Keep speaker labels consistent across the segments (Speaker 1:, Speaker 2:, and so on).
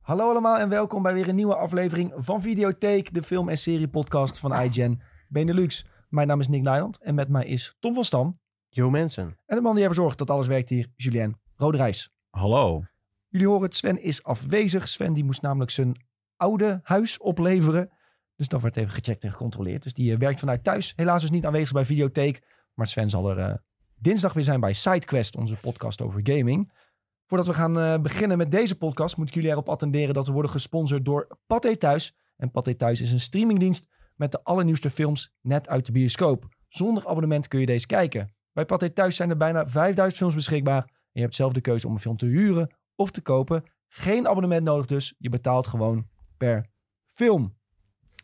Speaker 1: Hallo allemaal en welkom bij weer een nieuwe aflevering van Videotheek, de film- en serie-podcast van iGen Benelux. Mijn naam is Nick Nijland en met mij is Tom van Stam.
Speaker 2: Yo mensen.
Speaker 1: En de man die ervoor zorgt dat alles werkt hier, Julien Roderijs.
Speaker 3: Hallo.
Speaker 1: Jullie horen het, Sven is afwezig. Sven die moest namelijk zijn oude huis opleveren. Dus dat werd even gecheckt en gecontroleerd. Dus die eh, werkt vanuit thuis. Helaas dus niet aanwezig bij Videotheek. Maar Sven zal er eh, dinsdag weer zijn bij SideQuest, onze podcast over gaming. Voordat we gaan eh, beginnen met deze podcast, moet ik jullie erop attenderen dat we worden gesponsord door Pathé Thuis. En Pathé Thuis is een streamingdienst met de allernieuwste films net uit de bioscoop. Zonder abonnement kun je deze kijken. Bij Pathé Thuis zijn er bijna 5000 films beschikbaar. En je hebt zelf de keuze om een film te huren of te kopen. Geen abonnement nodig dus. Je betaalt gewoon per film.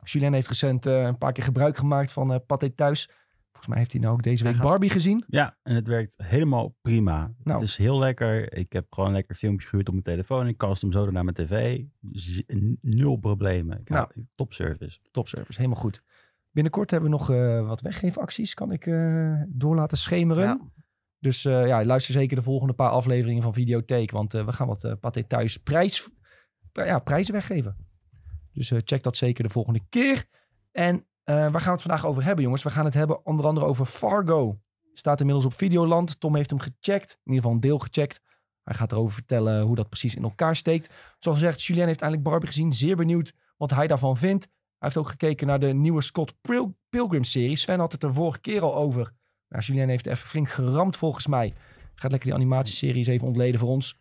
Speaker 1: Julien heeft recent eh, een paar keer gebruik gemaakt van eh Pathé Thuis. Volgens mij heeft hij nou ook deze week
Speaker 2: Hij
Speaker 1: Barbie gezien.
Speaker 3: Ja, en het werkt helemaal prima.
Speaker 1: Nou.
Speaker 3: Het is heel lekker. Ik heb gewoon lekker filmpjes gehuurd op mijn telefoon. Ik kast hem zo door naar mijn tv. Z- n- nul problemen. Ik
Speaker 1: Nou.
Speaker 3: hou- Top service.
Speaker 1: Topservice, helemaal goed. Binnenkort hebben we nog eh, wat weggeefacties. Kan ik eh, door laten schemeren.
Speaker 3: Ja.
Speaker 1: Dus eh, ja, luister zeker de volgende paar afleveringen van Videotheek. Want eh, we gaan wat eh Pathé Thuis prijs, pri- ja, prijzen weggeven. Dus eh, check dat zeker de volgende keer. En eh, waar gaan we het vandaag over hebben, jongens? We gaan het hebben onder andere over Fargo. Staat inmiddels op Videoland. Tom heeft hem gecheckt. In ieder geval een deel gecheckt. Hij gaat erover vertellen hoe dat precies in elkaar steekt. Zoals gezegd, Julien heeft eindelijk Barbie gezien. Zeer benieuwd wat hij daarvan vindt. Hij heeft ook gekeken naar de nieuwe Scott Pil- Pilgrim-serie. Sven had het er vorige keer al over. Nou, Julien heeft even flink geramd volgens mij. Gaat lekker die animatieserie eens even ontleden voor ons.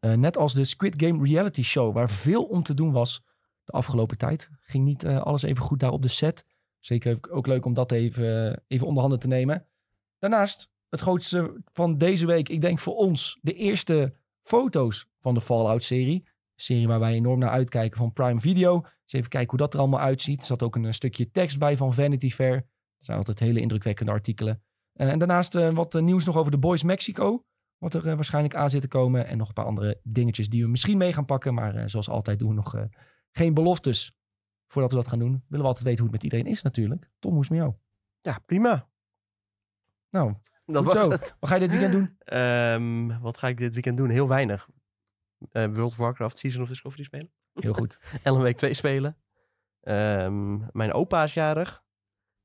Speaker 1: Eh, net als de Squid Game Reality Show, waar veel om te doen was de afgelopen tijd. Ging niet eh, alles even goed daar op de set. Zeker ook- ook leuk om dat even, eh, even onder handen te nemen. Daarnaast, het grootste van deze week, ik denk voor ons, de eerste foto's van de Fallout-serie. Serie waar wij enorm naar uitkijken van Prime Video. Dus even kijken hoe dat er allemaal uitziet. Er zat ook een, eh, stukje tekst bij van Vanity Fair. Er zijn altijd hele indrukwekkende artikelen. Eh, en daarnaast eh, wat eh, nieuws nog over de Boys Mexico. Wat er eh, waarschijnlijk aan zit te komen. En nog een paar andere dingetjes die we misschien mee gaan pakken. Maar eh, zoals altijd doen we nog eh, geen beloftes. Voordat we dat gaan doen, willen we altijd weten hoe het met iedereen is natuurlijk. Tom, hoe is het met jou?
Speaker 2: Ja, prima.
Speaker 1: Nou,
Speaker 2: Dat
Speaker 1: Goed
Speaker 2: was
Speaker 1: zo.
Speaker 2: het.
Speaker 1: wat ga je dit weekend doen?
Speaker 2: Ehm, wat ga ik dit weekend doen? Heel weinig. Eh, World of Warcraft Season of Discovery spelen.
Speaker 1: Heel goed.
Speaker 2: LMW 2 spelen. Ehm, mijn opa is jarig.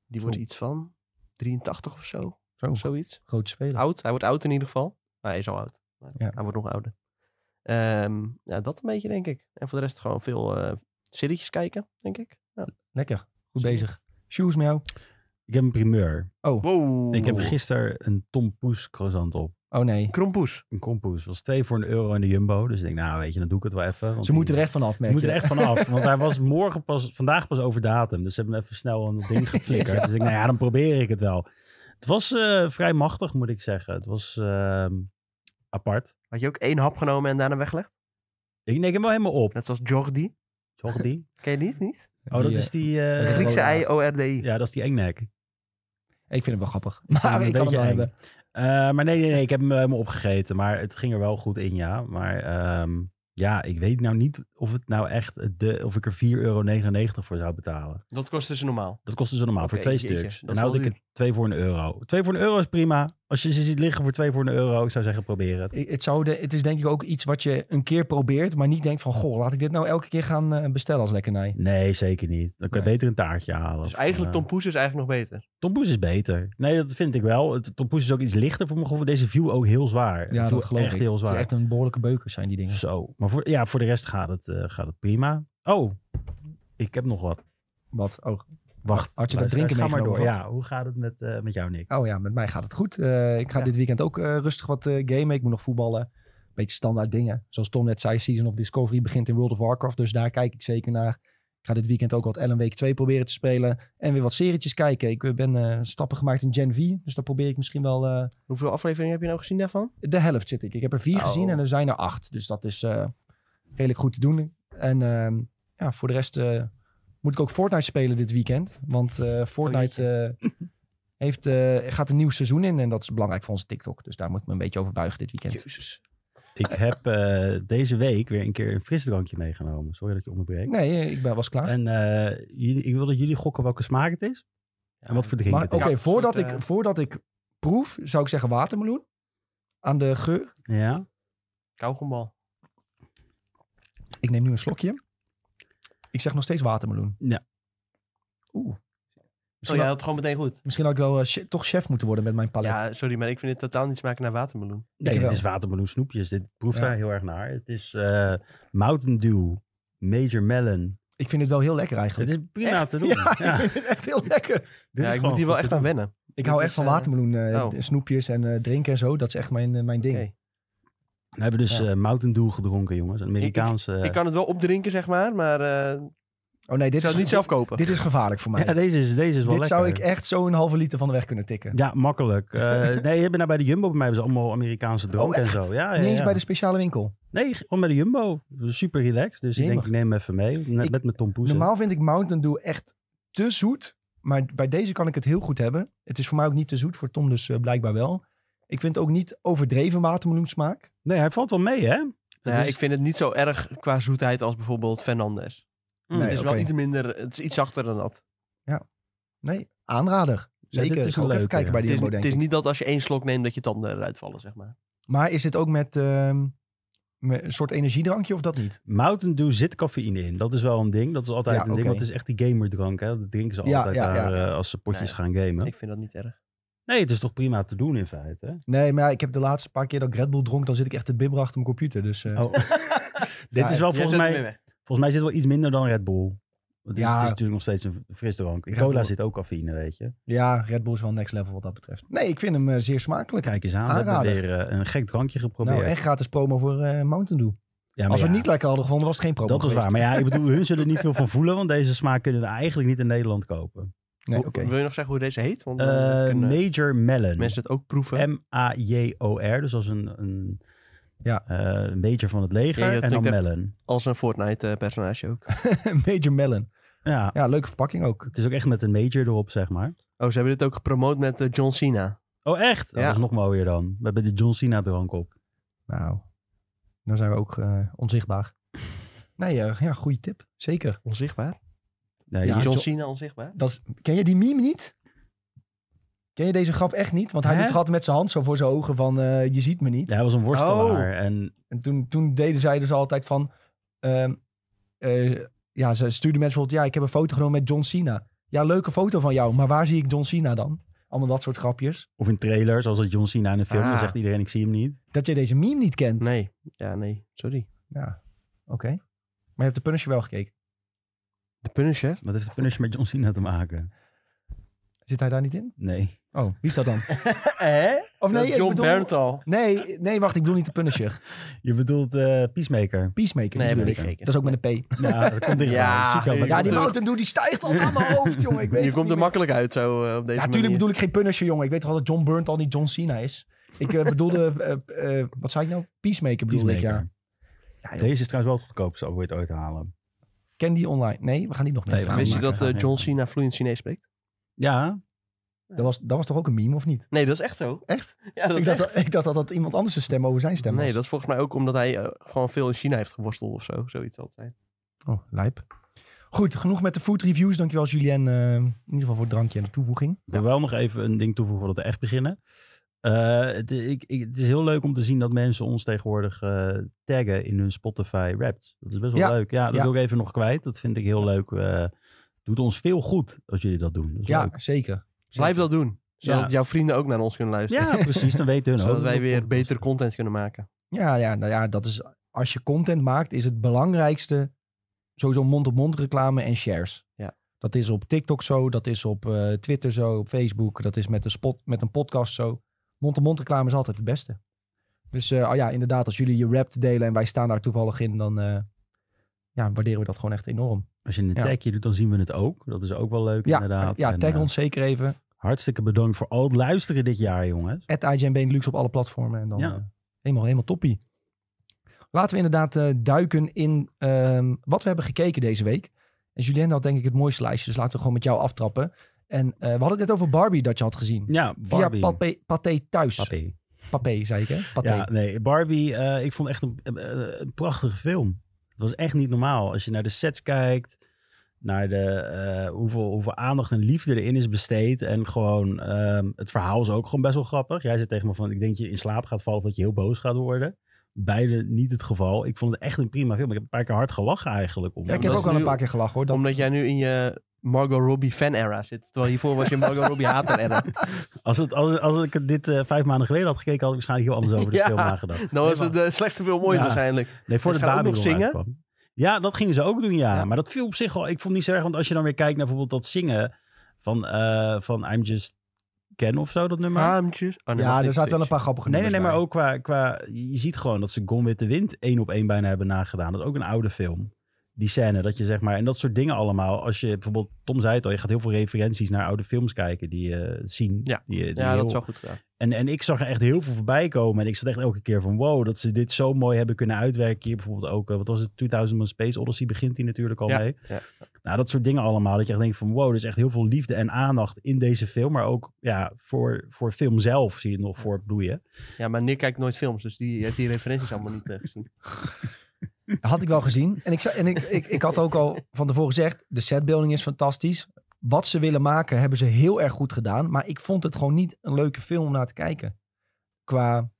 Speaker 2: Die wordt
Speaker 1: Zo.
Speaker 2: iets van 83 of zo.
Speaker 1: Zo,
Speaker 2: Zoiets.
Speaker 1: grote speler.
Speaker 2: Oud. Hij wordt oud in ieder geval. Maar hij is al oud. Maar
Speaker 1: Ja.
Speaker 2: Hij wordt nog ouder. Ehm, ja, dat een beetje, denk ik. En voor de rest gewoon veel eh serietjes kijken, denk ik. Ja.
Speaker 1: Lekker. Goed bezig. Shoes met jou?
Speaker 3: Ik heb een primeur.
Speaker 2: Wow.
Speaker 3: Ik heb gisteren een Tom Poes croissant op.
Speaker 1: Oh nee.
Speaker 2: Krompoes.
Speaker 3: Een kompoes. was 2 voor een euro in de Jumbo. Dus ik denk, nou weet je, dan doe ik het wel even. want
Speaker 1: Ze
Speaker 3: die-
Speaker 1: moeten er echt vanaf,
Speaker 3: ze
Speaker 1: merk
Speaker 3: moeten
Speaker 1: je.
Speaker 3: er echt vanaf. Want hij was morgen pas, vandaag pas over datum. Dus ze hebben hem even snel een ding geflikkerd. Dus ik denk, nou ja, dan probeer ik het wel. Het was eh, vrij machtig, moet ik zeggen. Het was ehm, apart.
Speaker 2: Had je ook één hap genomen en daarna weggelegd?
Speaker 3: Ik neem hem wel helemaal op.
Speaker 2: Net zoals Jordi.
Speaker 3: Toch die?
Speaker 2: Ken je die niet?
Speaker 3: Oh, dat
Speaker 1: Die,
Speaker 3: is die... eh,
Speaker 1: eh,
Speaker 2: Griekse
Speaker 1: Roda.
Speaker 2: I-O-R-D-I.
Speaker 3: Ja, dat is die engnek.
Speaker 1: Ik vind hem wel grappig.
Speaker 3: vind hem
Speaker 1: Maar
Speaker 3: een
Speaker 1: ik kan hem
Speaker 3: beetje
Speaker 1: wel
Speaker 3: eng.
Speaker 1: hebben.
Speaker 3: Eh, maar nee, nee, nee, ik heb hem helemaal opgegeten. Maar het ging er wel goed in, ja. Maar ehm, ja, ik weet nou niet of het nou echt de, of ik er 4,99 euro voor zou betalen.
Speaker 2: Dat kost dus normaal.
Speaker 3: Dat kostte ze normaal voor
Speaker 2: Oké,
Speaker 3: twee
Speaker 2: jeetje,
Speaker 3: stuks.
Speaker 2: dat
Speaker 3: En
Speaker 2: is
Speaker 3: nou
Speaker 2: wel
Speaker 3: had ik het twee voor een euro. Twee voor een euro is prima. Als je ze ziet liggen voor twee voor een euro, ik zou zeggen probeer het.
Speaker 1: Ik- Het, zou de, het is denk ik ook iets wat je een keer probeert, maar niet denkt van... Goh, laat ik dit nou elke keer gaan eh, bestellen als lekkernij.
Speaker 3: Nee, zeker niet. Dan kan je
Speaker 1: Nee.
Speaker 3: beter een taartje halen.
Speaker 2: Dus
Speaker 3: Of,
Speaker 2: eigenlijk
Speaker 3: eh,
Speaker 2: Tom Poes is eigenlijk nog beter.
Speaker 3: Tompoes is beter. Nee, dat vind ik wel. Het- Tompoes is ook iets lichter voor mijn gevoel. Deze viel ook heel zwaar.
Speaker 1: Ja,
Speaker 3: Die viel
Speaker 1: dat geloof
Speaker 3: echt
Speaker 1: ik.
Speaker 3: heel
Speaker 1: Het is
Speaker 3: zwaar.
Speaker 1: echt een behoorlijke beukers zijn die dingen.
Speaker 3: Zo. Maar voor, ja, voor de rest gaat het, eh, gaat het prima. Oh, ik heb nog wat.
Speaker 1: Wat? Oh,
Speaker 3: Wacht.
Speaker 1: Had je dat
Speaker 3: luisteraars,
Speaker 1: drinken
Speaker 3: Ga maar door.
Speaker 1: meegenomen, of
Speaker 3: Ja, hoe gaat het met, eh, met jou, Nick?
Speaker 1: oh ja, met mij gaat het goed. Eh, ik ga
Speaker 3: Ja.
Speaker 1: dit weekend ook eh, rustig wat eh, gamen. Ik moet nog voetballen. Beetje standaard dingen. Zoals Tom net zei, Season of Discovery begint in World of Warcraft. Dus daar kijk ik zeker naar. Ik ga dit weekend ook wat Ellen Week 2 proberen te spelen. En weer wat serietjes kijken. Ik eh, ben eh, stappen gemaakt in Gen V. Dus daar probeer ik misschien wel... eh,
Speaker 2: Hoeveel afleveringen heb je nou gezien daarvan?
Speaker 1: de helft zit ik. Ik heb er vier
Speaker 2: Oh.
Speaker 1: gezien en er zijn er acht. Dus dat is eh, redelijk goed te doen. En ehm, ja, voor de rest eh, moet ik ook Fortnite spelen dit weekend. Want
Speaker 2: Oh,
Speaker 1: eh, Fortnite eh, heeft, eh, gaat een nieuw seizoen in. En dat is belangrijk voor onze TikTok. Dus daar moet ik me een beetje over buigen dit weekend.
Speaker 2: Jezus.
Speaker 3: Ik heb eh, deze week weer een keer een frisdrankje meegenomen. Sorry dat je onderbreekt.
Speaker 1: Nee, eh, ik ben, was klaar.
Speaker 3: En eh, jullie- ik wil dat jullie gokken welke smaak het is. En wat voor drink
Speaker 1: maar
Speaker 3: het
Speaker 1: oké,
Speaker 3: is.
Speaker 2: Ja, een
Speaker 1: voordat,
Speaker 2: soort, eh,
Speaker 1: ik, voordat ik proef, zou ik zeggen watermeloen. Aan de geur.
Speaker 3: Ja.
Speaker 2: Kauwgombal.
Speaker 1: Ik Ik neem nu een slokje. Ik zeg nog steeds watermeloen.
Speaker 3: Ja.
Speaker 1: Oeh.
Speaker 2: Oh,
Speaker 1: Misschien,
Speaker 2: jij
Speaker 1: had,
Speaker 2: had het gewoon meteen goed.
Speaker 1: misschien had ik wel eh, che- toch chef moeten worden met mijn palet.
Speaker 2: Ja, sorry, maar ik vind het totaal niet smaken naar watermeloen.
Speaker 3: Nee, dit
Speaker 1: Jawel.
Speaker 3: is watermeloen snoepjes. Dit proeft
Speaker 1: Ja.
Speaker 3: daar heel erg naar. Het is eh, Mountain Dew, Major Melon.
Speaker 1: Ik vind het wel heel lekker
Speaker 3: Het
Speaker 1: eigenlijk.
Speaker 3: is prima te doen.
Speaker 1: Ja,
Speaker 3: Ja,
Speaker 1: ik vind het echt heel lekker.
Speaker 3: dit
Speaker 2: ja,
Speaker 3: is
Speaker 2: ik
Speaker 3: gewoon
Speaker 2: moet hier wel
Speaker 3: goed
Speaker 2: echt
Speaker 3: te
Speaker 2: aan
Speaker 3: doen.
Speaker 2: wennen.
Speaker 1: Ik hou
Speaker 2: is,
Speaker 1: echt van
Speaker 2: eh,
Speaker 1: watermeloen, eh,
Speaker 2: oh.
Speaker 1: snoepjes en eh, drinken en zo. Dat is echt mijn, eh, mijn ding.
Speaker 2: Oké.
Speaker 3: We hebben dus
Speaker 1: Ja.
Speaker 3: eh, Mountain Dew gedronken, jongens. Een Amerikaanse...
Speaker 2: Ik kan het wel opdrinken, zeg maar, maar eh,
Speaker 1: Oh nee,
Speaker 2: ik
Speaker 1: dit
Speaker 2: zou
Speaker 1: is,
Speaker 2: het niet zelf kopen.
Speaker 1: dit is gevaarlijk voor mij.
Speaker 3: ja, deze is, deze is wel
Speaker 1: dit
Speaker 3: lekker.
Speaker 1: zou ik echt zo'n halve liter van de weg kunnen tikken.
Speaker 3: Ja, makkelijk. Eh, nee, je bent nou bij de Jumbo. Bij mij hebben ze allemaal Amerikaanse drank
Speaker 1: Oh,
Speaker 3: en
Speaker 1: echt?
Speaker 3: zo. Ja, ja,
Speaker 1: Niet eens
Speaker 3: ja.
Speaker 1: bij de speciale winkel.
Speaker 3: Nee, gewoon bij de Jumbo. Super relaxed. Dus ik
Speaker 1: Jemig.
Speaker 3: denk, ik neem hem even mee. Net
Speaker 1: Ik-
Speaker 3: met mijn Tom Poes.
Speaker 1: Normaal vind ik Mountain Dew echt te zoet. Maar bij deze kan ik het heel goed hebben. Het is voor mij ook niet te zoet. Voor Tom dus eh, blijkbaar wel. Ik vind het ook niet overdreven watermeloensmaak.
Speaker 3: Nee, hij valt wel mee, hè?
Speaker 2: Nou ja,
Speaker 3: Het is-
Speaker 2: ik vind het niet zo erg qua zoetheid als bijvoorbeeld Fernandes.
Speaker 3: Nee,
Speaker 2: het is
Speaker 1: oké.
Speaker 2: wel iets minder, het is iets zachter dan dat.
Speaker 1: Nee, aanrader.
Speaker 3: Ja,
Speaker 1: Zeker.
Speaker 3: dit is
Speaker 1: ik ga ook
Speaker 3: een
Speaker 1: even
Speaker 3: leuke,
Speaker 1: kijken
Speaker 3: ja.
Speaker 1: bij de
Speaker 2: Het is,
Speaker 1: Jumbo,
Speaker 2: het
Speaker 1: denk
Speaker 2: is
Speaker 1: ik.
Speaker 2: niet dat als je één slok neemt dat je tanden eruit vallen, zeg maar.
Speaker 1: Maar is dit ook met, ehm, met een soort energiedrankje of dat niet?
Speaker 3: Mountain Dew zit cafeïne in. Dat is wel een ding. Dat is altijd
Speaker 1: Ja,
Speaker 3: een ding.
Speaker 1: oké.
Speaker 3: Want het is echt die gamerdrank. Hè? Dat drinken ze
Speaker 1: Ja,
Speaker 3: altijd
Speaker 1: ja,
Speaker 3: daar,
Speaker 1: ja.
Speaker 3: eh, als ze potjes
Speaker 2: Nee.
Speaker 3: gaan gamen.
Speaker 2: Ik vind dat niet
Speaker 3: Oh,
Speaker 2: erg.
Speaker 3: Nee, het is toch prima te doen in feite. hè?
Speaker 1: Nee, maar ja, ik heb de laatste paar keer dat ik Red Bull dronk, dan zit ik echt te bibber achter mijn computer. Dus eh,
Speaker 3: Oh. Dit
Speaker 1: Ja,
Speaker 3: is wel
Speaker 2: Jij
Speaker 3: volgens
Speaker 2: zet hem
Speaker 3: mij...
Speaker 2: weer weg.
Speaker 3: Volgens mij zit wel iets minder dan Red Bull. Het is,
Speaker 1: Ja.
Speaker 3: het is natuurlijk nog steeds een frisdrank. In
Speaker 1: Red
Speaker 3: cola
Speaker 1: Bull.
Speaker 3: zit ook cafeïne, weet je.
Speaker 1: ja, Red Bull is wel next level wat dat betreft. Nee, ik vind hem eh, zeer smakelijk.
Speaker 3: Kijk eens aan. We hebben
Speaker 1: Aanrader.
Speaker 3: weer eh, een gek drankje geprobeerd.
Speaker 1: Nou, en gratis promo voor eh, Mountain Dew.
Speaker 3: Ja, maar
Speaker 1: Als we
Speaker 3: ja,
Speaker 1: het niet lekker hadden gevonden, was het geen promo
Speaker 3: Dat was
Speaker 1: geweest.
Speaker 3: waar. Maar ja, ik bedoel, hun zullen er niet veel van voelen. Want deze smaak kunnen we eigenlijk niet in Nederland kopen.
Speaker 1: Nee,
Speaker 2: Hoe-
Speaker 1: oké.
Speaker 2: Wil je nog zeggen hoe deze heet? Want dan
Speaker 3: Eh,
Speaker 2: kunnen
Speaker 3: Major Melon.
Speaker 2: mensen het ook proeven.
Speaker 3: M-A-J-O-R. Dus als een, een,
Speaker 1: Ja.
Speaker 3: eh, een major van het
Speaker 2: Ja,
Speaker 3: leger.
Speaker 2: dat
Speaker 3: en dan
Speaker 2: klinkt echt-
Speaker 3: Melon.
Speaker 2: Als een Fortnite-personage ook.
Speaker 1: Major Melon.
Speaker 3: Ja.
Speaker 1: Ja, leuke verpakking ook.
Speaker 3: Het is ook echt met een major erop, zeg maar.
Speaker 2: Oh, ze hebben dit ook gepromoot met eh, John Cena.
Speaker 3: Oh, echt? Dat
Speaker 2: Ja.
Speaker 3: is nog mooier dan. We hebben de John Cena drank op.
Speaker 1: Nou, nou zijn we ook eh, onzichtbaar. Nee, eh, ja, goede tip. Zeker.
Speaker 2: Onzichtbaar?
Speaker 3: Nee,
Speaker 1: Ja,
Speaker 2: Is John
Speaker 1: Jo-
Speaker 2: Cena onzichtbaar?
Speaker 1: Dat is, ken je die meme niet? Ken je deze grap echt niet? Want hij
Speaker 3: Hè?
Speaker 1: doet het altijd met zijn hand zo voor zijn ogen van eh, je ziet me niet.
Speaker 3: Ja, hij was een
Speaker 2: Oh.
Speaker 3: worstelaar. En
Speaker 1: En toen, toen deden zij dus altijd van... ehm, eh, ja, ze stuurden mensen bijvoorbeeld... Ja, ik heb een foto genomen met John Cena. Ja, leuke foto van jou. Maar waar zie ik John Cena dan? Allemaal dat soort grapjes.
Speaker 3: Of in trailers, als dat John Cena in een film. Dan
Speaker 2: Ah.
Speaker 3: zegt iedereen, ik zie hem niet.
Speaker 1: Dat jij deze meme niet kent.
Speaker 2: Nee. Ja, nee. Sorry.
Speaker 1: Ja, oké. Maar je hebt de Punisher wel gekeken.
Speaker 2: De
Speaker 1: Oh,
Speaker 2: Punisher?
Speaker 3: Wat heeft de Punisher met John Cena te maken?
Speaker 1: Zit hij daar niet in?
Speaker 3: Nee.
Speaker 1: Oh, wie is dat dan?
Speaker 2: Hè?
Speaker 1: Of nee, ik
Speaker 2: John
Speaker 1: bedoel...
Speaker 2: Berntal.
Speaker 1: Nee, nee, wacht, ik bedoel niet de Punisher.
Speaker 3: Je bedoelt eh, Peacemaker.
Speaker 1: Peacemaker, die
Speaker 2: Nee, heb ik
Speaker 1: bedoel
Speaker 2: niet
Speaker 1: ik.
Speaker 2: gekeken.
Speaker 1: Dat is ook met een P.
Speaker 3: Ja, dat komt dichtbij.
Speaker 2: Ja,
Speaker 3: Zoek jou maar
Speaker 2: je
Speaker 1: Ja, die
Speaker 3: op.
Speaker 2: komt er-
Speaker 1: Mountain Dew, die stijgt al aan mijn hoofd, jongen. Ik weet
Speaker 2: Je
Speaker 1: het niet
Speaker 2: komt er
Speaker 1: meer.
Speaker 2: makkelijk uit zo eh, op deze
Speaker 1: Ja,
Speaker 2: manier.
Speaker 1: natuurlijk bedoel ik geen Punisher, jongen. Ik weet toch wel dat John Burnt al niet John Cena is. Ik eh, bedoelde, eh, eh, wat zei ik nou? Peacemaker bedoelde ik, ja.
Speaker 3: Peacemaker. Deze is trouwens wel het goedkoopste, al wil je het ooit halen.
Speaker 1: Ken die online? Nee, we gaan die nog niet.
Speaker 3: Nee, we gaan
Speaker 2: Wist je
Speaker 3: maken.
Speaker 2: dat eh, John Cena vloeiend Chinees spreekt?
Speaker 3: Ja,
Speaker 1: dat, was, dat was toch ook een meme, of niet?
Speaker 2: Nee, dat is echt zo.
Speaker 1: Echt?
Speaker 2: Ja, dat
Speaker 1: ik,
Speaker 2: is
Speaker 1: dacht,
Speaker 2: echt.
Speaker 1: dat, ik dacht dat dat iemand anders zijn stem over zijn stem was.
Speaker 2: Nee, dat is volgens mij ook omdat hij eh, gewoon veel in China heeft geworsteld of zo. Zoiets zal het zijn.
Speaker 1: Oh, lijp. Goed, genoeg met de food reviews. Dankjewel, Julien. eh, in ieder geval voor het drankje en de toevoeging.
Speaker 3: ik wil wel nog even een ding toevoegen voordat we echt beginnen. Eh, het, ik, ik- het is heel leuk om te zien dat mensen ons tegenwoordig eh, taggen in hun Spotify Wrapped. Dat is best wel
Speaker 1: Ja.
Speaker 3: leuk. Ja, dat
Speaker 1: Ja.
Speaker 3: wil ik even nog kwijt. Dat vind ik heel leuk. Eh, doet ons veel goed als jullie dat doen. Dat is
Speaker 1: Ja,
Speaker 3: leuk.
Speaker 1: zeker.
Speaker 2: Blijf dat doen. Zodat
Speaker 3: Ja.
Speaker 2: jouw vrienden ook naar ons kunnen luisteren.
Speaker 3: Ja, precies. Dan weten hun ook.
Speaker 2: Zodat
Speaker 3: dat
Speaker 2: wij
Speaker 3: we
Speaker 2: weer
Speaker 3: podcast
Speaker 2: betere content kunnen maken.
Speaker 1: Ja, ja, nou ja, dat is. Als je content maakt, is het belangrijkste sowieso mond-op-mond reclame en shares.
Speaker 2: Ja.
Speaker 1: Dat is op TikTok zo, dat is op eh, Twitter zo, op Facebook, dat is met een, spot, met een podcast zo. Mond-op-mond reclame is altijd het beste. Dus eh, oh ja, inderdaad, als jullie je rap delen en wij staan daar toevallig in, dan eh, ja, waarderen we dat gewoon echt enorm.
Speaker 3: Als je een
Speaker 1: Ja.
Speaker 3: tagje doet, dan zien we het ook. Dat is ook wel leuk,
Speaker 1: Ja,
Speaker 3: inderdaad.
Speaker 1: ja
Speaker 3: En,
Speaker 1: tag
Speaker 3: eh,
Speaker 1: ons zeker even.
Speaker 3: hartstikke bedankt voor al het luisteren dit jaar, jongens.
Speaker 1: at IGN Benelux op alle platformen. En dan
Speaker 3: Ja.
Speaker 1: eh, helemaal, helemaal toppie. Laten we inderdaad eh, duiken in ehm, wat we hebben gekeken deze week. En Julien had denk ik het mooiste lijstje, dus laten we gewoon met jou aftrappen. En eh, we hadden het net over Barbie dat je had gezien.
Speaker 3: Ja, Barbie.
Speaker 1: Via Pathé- Pathé thuis.
Speaker 3: Papi.
Speaker 1: Pathé, zei ik hè? Pathé.
Speaker 3: Ja, nee, Barbie, eh, ik vond echt een, eh, een prachtige film. Het was echt niet normaal. Als je naar de sets kijkt, naar de, eh, hoeveel, hoeveel aandacht en liefde erin is besteed. En gewoon, ehm, het verhaal is ook gewoon best wel grappig. Jij zei tegen me van, ik denk dat je in slaap gaat vallen of dat je heel boos gaat worden. beide niet het geval. Ik vond het echt een prima film. Ik heb een paar keer hard gelachen eigenlijk. Om
Speaker 1: Ja, ik
Speaker 3: hem.
Speaker 1: heb
Speaker 2: Omdat
Speaker 1: ook al
Speaker 2: nu-
Speaker 1: een paar keer gelachen hoor. Dat,
Speaker 2: Omdat jij nu in je Margot Robbie fan-era zit. Terwijl hiervoor was je Margot Robbie hater-era.
Speaker 3: Als, het, als, als ik het dit eh, vijf maanden geleden had gekeken, had ik waarschijnlijk heel anders over de
Speaker 2: Ja.
Speaker 3: film nagedacht.
Speaker 2: Nou was
Speaker 3: Nee,
Speaker 2: het de slechtste film ooit
Speaker 3: Ja.
Speaker 2: waarschijnlijk.
Speaker 3: Nee, voor
Speaker 2: En
Speaker 3: de
Speaker 2: ze gaan ook
Speaker 3: Babylon
Speaker 2: nog zingen?
Speaker 3: uitkwam. Ja, dat gingen ze ook doen, ja.
Speaker 2: Ja.
Speaker 3: Maar dat viel op zich al. Ik vond het niet zo erg, want als je dan weer kijkt naar bijvoorbeeld dat zingen van, eh, van I'm Just Ken of zo, dat nummer.
Speaker 2: Maamtjes. Oh, nee, dat
Speaker 1: ja,
Speaker 2: vind
Speaker 1: er
Speaker 2: ik
Speaker 1: zaten wel een
Speaker 2: niks.
Speaker 1: paar grappige
Speaker 3: nee, nee, nee,
Speaker 1: nummers
Speaker 3: maar
Speaker 1: bij.
Speaker 3: ook qua, qua... Je ziet gewoon dat ze Gone with the Wind één op één bijna hebben nagedaan. Dat is ook een oude film. Die scène, dat je zeg maar... En dat soort dingen allemaal. Als je bijvoorbeeld... Tom zei het al, je gaat heel veel referenties naar oude films kijken die je zien.
Speaker 2: Ja.
Speaker 3: die, je- die
Speaker 2: Ja,
Speaker 3: heel-
Speaker 2: dat is wel goed gedaan.
Speaker 3: en, en ik zag er echt heel veel voorbij komen. En ik zat echt elke keer van wow, dat ze dit zo mooi hebben kunnen uitwerken. Hier bijvoorbeeld ook, eh, wat was het, 2001 Space Odyssey begint hij natuurlijk al
Speaker 2: Ja,
Speaker 3: mee.
Speaker 2: ja.
Speaker 3: Nou, dat soort dingen allemaal. Dat je echt denkt van wow, er is echt heel veel liefde en aandacht in deze film. Maar ook ja, voor, voor film zelf zie je het nog voor bloeien.
Speaker 2: Ja, maar Nick kijkt nooit films, dus die heeft die referenties allemaal niet eh, gezien.
Speaker 1: Had ik wel gezien. En, ik, zei- en ik, ik, ik had ook al van tevoren gezegd, de setbuilding is fantastisch. Wat ze willen maken hebben ze heel erg goed gedaan. Maar ik vond het gewoon niet een leuke film om naar te kijken. Qua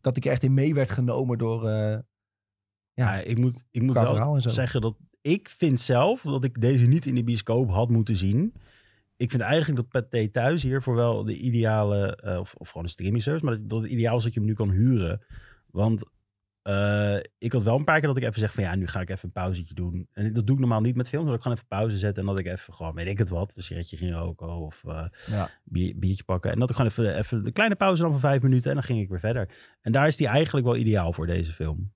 Speaker 1: dat ik er echt in mee werd genomen door... eh,
Speaker 3: Ja,
Speaker 1: Ja.
Speaker 3: Eh, ik moet, ik moet
Speaker 1: Qua
Speaker 3: wel
Speaker 1: verhaal en zo.
Speaker 3: zeggen dat ik vind zelf dat ik deze niet in de bioscoop had moeten zien. Ik vind eigenlijk dat Pathé thuis hiervoor wel de ideale, eh, of, of gewoon een streaming service, maar dat, dat het ideaal is dat je hem nu kan huren. Want eh, ik had wel een paar keer dat ik even zeg van ja, nu ga ik even een pauzetje doen. En dat doe ik normaal niet met films, maar dat ik gewoon even pauze zet en dat ik even gewoon, weet ik het wat, een sigaretje ging roken of eh,
Speaker 1: Ja.
Speaker 3: bier- biertje pakken. En dat ik gewoon even, even een kleine pauze dan van vijf minuten en dan ging ik weer verder. En daar is die eigenlijk wel ideaal voor deze film.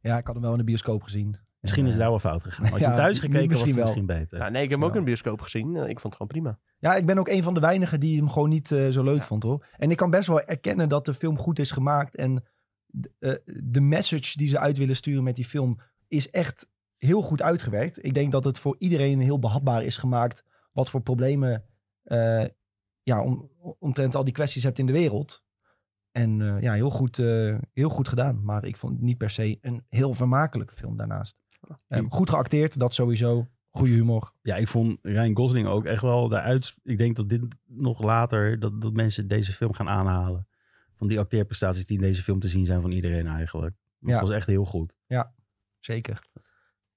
Speaker 1: ja, ik had hem wel in de bioscoop gezien.
Speaker 3: Misschien is het
Speaker 1: dat.
Speaker 3: daar wel fout gegaan. Maar Als je
Speaker 1: Eh, Ja,
Speaker 3: hem thuis
Speaker 1: m-
Speaker 3: gekeken was, was het
Speaker 1: misschien
Speaker 3: misschien beter.
Speaker 2: Nou, nee, ik heb hem ook in de bioscoop gezien. Eh, Ik vond het gewoon prima.
Speaker 1: Ja, ik ben ook een van de weinigen die hem gewoon niet eh, zo leuk
Speaker 2: Ja.
Speaker 1: vond hoor. En ik kan best wel erkennen dat de film goed is gemaakt. En d- eh, de message die ze uit willen sturen met die film is echt heel goed uitgewerkt. Ik denk dat het voor iedereen heel behapbaar is gemaakt. Wat voor problemen eh, ja, om, omtrent al die kwesties hebt in de wereld. En eh, ja, heel goed, eh, heel goed gedaan. Maar ik vond het niet per se een heel vermakelijke film daarnaast. Eh, goed geacteerd, dat sowieso. Goede humor.
Speaker 3: Ja, ik vond Ryan Gosling ook echt wel daaruit. Ik denk dat dit nog later, dat, dat mensen deze film gaan aanhalen. Van die acteerprestaties die in deze film te zien zijn van iedereen eigenlijk. Want
Speaker 1: Ja.
Speaker 3: Het was echt heel goed.
Speaker 1: Zeker.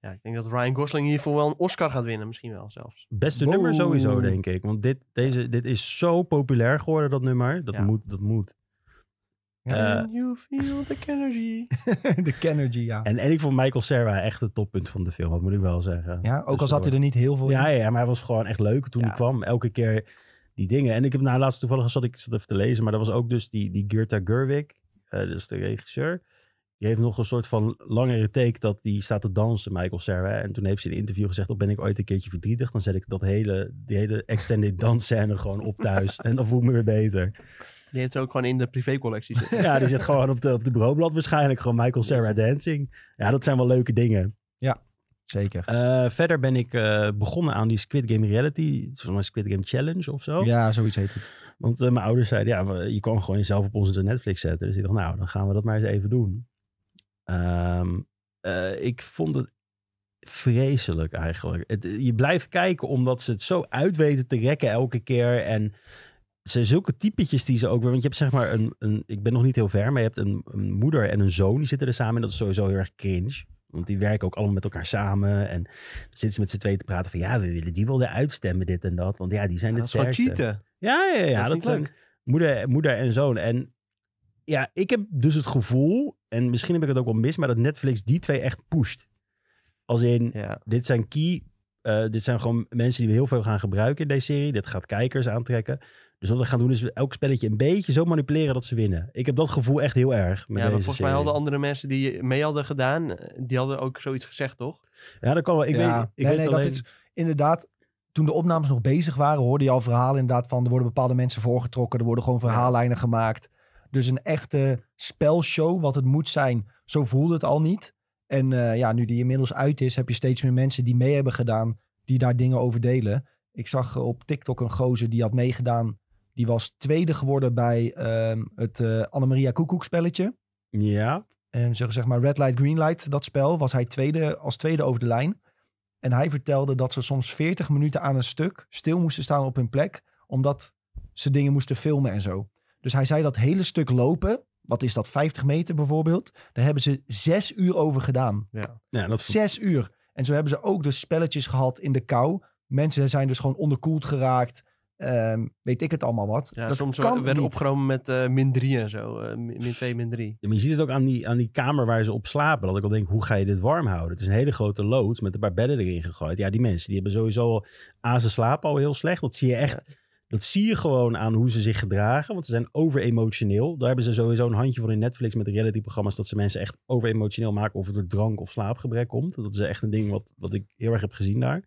Speaker 2: Ja, ik denk dat Ryan Gosling hiervoor wel een Oscar gaat winnen. Misschien wel zelfs.
Speaker 3: Beste
Speaker 1: Wow.
Speaker 3: nummer sowieso, denk ik. Want dit, deze, dit is zo populair geworden, dat nummer. Dat
Speaker 2: Ja.
Speaker 3: moet, dat moet. Eh.
Speaker 1: Ja.
Speaker 2: Can you feel the energy?
Speaker 1: de Kennergy, ja.
Speaker 3: En, en ik vond Michael Cera echt het toppunt van de film, dat moet ik wel zeggen.
Speaker 1: Ja, ook al
Speaker 3: Dus
Speaker 1: zat hij er niet heel veel in.
Speaker 3: Ja, ja, maar hij was gewoon echt leuk toen
Speaker 2: Ja.
Speaker 3: hij kwam. Elke keer die dingen. En ik heb nou laatst toevallig zat ik zat even te lezen, maar dat was ook dus die, die Gerta Gerwig, eh dus de regisseur. Die heeft nog een soort van langere take dat die staat te dansen, Michael Cera. En toen heeft ze in een interview gezegd, dat ben ik ooit een keertje verdrietig. Dan zet ik dat hele, die hele extended dansscène gewoon op thuis. en dan voel ik me weer beter.
Speaker 2: Die heeft ze ook gewoon in de privécollectie zitten.
Speaker 3: Ja, die zit gewoon op de, op de bureaublad waarschijnlijk. Gewoon Michael Cera dancing. Ja, dat zijn wel leuke dingen.
Speaker 1: Zeker.
Speaker 3: Eh, verder ben ik eh, begonnen aan die Squid Game Reality. Volgens mij Squid Game Challenge of zo.
Speaker 1: Ja, zoiets heet het.
Speaker 3: Want eh, mijn ouders zeiden, ja, we- je kan gewoon jezelf op onze Netflix zetten. Dus ik dacht, nou, dan gaan we dat maar eens even doen. Ehm, eh, ik vond het vreselijk eigenlijk. Het, eh, je blijft kijken omdat ze het zo uit weten te rekken elke keer. En ze zulke typetjes die ze ook... weer- Want je hebt zeg maar een... een ik ben nog niet heel ver, maar je hebt een, een moeder en een zoon. Die zitten er samen en dat is sowieso heel erg cringe. Want die werken ook allemaal met elkaar samen. En dan zitten ze met z'n tweeën te praten van... Ja, we willen die wel eruit stemmen, dit en dat. Want ja, die zijn
Speaker 2: dat
Speaker 3: het
Speaker 2: is gewoon
Speaker 3: sterkste.
Speaker 2: cheaten.
Speaker 3: Ja, ja, ja.
Speaker 2: dat is
Speaker 3: Dat,
Speaker 2: niet
Speaker 3: zijn
Speaker 2: leuk.
Speaker 3: moeder, moeder en zoon. En ja, ik heb dus het gevoel, en misschien heb ik het ook wel mis, maar dat Netflix die twee echt pusht. Als in,
Speaker 2: Ja.
Speaker 3: dit zijn key, eh, dit zijn gewoon mensen die we heel veel gaan gebruiken in deze serie. Dit gaat kijkers aantrekken. Dus wat we gaan doen is elk spelletje een beetje zo manipuleren dat ze winnen. Ik heb dat gevoel echt heel erg met
Speaker 2: ja, maar
Speaker 3: deze
Speaker 2: volgens mij
Speaker 3: serie.
Speaker 2: hadden andere mensen die mee hadden gedaan, eh, die hadden ook zoiets gezegd, toch?
Speaker 3: Ja, dat kan wel. Ik
Speaker 1: ja.
Speaker 3: weet, ik
Speaker 1: nee,
Speaker 3: weet
Speaker 1: nee,
Speaker 3: alleen...
Speaker 1: dat is inderdaad... Toen de opnames nog bezig waren, hoorde je al verhalen inderdaad van... er worden bepaalde mensen voorgetrokken, er worden gewoon verhaallijnen gemaakt. Dus een echte spelshow, wat het moet zijn, zo voelde het al niet. En eh, ja, nu die inmiddels uit is, heb je steeds meer mensen die mee hebben gedaan... die daar dingen over delen. Ik zag eh, op TikTok een gozer die had meegedaan. Die was tweede geworden bij ehm, het eh Annemaria Koekoek spelletje.
Speaker 3: Ja,
Speaker 1: En Ehm, zeg, zeg maar Red Light, Green Light, dat spel, was hij tweede, als tweede over de lijn. En hij vertelde dat ze soms 40 minuten aan een stuk stil moesten staan op hun plek. Omdat ze dingen moesten filmen en zo. Dus hij zei dat hele stuk lopen wat is dat, 50 meter bijvoorbeeld. Daar hebben ze zes uur over gedaan.
Speaker 3: Ja, dat
Speaker 1: Zes uur. En zo hebben ze ook dus spelletjes gehad in de kou. Mensen zijn dus gewoon onderkoeld geraakt. Ehm, weet ik het allemaal wat.
Speaker 2: Ja,
Speaker 1: dat
Speaker 2: soms
Speaker 1: kan
Speaker 2: werden
Speaker 1: niet.
Speaker 2: opgenomen met eh, min 3 en zo. eh, min- min 2, min 3.
Speaker 3: Ja, maar je ziet het ook aan die, aan die kamer waar ze op slapen. Dat ik al denk, hoe ga je dit warm houden? Het is een hele grote loods met een paar bedden erin gegooid. Ja, die mensen die hebben sowieso al... A, Ah, ze slapen al heel slecht. Dat zie je echt... Dat zie je gewoon aan hoe ze zich gedragen. Want ze zijn overemotioneel. Daar hebben ze sowieso een handje voor in Netflix met reality-programma's. Dat ze mensen echt overemotioneel maken. Of het door drank of slaapgebrek komt. Dat is echt een ding wat, wat ik heel erg heb gezien daar.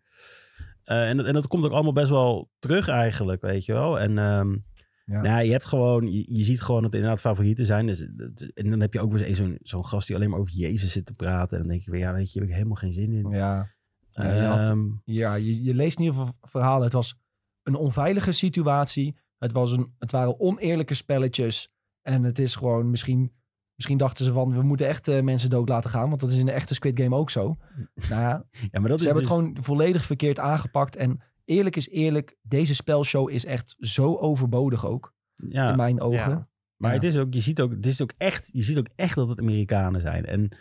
Speaker 3: Eh, en, dat, en dat komt ook allemaal best wel terug eigenlijk, weet je wel. En ehm,
Speaker 1: Ja.
Speaker 3: nou, je hebt gewoon, je, je ziet gewoon dat het inderdaad favorieten zijn. Dus, dat- en dan heb je ook weer eens zo'n zo'n gast die alleen maar over Jezus zit te praten. En dan denk je weer, ja, weet je, heb ik helemaal geen zin in.
Speaker 1: Ja, Ja, je had-
Speaker 3: Ehm,
Speaker 1: ja je, je leest in ieder geval verhalen. Het was een onveilige situatie. Het, was een, het waren oneerlijke spelletjes. En het is gewoon misschien... Misschien dachten ze van, we moeten echt eh, mensen dood laten gaan. Want dat is in de echte Squid Game ook zo. Nou ja,
Speaker 3: ja, maar dat
Speaker 1: Ze
Speaker 3: is
Speaker 1: hebben
Speaker 3: dus-
Speaker 1: het gewoon volledig verkeerd aangepakt. En eerlijk is eerlijk, deze spelshow is echt zo overbodig ook.
Speaker 3: ja.
Speaker 1: In mijn ogen.
Speaker 2: Ja.
Speaker 3: Maar
Speaker 1: Ja.
Speaker 3: het is ook, je ziet ook, het is ook echt, je ziet ook echt dat het Amerikanen zijn. En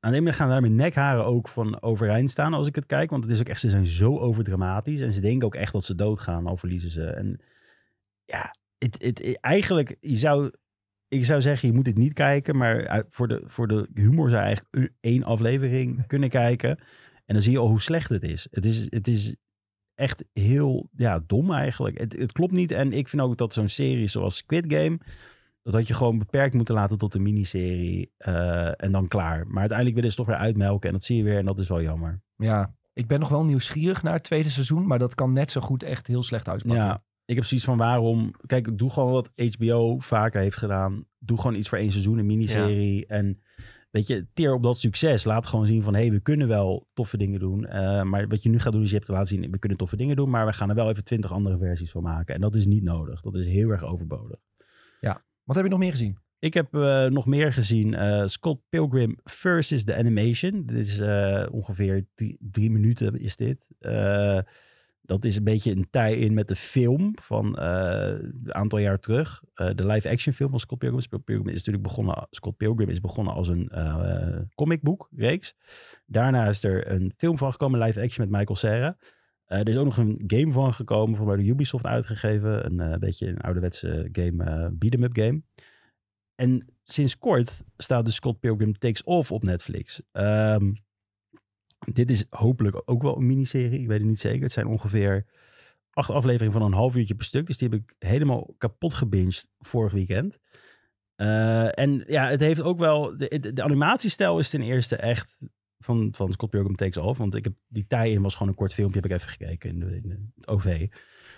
Speaker 3: aan de ene kant gaan daar mijn nekharen ook van overeind staan als ik het kijk. Want het is ook echt, ze zijn zo overdramatisch. En ze denken ook echt dat ze doodgaan, al verliezen ze. En ja, het, het, eigenlijk, je zou, ik zou zeggen, je moet het niet kijken. Maar uit- voor de, voor de humor zou je eigenlijk één aflevering kunnen kijken. En dan zie je al hoe slecht het is. Het is, het is echt heel ja, dom eigenlijk. Het, het klopt niet. En ik vind ook dat zo'n serie zoals Squid Game... Dat had je gewoon beperkt moeten laten tot een miniserie. eh, en dan klaar. Maar uiteindelijk willen ze toch weer uitmelken. En dat zie je weer. En dat is wel jammer.
Speaker 1: Ja. Ik ben nog wel nieuwsgierig naar het tweede seizoen. Maar dat kan net zo goed echt heel slecht uitpakken.
Speaker 3: Ja, ik heb zoiets van waarom... Kijk, ik doe gewoon wat HBO vaker heeft gedaan. Doe gewoon iets voor één seizoen, een miniserie. En weet je, teer op dat succes. Laat gewoon zien van, hé, hey, we kunnen wel toffe dingen doen. Eh, maar wat je nu gaat doen is je hebt te laten zien... we kunnen toffe dingen doen, maar we gaan er wel even twintig andere versies van maken. En dat is niet nodig. Dat is heel erg overbodig.
Speaker 1: Wat heb je nog meer gezien?
Speaker 3: Ik heb eh, nog meer gezien. eh, Scott Pilgrim versus The Animation. Dit is eh, ongeveer drie, drie minuten is dit. Eh, dat is een beetje een tie in met de film van eh, een aantal jaar terug. Eh, de live action film van Scott Pilgrim. Scott Pilgrim is natuurlijk begonnen, Scott Pilgrim is begonnen als een eh comicboek reeks. Daarna is er een film van gekomen, live action met Michael Cera. Eh, er is ook nog een game van gekomen, voor mij door Ubisoft uitgegeven. Een eh, beetje een ouderwetse game, eh beat'em up game. En sinds kort staat de Scott Pilgrim Takes Off op Netflix. Ehm, dit is hopelijk ook wel een miniserie. Ik weet het niet zeker. Het zijn ongeveer acht afleveringen van een half uurtje per stuk. Dus die heb ik helemaal kapot gebinged vorig weekend. Eh, en ja, het heeft ook wel... De, de- de animatiestijl is ten eerste echt van, van Scott Pilgrim Takes Off. Want ik heb, die tie-in was gewoon een kort filmpje. Heb ik even gekeken in, de, in de- het OV.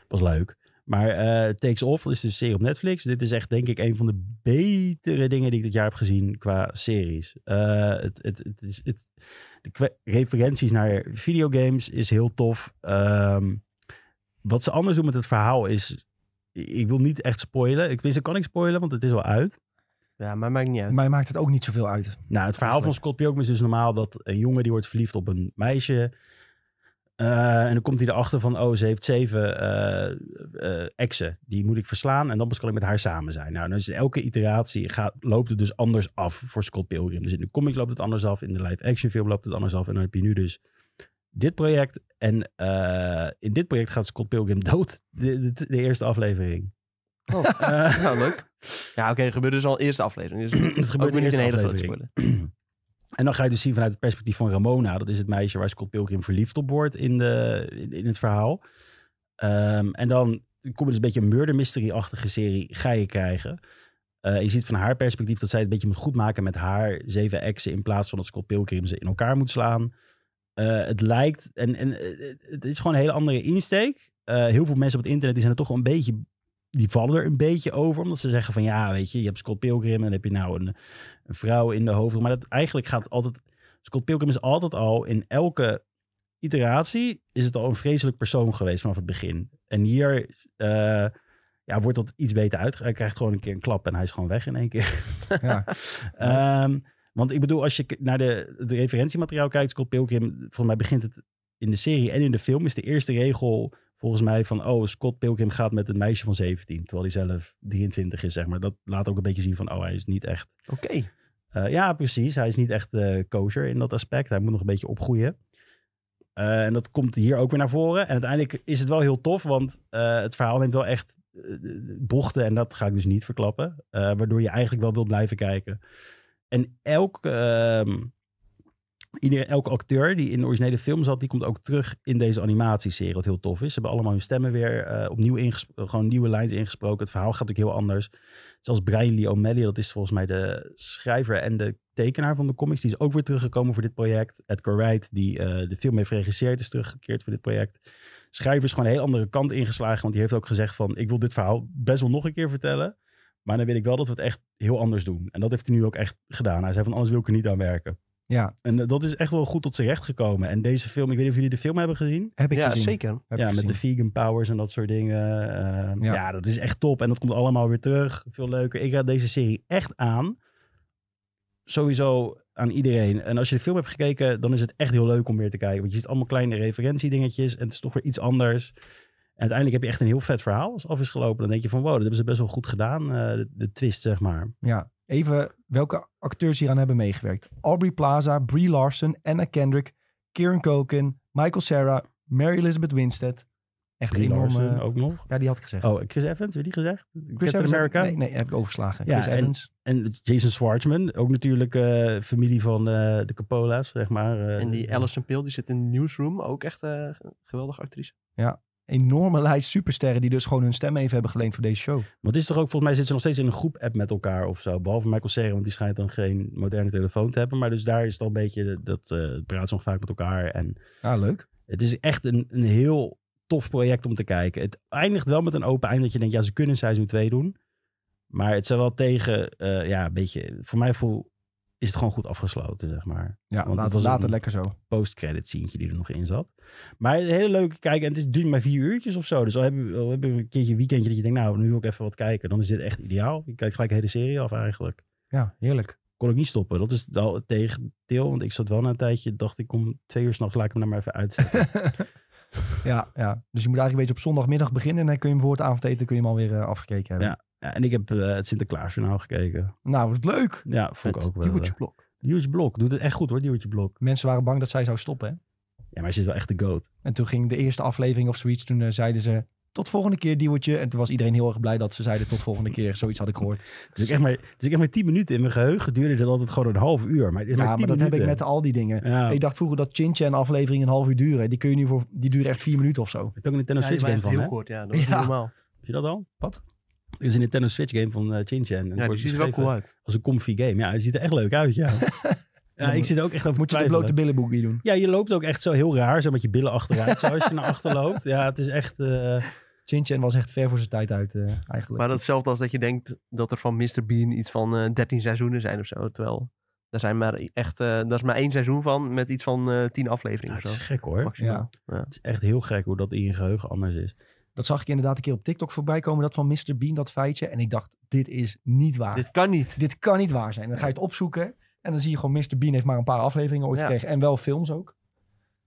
Speaker 3: Was leuk. Maar eh, Takes Off is dus een serie op Netflix. Dit is echt, denk ik, een van de betere dingen die ik dit jaar heb gezien qua series. Eh, het, het, het is, het, de kwe- referenties naar videogames is heel tof. Ehm, wat ze anders doen met het verhaal is... Ik wil niet echt spoilen. Ik, tenminste, kan ik spoilen, want het is al uit.
Speaker 2: Ja, maar maakt niet uit.
Speaker 1: Mij maakt het ook niet zoveel uit.
Speaker 3: Nou, het verhaal van Scott Pilgrim is dus normaal dat een jongen die wordt verliefd op een meisje. Eh, en dan komt hij erachter van, oh, ze heeft zeven eh, eh, exen. Die moet ik verslaan en dan pas kan ik met haar samen zijn. Nou, dus elke iteratie gaat, loopt het dus anders af voor Scott Pilgrim. Dus in de comic loopt het anders af, in de live-action film loopt het anders af. En dan heb je nu dus dit project. En eh, in dit project gaat Scott Pilgrim dood, de, de, de eerste aflevering.
Speaker 2: Oh.
Speaker 3: Eh,
Speaker 2: Nou, leuk. Ja, oké, het gebeurt dus al eerste aflevering. Dus
Speaker 3: het
Speaker 2: ook
Speaker 3: gebeurt
Speaker 2: weer
Speaker 3: in
Speaker 2: niet
Speaker 3: de
Speaker 2: een
Speaker 3: eerste
Speaker 2: hele grote
Speaker 3: aflevering.
Speaker 2: spoiler.
Speaker 3: En dan ga je dus zien vanuit het perspectief van Ramona. Dat is het meisje waar Scott Pilgrim verliefd op wordt in, de, in, in het verhaal. Ehm, en dan kom je dus een beetje een murder mystery-achtige serie ga je krijgen. Eh, je ziet van haar perspectief dat zij het een beetje moet goedmaken met haar zeven exen... in plaats van dat Scott Pilgrim ze in elkaar moet slaan. Eh, het lijkt... En, en eh, het is gewoon een hele andere insteek. Eh, heel veel mensen op het internet die zijn er toch wel een beetje... Die vallen er een beetje over, omdat ze zeggen van... ja, weet je, je hebt Scott Pilgrim en dan heb je nou een een vrouw in de hoofdrol. Maar dat eigenlijk gaat altijd. Scott Pilgrim is altijd al in elke iteratie is het al een vreselijk persoon geweest vanaf het begin. En hier eh, ja, wordt dat iets beter uit. Hij krijgt gewoon een keer een klap en hij is gewoon weg in één keer.
Speaker 1: Ja.
Speaker 3: Ehm, want ik bedoel, als je k- naar de, het referentiemateriaal kijkt, Scott Pilgrim, volgens mij begint het in de serie en in de film, is de eerste regel volgens mij van, oh, Scott Pilgrim gaat met een meisje van 17, terwijl hij zelf 23 is, zeg maar. Dat laat ook een beetje zien van, oh, hij is niet echt...
Speaker 2: Oké.
Speaker 3: Eh, ja, precies. Hij is niet echt eh kosher in dat aspect. Hij moet nog een beetje opgroeien. Eh, en dat komt hier ook weer naar voren. En uiteindelijk is het wel heel tof, want eh, het verhaal neemt wel echt eh, bochten. En dat ga ik dus niet verklappen. eh, waardoor je eigenlijk wel wilt blijven kijken. En elk, ehm, ieder, elke acteur die in de originele film zat, die komt ook terug in deze animatieserie. Wat heel tof is. Ze hebben allemaal hun stemmen weer eh, opnieuw ingesproken. Gewoon nieuwe lijns ingesproken. Het verhaal gaat ook heel anders. Zelfs Brian Lee O'Malley, dat is volgens mij de schrijver en de tekenaar van de comics. Die is ook weer teruggekomen voor dit project. Edgar Wright, die eh, de film heeft geregisseerd, is teruggekeerd voor dit project. Schrijver is gewoon een heel andere kant ingeslagen. Want die heeft ook gezegd van, ik wil dit verhaal best wel nog een keer vertellen. Maar dan wil ik wel dat we het echt heel anders doen. En dat heeft hij nu ook echt gedaan. Hij zei van, anders wil ik er niet aan werken.
Speaker 1: Ja,
Speaker 3: En eh, dat is echt wel goed tot zijn recht gekomen. En deze film, ik weet niet of jullie de film hebben gezien
Speaker 1: heb ik
Speaker 2: Ja,
Speaker 1: gezien.
Speaker 2: zeker.
Speaker 1: Heb
Speaker 3: ja,
Speaker 1: ik
Speaker 3: met de
Speaker 1: gezien.
Speaker 3: vegan powers en dat soort dingen. Eh, ja.
Speaker 1: Ja.
Speaker 3: dat is echt top. En dat komt allemaal weer terug. Veel leuker. Ik raad deze serie echt aan. Sowieso aan iedereen. En als je de film hebt gekeken, dan is het echt heel leuk om weer te kijken. Want je ziet allemaal kleine referentiedingetjes. En het is toch weer iets anders. En uiteindelijk heb je echt een heel vet verhaal als het af is gelopen. Dan denk je van, wow, dat hebben ze best wel goed gedaan. eh, de, de twist, zeg maar.
Speaker 1: Ja. Even welke acteurs hier aan hebben meegewerkt. Aubrey Plaza, Brie Larson, Anna Kendrick, Kieran Culkin, Michael Cera, Mary Elizabeth Winstead. Echt
Speaker 3: Brie
Speaker 1: enorm.
Speaker 3: Larson
Speaker 1: eh,
Speaker 3: ook nog.
Speaker 1: Ja, die had ik gezegd.
Speaker 3: Oh, Chris Evans, heb je die gezegd? Chris
Speaker 1: Chris
Speaker 3: Captain
Speaker 1: Evans-
Speaker 3: America?
Speaker 1: Nee, nee, heb ik overgeslagen.
Speaker 3: Ja,
Speaker 1: Chris
Speaker 3: en-
Speaker 1: Evans.
Speaker 3: En Jason Schwartzman, ook natuurlijk eh, familie van eh, de Coppola's, zeg maar. eh,
Speaker 2: En die Alison Peel, die zit in de newsroom. Ook echt eh geweldige actrice.
Speaker 1: Enorme lijst supersterren die dus gewoon hun stem even hebben geleend voor deze show.
Speaker 3: Want het is toch ook, volgens mij zitten ze nog steeds in een groep-app met elkaar of zo. Behalve Michael Cera, want die schijnt dan geen moderne telefoon te hebben. Maar dus daar is het al een beetje, de- dat eh praat ze nog vaak met elkaar. En
Speaker 1: Ja, leuk.
Speaker 3: het is echt een, een heel tof project om te kijken. Het eindigt wel met een open eind dat je denkt, ja, ze kunnen seizoen 2 doen. Maar het zijn wel tegen, eh, ja, een beetje, voor mij voel, is het gewoon goed afgesloten, zeg maar.
Speaker 1: Ja,
Speaker 3: dat
Speaker 1: later,
Speaker 3: was
Speaker 1: later
Speaker 3: een-
Speaker 1: lekker zo.
Speaker 3: post-credit sceentje die er nog in zat. Maar een hele leuke kijken. En het is, duurt maar vier uurtjes of zo. Dus al heb, je, al heb je een keertje een weekendje dat je denkt, nou, nu wil ik even wat kijken. Dan is dit echt ideaal. Je kijkt gelijk de hele serie af eigenlijk.
Speaker 1: Ja, heerlijk.
Speaker 3: Kon ik niet stoppen. Dat is wel het tegendeel. Want ik zat wel na een tijdje, dacht ik om twee uur s'nachts, laat ik hem nou maar even uitzetten.
Speaker 1: ja, ja, dus je moet eigenlijk een beetje op zondagmiddag beginnen. En dan kun je hem voor het avondeten kun je hem alweer eh, afgekeken hebben.
Speaker 3: ja, en ik heb eh, het Sinterklaasjournaal gekeken.
Speaker 1: Nou, wat leuk.
Speaker 3: Ja, vond ik
Speaker 2: Met
Speaker 3: ook wel.
Speaker 2: Timothy
Speaker 3: eh,
Speaker 2: Blok.
Speaker 3: Duwtje Blok doet het echt goed hoor, Duwtje Blok.
Speaker 1: Mensen waren bang dat zij zou stoppen. Hè?
Speaker 3: Ja, maar ze is wel echt de goat.
Speaker 1: En toen ging de eerste aflevering of zoiets. Toen eh, zeiden ze tot volgende keer, Diewertje. En toen was iedereen heel erg blij dat ze zeiden tot volgende keer. Zoiets had ik gehoord.
Speaker 3: Dus ik echt maar, dus ik echt maar tien minuten in mijn geheugen duurde dat altijd gewoon een half uur. Maar, het is
Speaker 1: Ja,
Speaker 3: maar,
Speaker 1: maar
Speaker 3: tien
Speaker 1: dat heb ik met
Speaker 3: minuten.
Speaker 1: al die dingen.
Speaker 3: Ja,
Speaker 1: Ik dacht vroeger dat Chincha en aflevering een half uur duren. Die kun je nu voor, die duren echt vier minuten of zo.
Speaker 3: heb ik ook een Nintendo
Speaker 2: Ja, die
Speaker 3: Switch game
Speaker 2: waren
Speaker 3: van,
Speaker 2: heel
Speaker 3: hè?
Speaker 2: kort, ja. Dat was
Speaker 1: Ja.
Speaker 2: niet normaal.
Speaker 3: Heb je dat al?
Speaker 1: Wat?
Speaker 3: Er is een Nintendo Switch game van eh Chin Chan. En
Speaker 2: Ja, die
Speaker 3: wordt
Speaker 2: ziet er wel
Speaker 3: beschreven
Speaker 2: cool uit.
Speaker 3: Als een comfy game. Ja, hij ziet er echt leuk uit, ja. ja ik zit er ook echt over
Speaker 1: Moet je de
Speaker 3: twijfelen.
Speaker 1: blote billenboekie doen?
Speaker 3: Ja, je loopt ook echt zo heel raar, zo met je billen achteruit, zo als je naar achter loopt. Ja, het is echt... eh,
Speaker 1: Chincha was echt ver voor zijn tijd uit eh, eigenlijk.
Speaker 2: Maar dat is hetzelfde als dat je denkt dat er van Mr. Bean iets van eh 13 seizoenen zijn of zo. Terwijl, daar, zijn maar echt, eh daar is maar één seizoen van met iets van eh 10
Speaker 3: nou,
Speaker 2: afleveringen
Speaker 3: het
Speaker 2: of
Speaker 3: is
Speaker 2: zo.
Speaker 3: gek hoor.
Speaker 2: Maximaal.
Speaker 3: Het is echt heel gek hoe dat in je geheugen anders is.
Speaker 1: Dat zag ik inderdaad een keer op TikTok voorbij komen. Dat van Mr. Bean, dat feitje. En ik dacht, dit is niet waar. Dit,
Speaker 2: Dit kan niet.
Speaker 1: kan niet waar zijn. Dan ga je het opzoeken. En dan zie je gewoon Mr. Bean heeft maar een paar afleveringen ooit
Speaker 2: Ja.
Speaker 1: gekregen. En wel films ook.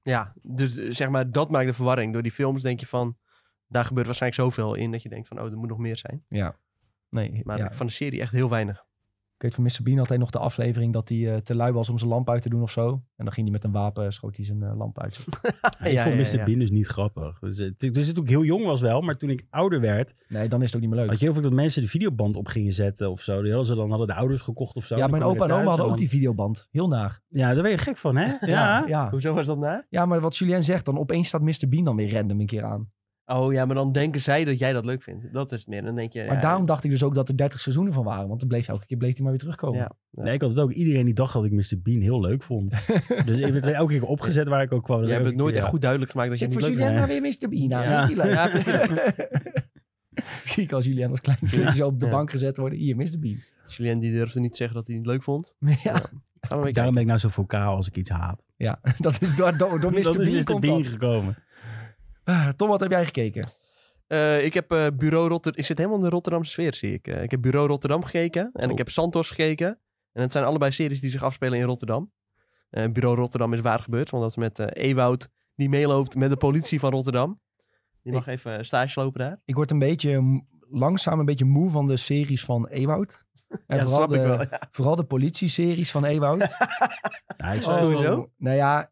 Speaker 2: Ja, dus eh, zeg maar, dat maakt de verwarring. Door die films denk je van, daar gebeurt waarschijnlijk zoveel in dat je denkt van, oh, er moet nog meer zijn.
Speaker 1: Nee,
Speaker 2: Maar
Speaker 1: ja.
Speaker 2: van de serie echt heel weinig.
Speaker 1: Ik weet van Mr. Bean altijd nog de aflevering dat hij eh, te lui was om zijn lamp uit te doen of zo. En dan ging hij met een wapen, schoot hij zijn eh, lamp uit.
Speaker 3: ik
Speaker 2: ja,
Speaker 3: vond
Speaker 2: ja,
Speaker 3: Mr.
Speaker 2: ja.
Speaker 3: Bean dus niet grappig. Dus, het, dus toen ik heel jong was wel, maar toen ik ouder werd,
Speaker 1: Nee, dan is het ook niet meer leuk.
Speaker 3: had je heel veel dat mensen de videoband op gingen zetten of zo. Die hadden ze dan hadden de ouders gekocht of zo.
Speaker 1: ja,
Speaker 3: Dan
Speaker 1: mijn
Speaker 3: kwam je
Speaker 1: opa en
Speaker 3: thuis
Speaker 1: oma hadden ook
Speaker 3: dan-
Speaker 1: die videoband. Heel naar.
Speaker 3: Ja, daar ben je gek van, hè?
Speaker 1: Ja, ja.
Speaker 2: Hoezo was dat na?
Speaker 1: Ja, maar wat Julien zegt, dan opeens staat Mr. Bean dan weer random een keer aan.
Speaker 2: Oh ja, maar dan denken zij dat jij dat leuk vindt. Dat is het meer. Dan denk je,
Speaker 1: Maar
Speaker 2: ja,
Speaker 1: daarom dacht ik dus ook dat er 30 seizoenen van waren. Want dan bleef elke keer bleef hij maar weer terugkomen.
Speaker 2: Ja. Ja.
Speaker 3: Nee, ik had het ook. Iedereen die dacht dat ik Mr. Bean heel leuk vond. dus ik werd elke keer opgezet waar ik ook kwam.
Speaker 2: je
Speaker 3: Dus
Speaker 2: hebt
Speaker 3: elke
Speaker 2: het nooit
Speaker 3: keer,
Speaker 2: echt goed duidelijk gemaakt dat je
Speaker 1: Zit
Speaker 2: het
Speaker 1: voor
Speaker 2: niet leuk
Speaker 1: Julien
Speaker 3: hè?
Speaker 1: maar weer Mr. Bean aan.
Speaker 3: Ja.
Speaker 1: Vindt hij leuk? Zie ik als Julien als klein kindje zo op de
Speaker 2: Ja.
Speaker 1: bank gezet worden. Hier, Mr. Bean.
Speaker 2: vindt. Julien die durfde niet te zeggen dat hij het niet leuk vond.
Speaker 1: Ja,
Speaker 2: Gaan we weer
Speaker 3: Daarom ben ik nou zo vocaal als ik iets haat.
Speaker 1: ja. dat is door, door, door Mr.
Speaker 3: dat
Speaker 1: Bean
Speaker 3: is Mr.
Speaker 1: komt
Speaker 3: Bean
Speaker 1: dat.
Speaker 3: gekomen.
Speaker 1: Ah, Tom, wat heb jij gekeken?
Speaker 2: Eh, ik heb eh, Bureau Rotterdam. Ik zit helemaal in de Rotterdamse sfeer, zie ik. Eh, ik heb Bureau Rotterdam gekeken en
Speaker 3: Oh.
Speaker 2: ik heb Santos gekeken. En het zijn allebei series die zich afspelen in Rotterdam. Eh, Bureau Rotterdam is waar gebeurd, want dat is met eh Ewoud die meeloopt met de politie van Rotterdam. Die mag even stage lopen daar.
Speaker 1: Ik word een beetje m- langzaam een beetje moe van de series van Ewoud. En
Speaker 2: ja, dat
Speaker 1: vooral,
Speaker 2: snap ik
Speaker 1: de,
Speaker 2: wel. Ja.
Speaker 1: vooral de politie-series van Ewoud.
Speaker 3: Ja, ik
Speaker 2: Oh, Sowieso?
Speaker 1: Nou ja,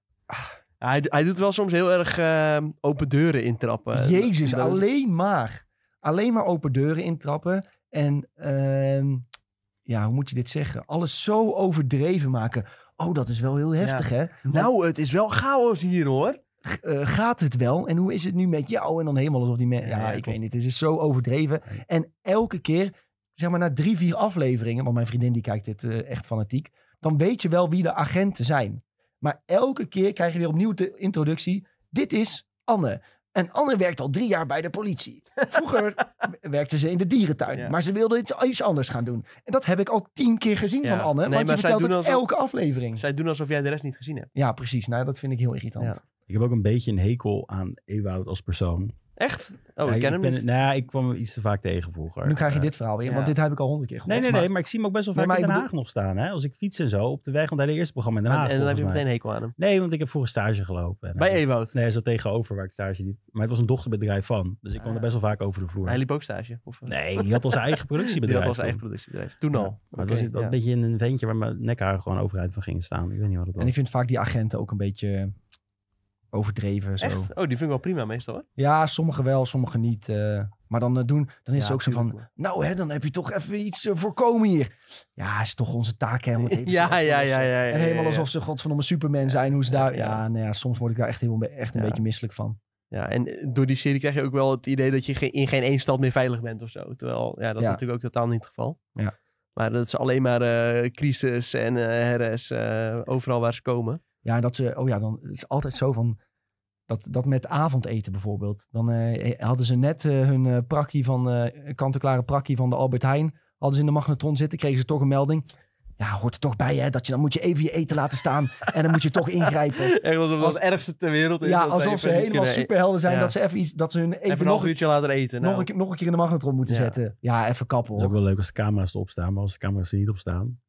Speaker 2: Hij, hij doet wel soms heel erg eh, open deuren intrappen.
Speaker 1: jezus,
Speaker 2: Dat is-
Speaker 1: alleen maar. Alleen maar open deuren intrappen. En ehm, ja, hoe moet je dit zeggen? Alles zo overdreven maken. Oh, dat is wel heel heftig, hè?
Speaker 2: Nou, het is wel chaos hier hoor.
Speaker 1: eh, gaat het wel? En hoe is het nu met jou? En dan helemaal alsof die
Speaker 3: Ja,
Speaker 1: mensen... Ja,
Speaker 3: ja,
Speaker 1: ik
Speaker 3: klopt.
Speaker 1: weet niet. Het is zo overdreven. En elke keer, zeg maar na drie, vier afleveringen... Want mijn vriendin die kijkt dit eh, echt fanatiek. Dan weet je wel wie de agenten zijn. Maar elke keer krijg je weer opnieuw de introductie. Dit is Anne. En Anne werkt al drie jaar bij de politie. Vroeger werkte ze in de dierentuin.
Speaker 2: Ja.
Speaker 1: Maar ze wilde iets, iets anders gaan doen. En dat heb ik al tien keer gezien
Speaker 2: Ja.
Speaker 1: van Anne.
Speaker 2: Nee,
Speaker 1: want
Speaker 2: maar
Speaker 1: je
Speaker 2: zij
Speaker 1: vertelt het
Speaker 2: doen alsof-
Speaker 1: elke aflevering.
Speaker 2: Zij doen alsof jij de rest niet gezien hebt.
Speaker 1: Ja, precies. Nou, dat vind ik heel irritant.
Speaker 2: Ja.
Speaker 3: Ik heb ook een beetje een hekel aan Ewoud als persoon.
Speaker 2: Echt? Oh,
Speaker 3: Ja,
Speaker 2: ik ken hem
Speaker 3: ben,
Speaker 2: niet.
Speaker 3: Nou ja, ik kwam hem iets te vaak tegen vroeger.
Speaker 1: Nu krijg je
Speaker 3: Eh,
Speaker 1: dit verhaal weer,
Speaker 2: ja.
Speaker 1: want dit heb ik al honderd keer gehoord.
Speaker 3: Nee, nee,
Speaker 1: maar-
Speaker 3: nee, maar, ik zie hem ook best wel
Speaker 1: Nee,
Speaker 3: vaak
Speaker 1: maar
Speaker 3: in
Speaker 1: ik
Speaker 3: Den Haag
Speaker 1: bedoel-
Speaker 3: nog staan. Hè? Als ik fiets en zo op de weg, want hij had het eerste programma in Den Haag.
Speaker 2: en dan heb je
Speaker 3: volgens
Speaker 2: meteen
Speaker 3: mij.
Speaker 2: een hekel aan hem.
Speaker 3: Nee, want ik heb vroeger stage gelopen. En
Speaker 2: Bij
Speaker 3: hij-
Speaker 2: Ewout.
Speaker 3: Nee, hij zat tegenover waar ik stage liep. Maar het was een dochterbedrijf van. Dus ik kwam
Speaker 2: Ah.
Speaker 3: er best wel vaak over de vloer.
Speaker 2: Hij liep ook stage. Of, eh,
Speaker 3: Nee, die had al zijn eigen
Speaker 2: die
Speaker 3: productiebedrijf.
Speaker 2: had al zijn eigen
Speaker 3: toen.
Speaker 2: productiebedrijf. Toen
Speaker 3: Ja.
Speaker 2: al.
Speaker 3: Maar het
Speaker 2: Oké,
Speaker 3: was een,
Speaker 2: ja.
Speaker 3: een beetje een ventje waar mijn nekharen gewoon overheid van gingen staan. Ik weet niet wat het was.
Speaker 1: En ik vind vaak die agenten ook een beetje overdreven. Zo.
Speaker 2: Echt? Oh, die vind ik wel prima meestal hoor.
Speaker 1: Ja, sommigen wel, sommigen niet. eh, maar dan eh, doen, dan is
Speaker 2: Ja,
Speaker 1: het ook zo
Speaker 2: tuurlijk,
Speaker 1: van, nou hè, dan heb je toch even iets eh, voorkomen hier. Ja, is toch onze taak hè. om het even zo op te
Speaker 2: Ja, ja, ja,
Speaker 1: lossen.
Speaker 2: ja, ja.
Speaker 1: En helemaal
Speaker 2: ja, ja.
Speaker 1: alsof ze godverdomme superman zijn, hoe ze daar...
Speaker 2: Ja.
Speaker 1: Ja, nou ja, soms word ik daar echt, heel, echt een
Speaker 2: Ja.
Speaker 1: beetje misselijk van.
Speaker 2: Ja, en eh, door die serie krijg je ook wel het idee dat je ge- in geen één stad meer veilig bent of zo. Terwijl, ja, dat is
Speaker 1: Ja.
Speaker 2: natuurlijk ook totaal niet het geval.
Speaker 1: Ja.
Speaker 2: Maar dat is alleen maar eh, crisis en eh, RS, eh, overal waar ze komen.
Speaker 1: Ja, en dat ze... Oh ja, dan het is altijd zo van... Dat, dat met avondeten bijvoorbeeld. Dan eh, hadden ze net eh, hun eh, prakkie van... eh kant-en-klare prakkie van de Albert Heijn. Hadden ze in de magnetron zitten, kregen ze toch een melding. Ja, hoort er toch bij hè. Dat je, dan moet je even je eten laten staan. en dan moet je toch ingrijpen.
Speaker 2: Echt alsof dat
Speaker 1: Als-
Speaker 2: het ergste ter wereld is.
Speaker 1: Ja,
Speaker 2: dat
Speaker 1: alsof
Speaker 2: even
Speaker 1: ze
Speaker 2: niet
Speaker 1: helemaal
Speaker 2: kunnen- e-
Speaker 1: superhelden zijn.
Speaker 2: Ja.
Speaker 1: Dat ze even iets... Dat ze hun even,
Speaker 2: Even, nog
Speaker 1: nog,
Speaker 2: een uurtje laten eten.
Speaker 1: nog,
Speaker 2: nou.
Speaker 1: een, keer- nog een keer in de magnetron moeten
Speaker 2: Ja.
Speaker 1: zetten. Ja, even kappen
Speaker 3: Het is ook
Speaker 1: hoor.
Speaker 3: wel leuk als de camera's erop staan, maar als de camera's er niet op staan.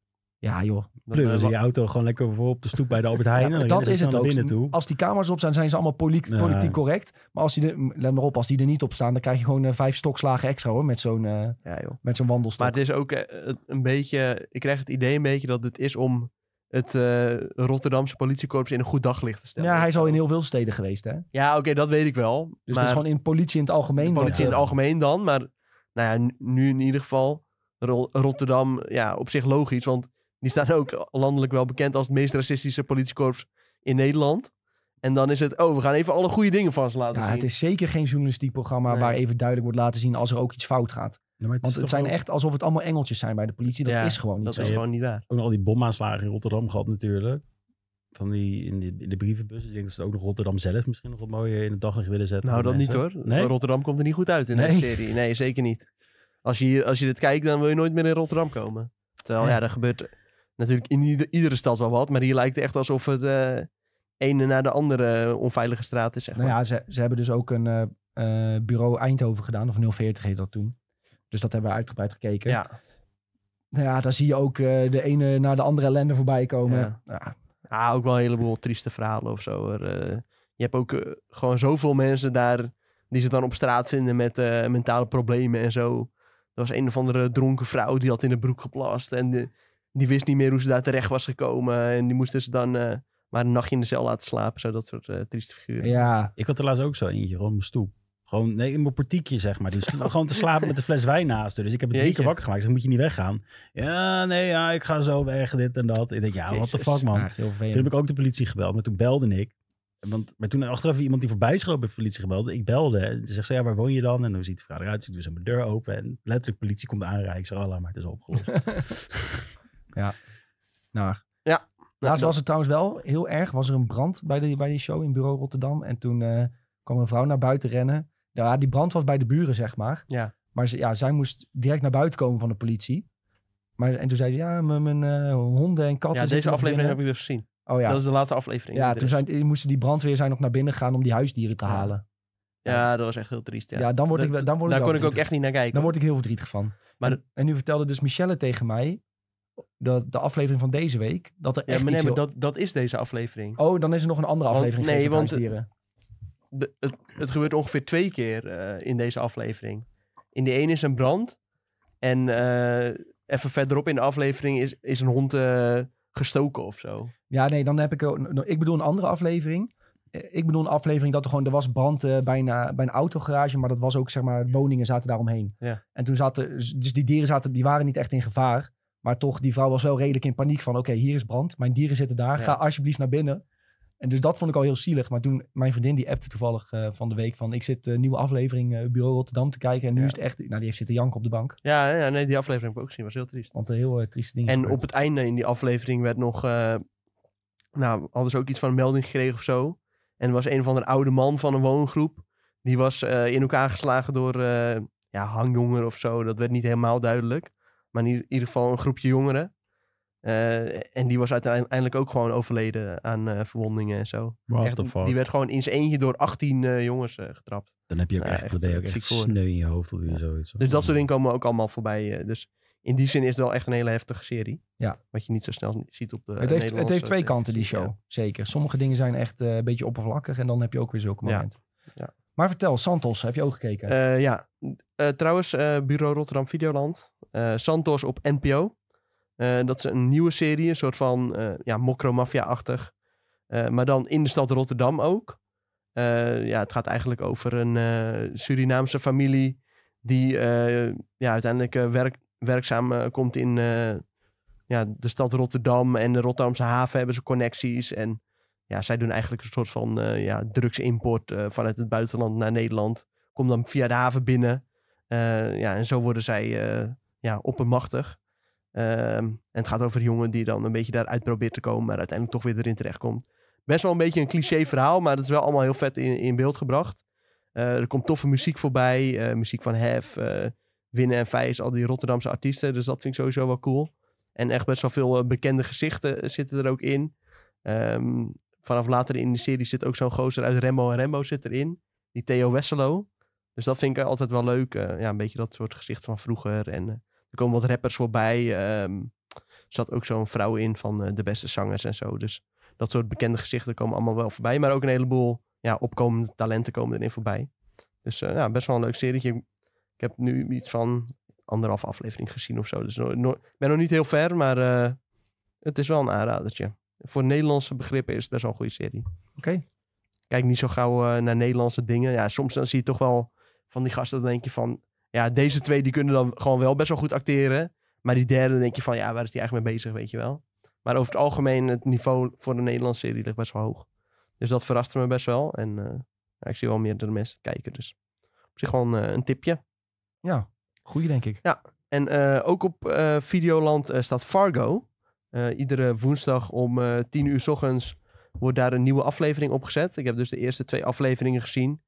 Speaker 1: Ja joh.
Speaker 2: Dan, eh,
Speaker 3: Pleuren ze
Speaker 2: wa-
Speaker 3: je auto gewoon lekker voor op de stoep bij de Albert Heijn. en dan
Speaker 1: dat
Speaker 3: rennen ze
Speaker 1: is het
Speaker 3: snel
Speaker 1: ook.
Speaker 3: naar binnen toe.
Speaker 1: Als die camera's op zijn, zijn ze allemaal poli-
Speaker 3: Ja.
Speaker 1: politiek correct. Maar als die er, let maar op, als die er niet op staan, dan krijg je gewoon eh, vijf stokslagen extra hoor. Met zo'n eh,
Speaker 2: Ja, joh.
Speaker 1: met zo'n wandelstok.
Speaker 2: Maar het is ook eh, het- een beetje... Ik krijg het idee een beetje dat het is om het eh, Rotterdamse politiekorps in een goed daglicht te stellen.
Speaker 1: ja, hij is al in heel veel steden geweest hè. Dus
Speaker 2: Ja, oké, dat weet ik wel.
Speaker 1: het
Speaker 2: maar
Speaker 1: is gewoon in politie in het algemeen.
Speaker 2: de
Speaker 1: wat,
Speaker 2: politie in
Speaker 1: eh,
Speaker 2: het algemeen dan. Maar nou ja, nu- nu in ieder geval Ro- Rotterdam, ja, op zich logisch. Want die staan ook landelijk wel bekend als het meest racistische politiekorps in Nederland. En dan is het, oh, we gaan even alle goede dingen van ze laten
Speaker 1: Ja,
Speaker 2: zien.
Speaker 1: het is zeker geen journalistiek programma
Speaker 2: Nee.
Speaker 1: waar even duidelijk wordt laten zien als er ook iets fout gaat.
Speaker 3: Ja, maar
Speaker 1: Want
Speaker 3: is
Speaker 1: het
Speaker 3: toch
Speaker 1: zijn
Speaker 3: wel-
Speaker 1: echt alsof het allemaal engeltjes zijn bij de politie. Dat
Speaker 2: Ja,
Speaker 1: is gewoon niet
Speaker 2: Dat
Speaker 1: zo.
Speaker 2: is gewoon niet waar.
Speaker 3: ook nog al die bomaanslagen in Rotterdam gehad natuurlijk. Van die in, die, in de brievenbus. Ik denk dat ze ook nog Rotterdam zelf misschien nog wat mooier in het daglicht willen zetten.
Speaker 2: Nou,
Speaker 3: voor
Speaker 2: dat niet
Speaker 3: mensen.
Speaker 2: hoor.
Speaker 3: Nee?
Speaker 2: Rotterdam komt er niet goed uit in deze
Speaker 3: Nee.
Speaker 2: serie. Nee, zeker niet. Als je, hier- als je dit kijkt, dan wil je nooit meer in Rotterdam komen. Terwijl, ja,
Speaker 1: Ja.
Speaker 2: er gebeurt natuurlijk in ieder- iedere stad wel wat. Maar hier lijkt het echt alsof het eh ene naar de andere onveilige straat is, zeg maar.
Speaker 1: Nou ja, ze, ze hebben dus ook een eh, eh, bureau Eindhoven gedaan, of 040 heette dat toen. Dus dat hebben we uitgebreid gekeken.
Speaker 2: Ja.
Speaker 1: Nou ja, daar zie je ook eh, de ene naar de andere ellende voorbij komen.
Speaker 2: Ja.
Speaker 1: Ja.
Speaker 2: Ja, Ah, ook wel een heleboel trieste verhalen of zo. Er, eh, je hebt ook eh, gewoon zoveel mensen daar die ze dan op straat vinden met eh, mentale problemen en zo. Er was een of andere dronken vrouw die had in de broek geplast en de- die wist niet meer hoe ze daar terecht was gekomen. En die moesten ze dan eh, maar een nachtje in de cel laten slapen. Zo dat soort eh, trieste figuren.
Speaker 1: ja.
Speaker 3: Ik had er laatst ook zo eentje, gewoon op mijn stoep. Gewoon, nee, in mijn portiekje zeg maar. Die sl- gewoon te slapen met een fles wijn naast haar. Dus ik heb het drie
Speaker 2: Jeetje.
Speaker 3: keer wakker gemaakt. Ik zeg, moet je niet weggaan? Ja, nee, ja, ik ga zo weg, dit en dat. Ik denk, ja, what the
Speaker 2: Jezus.
Speaker 3: fuck man.
Speaker 1: Ja, echt heel
Speaker 3: Toen heb
Speaker 1: vervelend.
Speaker 3: ik ook de politie gebeld, maar toen belde ik. Want, maar toen achteraf iemand die voorbij is gelopen heeft de politie gebeld. Ik belde en ze zegt zo, ja, waar woon je dan? En hoe ziet de vrouw eruit? Ze doet zo mijn deur open en letterlijk politie komt aanrijden. Ik zeg, oh, laat maar, het is opgelost.
Speaker 1: Nou,
Speaker 2: Nou,
Speaker 1: Laatst
Speaker 2: dat-
Speaker 1: was het trouwens wel heel erg. Was er een brand bij, de, bij die show in bureau Rotterdam. En toen eh, kwam een vrouw naar buiten rennen. Nou Ja, die brand was bij de buren, zeg maar.
Speaker 2: Ja.
Speaker 1: Maar ze, ja, zij moest direct naar buiten komen van de politie. Maar, en toen zei ze, ja, mijn, mijn eh, honden en katten
Speaker 2: ja, deze
Speaker 1: zitten nog
Speaker 2: aflevering heb
Speaker 1: binnen.
Speaker 2: ik dus gezien.
Speaker 1: Oh ja,
Speaker 2: Dat is de laatste aflevering.
Speaker 1: Ja,
Speaker 2: Dus-
Speaker 1: toen zijn, moesten die brandweer zijn nog naar binnen gaan om die huisdieren te
Speaker 2: Ja.
Speaker 1: halen.
Speaker 2: ja, dat was echt heel triest. Ja.
Speaker 1: Ja, dan word ik,
Speaker 2: Dat-
Speaker 1: wel- dan word
Speaker 2: daar
Speaker 1: ik
Speaker 2: kon
Speaker 1: wel
Speaker 2: ik ook
Speaker 1: verdrietig.
Speaker 2: echt niet naar kijken.
Speaker 1: Dan word ik heel verdrietig van.
Speaker 2: Maar-
Speaker 1: en, en nu vertelde dus Michelle tegen mij, dat de aflevering van deze week, dat er
Speaker 2: ja,
Speaker 1: echt
Speaker 2: maar nee,
Speaker 1: iets
Speaker 2: maar
Speaker 1: heel-
Speaker 2: dat, dat is deze aflevering.
Speaker 1: Oh, dan is er nog een andere
Speaker 2: Want-
Speaker 1: aflevering
Speaker 2: nee,
Speaker 1: geweest met
Speaker 2: want-
Speaker 1: huisdieren.
Speaker 2: de- het, het gebeurt ongeveer twee keer eh, in deze aflevering. In de ene is een brand. En eh, even verderop in de aflevering is, is een hond eh, gestoken of zo.
Speaker 1: Ja, nee, dan heb ik... ook- Ik bedoel een andere aflevering. Eh, Ik bedoel een aflevering dat er gewoon... Er was brand eh, bij, een, eh, bij een autogarage, maar dat was ook, zeg maar... Woningen zaten daaromheen.
Speaker 2: Ja.
Speaker 1: En toen zaten... Dus die dieren zaten, die waren niet echt in gevaar. Maar toch, die vrouw was wel redelijk in paniek van... Oké, hier is brand. Mijn dieren zitten daar.
Speaker 2: Ja.
Speaker 1: Ga alsjeblieft naar binnen. En dus dat vond ik al heel zielig. Maar toen, mijn vriendin die appte toevallig eh, van de week van... Ik zit een nieuwe aflevering eh, Bureau Rotterdam te kijken. En nu
Speaker 2: Ja.
Speaker 1: is het echt... Nou, die heeft zitten janken op de bank.
Speaker 2: Ja, ja, nee, die aflevering heb ik ook gezien. was heel triest.
Speaker 1: Want een heel eh, trieste ding is
Speaker 2: En
Speaker 1: gebeurd.
Speaker 2: op het einde in die aflevering werd nog... eh, nou, hadden ze ook iets van een melding gekregen of zo. En er was een van een oude man van een woongroep. Die was eh, in elkaar geslagen door eh, ja, hangjonger of zo. Dat werd niet helemaal duidelijk. Maar in ieder- ieder geval een groepje jongeren. Eh, en die was uiteindelijk ook gewoon overleden aan eh, verwondingen en zo.
Speaker 3: What
Speaker 2: Echt,
Speaker 3: the fuck?
Speaker 2: Die werd gewoon in zijn eentje door 18 eh, jongens eh, getrapt.
Speaker 3: Dan heb je ook
Speaker 2: Ja,
Speaker 3: echt,
Speaker 2: echt,
Speaker 3: dan ben je ook
Speaker 2: eh,
Speaker 3: echt
Speaker 2: ziek voor.
Speaker 3: sneu in je hoofd. Of zoiets.
Speaker 2: Dus dat soort dingen komen ook allemaal voorbij. eh, dus in die zin is het wel echt een hele heftige serie.
Speaker 1: Ja.
Speaker 2: Wat je niet zo snel ziet op de
Speaker 1: Het heeft, het
Speaker 2: eh, Nederlandse
Speaker 1: heeft twee kanten, die show.
Speaker 2: televisie,
Speaker 1: Zeker. Sommige dingen zijn echt eh, een beetje oppervlakkig. En dan heb je ook weer zulke
Speaker 2: Ja.
Speaker 1: momenten.
Speaker 2: Ja.
Speaker 1: Maar vertel, Santos, heb je ook gekeken?
Speaker 2: Ja, Eh, ja. Eh, trouwens, eh, Bureau Rotterdam Videoland. eh, Santos op NPO. Eh, dat is een nieuwe serie, een soort van eh ja, mokro-mafia-achtig. Eh, maar dan in de stad Rotterdam ook. Eh, ja, het gaat eigenlijk over een eh, Surinaamse familie die eh, ja, uiteindelijk eh, werk, werkzaam eh, komt in eh, ja, de stad Rotterdam. En de Rotterdamse haven hebben ze connecties. En ja, zij doen eigenlijk een soort van eh, ja, drugsimport eh, vanuit het buitenland naar Nederland. Komt dan via de haven binnen. Eh, ja, en zo worden zij eh, ja, oppermachtig. Ehm, en het gaat over een jongen die dan een beetje daaruit probeert te komen, maar uiteindelijk toch weer erin terechtkomt. Best wel een beetje een cliché verhaal, maar dat is wel allemaal heel vet in, in beeld gebracht. Eh, er komt toffe muziek voorbij, eh, muziek van Hef, eh, Winnen en Vijs, al die Rotterdamse artiesten. Dus dat vind ik sowieso wel cool. En echt best wel veel eh, bekende gezichten eh, zitten er ook in. Ehm, vanaf later in de serie zit ook zo'n gozer uit Rembo en Rembo zit erin. Die Theo Wesselo. Dus dat vind ik eh, altijd wel leuk. eh, ja, een beetje dat soort gezicht van vroeger. En eh, er komen wat rappers voorbij. ehm, er zat ook zo'n vrouw in van eh, de beste zangers en zo. Dus dat soort bekende gezichten komen allemaal wel voorbij. Maar ook een heleboel ja, opkomende talenten komen erin voorbij. Dus eh, ja, best wel een leuk serietje. Ik heb nu iets van anderhalf aflevering gezien of zo. Dus no- no- ik ben nog niet heel ver, maar eh, het is wel een aanradertje. Voor Nederlandse begrippen is het best wel een goede serie.
Speaker 1: Oké.
Speaker 2: Kijk niet zo gauw eh, naar Nederlandse dingen. Ja, soms dan zie je toch wel van die gasten, dan denk je van... Ja, deze twee die kunnen dan gewoon wel best wel goed acteren. Maar die derde dan denk je van, ja, waar is die eigenlijk mee bezig, weet je wel. Maar over het algemeen, het niveau voor de Nederlandse serie ligt best wel hoog. Dus dat verraste me best wel. En eh, ja, ik zie wel meer de mensen kijken. Dus op zich gewoon eh, een tipje.
Speaker 1: Ja, goeie denk ik.
Speaker 2: En eh, ook op eh, Videoland eh, staat Fargo. Eh, iedere woensdag om eh 10 uur 's ochtends wordt daar een nieuwe aflevering opgezet. Ik heb dus de eerste twee afleveringen gezien.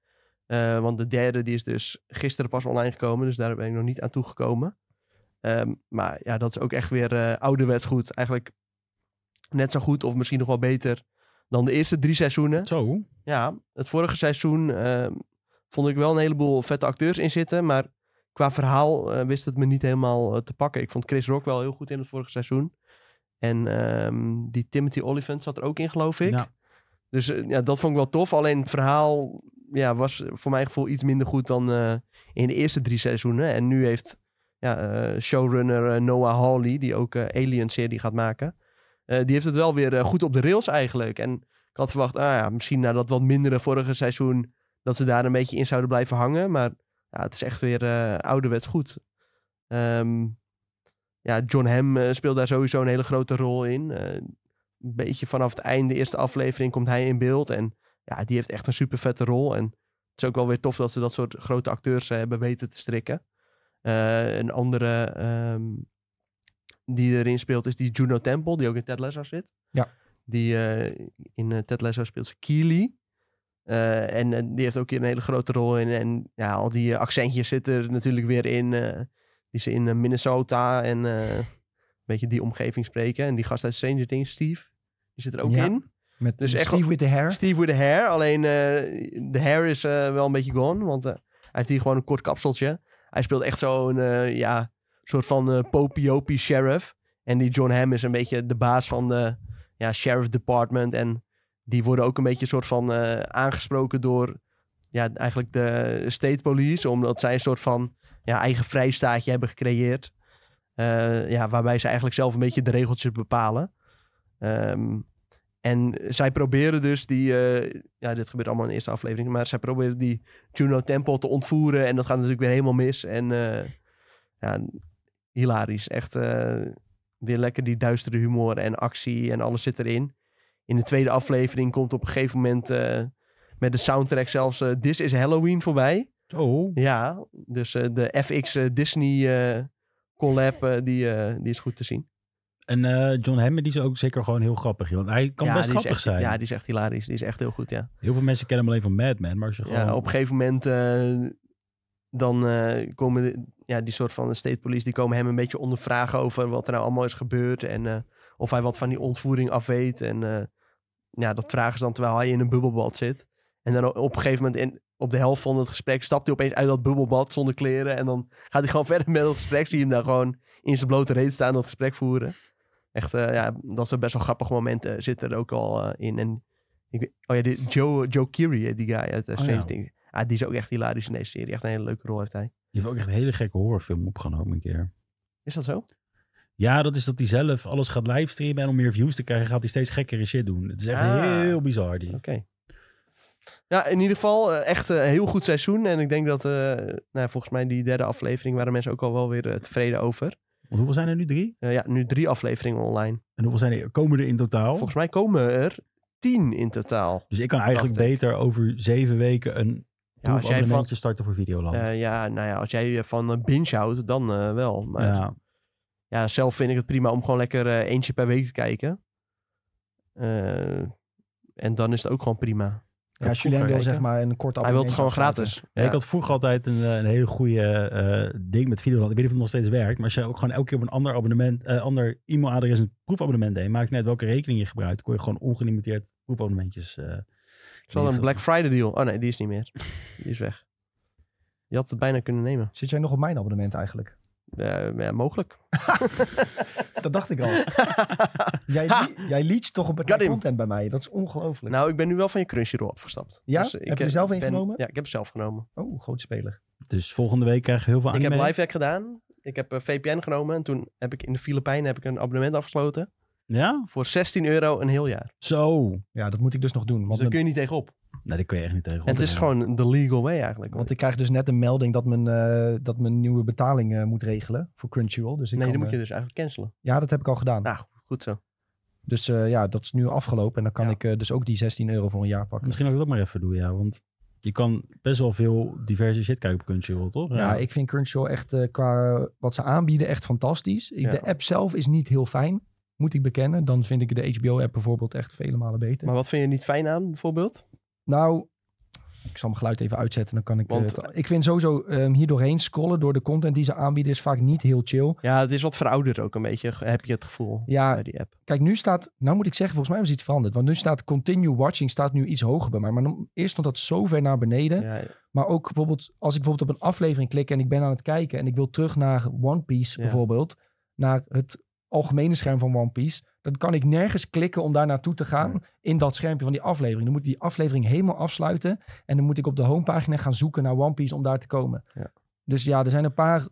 Speaker 2: Eh, want de derde die is dus gisteren pas online gekomen. Dus daar ben ik nog niet aan toegekomen. Ehm, maar ja, dat is ook echt weer eh, ouderwets goed. Eigenlijk net zo goed of misschien nog wel beter dan de eerste drie seizoenen.
Speaker 3: Zo?
Speaker 2: Ja, het vorige seizoen ehm, vond ik wel een heleboel vette acteurs in zitten. Maar qua verhaal eh, wist het me niet helemaal eh, te pakken. Ik vond Chris Rock wel heel goed in het vorige seizoen. En ehm, die Timothy Olyphant zat er ook in, geloof ik.
Speaker 3: Ja.
Speaker 2: Dus eh, ja, dat vond ik wel tof. Alleen het verhaal ja, was voor mijn gevoel iets minder goed dan eh, in de eerste drie seizoenen. En nu heeft ja, eh, showrunner eh, Noah Hawley, die ook eh, Alien-serie gaat maken... eh, die heeft het wel weer eh, goed op de rails eigenlijk. En ik had verwacht, ah ja, misschien na dat wat mindere vorige seizoen... dat ze daar een beetje in zouden blijven hangen. Maar ja, het is echt weer eh, ouderwets goed. Ehm, ja, John Hamm eh, speelt daar sowieso een hele grote rol in. Eh, een beetje vanaf het einde, eerste aflevering, komt hij in beeld. En ja, die heeft echt een super vette rol. En het is ook wel weer tof dat ze dat soort grote acteurs eh, hebben weten te strikken. Eh, een andere ehm, die erin speelt is die Juno Temple, die ook in Ted Lasso zit.
Speaker 1: Ja.
Speaker 2: Die eh, in eh, Ted Lasso speelt ze Keely. Eh, en, eh, die heeft ook hier een hele grote rol in. En ja, al die eh, accentjes zitten er natuurlijk weer in. eh, die ze in eh, Minnesota en eh, een beetje die omgeving spreken. En die gast uit Stranger Things, Steve, die zit er ook
Speaker 1: Ja.
Speaker 2: in.
Speaker 1: Met
Speaker 2: Dus echt
Speaker 1: Steve with the hair.
Speaker 2: Steve with the hair. Alleen eh, de hair is eh, wel een beetje gone. Want eh, hij heeft hier gewoon een kort kapseltje. Hij speelt echt zo'n eh, ja, soort van eh popiopi sheriff. En die John Hamm is een beetje de baas van de ja, sheriff department. En die worden ook een beetje een soort van eh, aangesproken door ja, eigenlijk de state police, omdat zij een soort van ja, eigen vrijstaatje hebben gecreëerd. Eh, ja, waarbij ze eigenlijk zelf een beetje de regeltjes bepalen. Ehm, en zij proberen dus die, eh, ja, dit gebeurt allemaal in de eerste aflevering, maar zij proberen die Juno Temple te ontvoeren en dat gaat natuurlijk weer helemaal mis. En eh, ja, hilarisch. Echt eh, weer lekker die duistere humor en actie en alles zit erin. In de tweede aflevering komt op een gegeven moment eh, met de soundtrack zelfs eh, This is Halloween voorbij.
Speaker 1: Oh.
Speaker 2: Ja, dus eh, de FX eh, Disney eh, collab, eh, die, eh, die is goed te zien.
Speaker 3: En eh, John Hammond die is ook zeker gewoon heel grappig. joh. Want hij kan
Speaker 2: ja,
Speaker 3: best
Speaker 2: die is
Speaker 3: grappig
Speaker 2: echt-
Speaker 3: zijn.
Speaker 2: Ja, die is echt hilarisch. Die is echt heel goed, ja.
Speaker 3: Heel veel mensen kennen hem alleen van Mad Men. Maar als je gewoon...
Speaker 2: Ja, op een gegeven moment eh, dan eh, komen de- ja, die soort van de state police, die komen hem een beetje ondervragen over wat er nou allemaal is gebeurd en eh, of hij wat van die ontvoering af weet. En eh, ja, dat vragen ze dan terwijl hij in een bubbelbad zit. En dan op een gegeven moment, in, op de helft van het gesprek, stapt hij opeens uit dat bubbelbad zonder kleren. En dan gaat hij gewoon verder met het gesprek. Zie je hem daar gewoon in zijn blote reet staan en dat gesprek voeren. Echt, eh, ja, dat is een best wel grappig moment eh, zit er ook al eh, in. En ik, weet- oh ja, die, Joe, Joe Keery, eh, die guy uit eh,
Speaker 3: Oh
Speaker 2: Stranger
Speaker 3: ja.
Speaker 2: Things. Ah, die is ook echt hilarisch in deze serie. Echt een hele leuke rol heeft hij.
Speaker 3: Die heeft ook echt een hele gekke horrorfilm opgenomen een keer.
Speaker 2: Is dat zo?
Speaker 3: Ja, dat is dat hij zelf alles gaat livestreamen. En om meer views te krijgen gaat hij steeds gekkere shit doen. Het is echt
Speaker 2: Ah.
Speaker 3: heel bizar die.
Speaker 2: Oké. Ja, in ieder geval eh, echt een heel goed seizoen. En ik denk dat, eh, nou, ja, volgens mij die derde aflevering waren mensen ook al wel weer eh, tevreden over.
Speaker 3: Want hoeveel zijn er nu? Drie?
Speaker 2: Eh, ja, nu drie afleveringen online.
Speaker 3: En hoeveel zijn er, komen er in totaal?
Speaker 2: Volgens mij komen er tien in totaal.
Speaker 3: Dus ik kan eigenlijk
Speaker 2: Dacht ik.
Speaker 3: beter over zeven weken een
Speaker 2: Ja, als jij van,
Speaker 3: proefabonnementje starten voor Videoland.
Speaker 2: eh, ja, nou ja, als jij eh, van eh, binge houdt, dan eh, wel. Maar ja.
Speaker 3: ja.
Speaker 2: zelf vind ik het prima om gewoon lekker eh, eentje per week te kijken. Eh, en dan is het ook gewoon prima.
Speaker 1: Ja, Julien wil zeg maar een kort
Speaker 2: Hij wil
Speaker 1: abonnement.
Speaker 2: het gewoon gratis. Ja.
Speaker 3: Ik had vroeger altijd een, eh, een hele goede eh, ding met Videoland. Ik weet niet of het nog steeds werkt. Maar als je ook gewoon elke keer op een ander abonnement, eh, ander e-mailadres een proefabonnement deed, maakt net welke rekening je gebruikt, kon je gewoon ongelimiteerd proefabonnementjes.
Speaker 2: Ze
Speaker 3: eh,
Speaker 2: hadden een
Speaker 3: regelen.
Speaker 2: Black Friday deal. Oh nee, die is niet meer. Die is weg. Je had het bijna kunnen nemen.
Speaker 1: Zit jij nog op mijn abonnement eigenlijk?
Speaker 2: Eh, ja, mogelijk.
Speaker 1: Dat dacht ik al. jij, li- jij leacht toch een
Speaker 2: Got
Speaker 1: partij
Speaker 2: him.
Speaker 1: content bij mij. Dat is ongelooflijk.
Speaker 2: Nou, ik ben nu wel van je Crunchyroll afgestapt.
Speaker 1: Ja?
Speaker 2: ik,
Speaker 1: Heb je er
Speaker 2: eh,
Speaker 1: zelf een
Speaker 2: ben-
Speaker 1: genomen?
Speaker 2: Ja, ik heb er zelf genomen.
Speaker 1: Oh, groot speler.
Speaker 3: Dus volgende week krijg je heel veel
Speaker 2: Ik
Speaker 3: anime.
Speaker 2: heb Lifehack gedaan. Ik heb eh, VPN genomen. En toen heb ik in de Filipijnen heb ik een abonnement afgesloten.
Speaker 3: Ja?
Speaker 2: Voor 16 euro een heel jaar.
Speaker 3: Zo.
Speaker 1: Ja, dat moet ik dus nog doen.
Speaker 2: Dus
Speaker 1: Want,
Speaker 2: daar
Speaker 1: mijn-
Speaker 2: kun je niet tegenop.
Speaker 3: Nee, dat kun je echt niet tegen.
Speaker 2: En het is gewoon de legal way eigenlijk.
Speaker 1: want ik krijg dus net een melding dat mijn, eh, dat mijn nieuwe betaling eh, moet regelen voor Crunchyroll. Dus ik
Speaker 2: nee,
Speaker 1: kan,
Speaker 2: dan moet
Speaker 1: eh,
Speaker 2: je dus eigenlijk cancelen.
Speaker 1: Ja, dat heb ik al gedaan.
Speaker 2: Nou, goed zo.
Speaker 1: Dus eh, ja, dat is nu afgelopen. En dan kan
Speaker 2: Ja.
Speaker 1: ik eh, dus ook die 16 euro voor een jaar pakken.
Speaker 3: Misschien ook dat maar even doen, ja. Want je kan best wel veel diverse shit kijken op Crunchyroll, toch?
Speaker 1: Ja, ik vind Crunchyroll echt eh, qua wat ze aanbieden echt fantastisch. Ik-
Speaker 2: Ja.
Speaker 1: De app zelf is niet heel fijn, moet ik bekennen. Dan vind ik de HBO-app bijvoorbeeld echt vele malen beter.
Speaker 2: Maar wat vind je niet fijn aan bijvoorbeeld?
Speaker 1: Nou, ik zal mijn geluid even uitzetten. Dan kan ik. eh,
Speaker 2: Want-
Speaker 1: het- ik vind sowieso ehm hier doorheen scrollen door de content die ze aanbieden is vaak niet heel chill.
Speaker 2: Ja, het is wat verouderd ook een beetje. Heb je het gevoel bij
Speaker 1: Ja,
Speaker 2: die app.
Speaker 1: kijk, nu staat. Nou moet ik zeggen, volgens mij was iets veranderd. Want nu staat continue watching staat nu iets hoger bij mij. Maar dan- eerst stond dat zo ver naar beneden.
Speaker 2: Ja,
Speaker 1: Maar ook bijvoorbeeld, als ik bijvoorbeeld op een aflevering klik en ik ben aan het kijken en ik wil terug naar One Piece
Speaker 2: Ja.
Speaker 1: bijvoorbeeld, naar het algemene scherm van One Piece, dan kan ik nergens klikken om daar naartoe te gaan
Speaker 3: Nee.
Speaker 1: in dat schermpje van die aflevering. Dan moet ik die aflevering helemaal afsluiten en dan moet ik op de homepagina gaan zoeken naar One Piece om daar te komen.
Speaker 2: Ja.
Speaker 1: Dus ja, er zijn een paar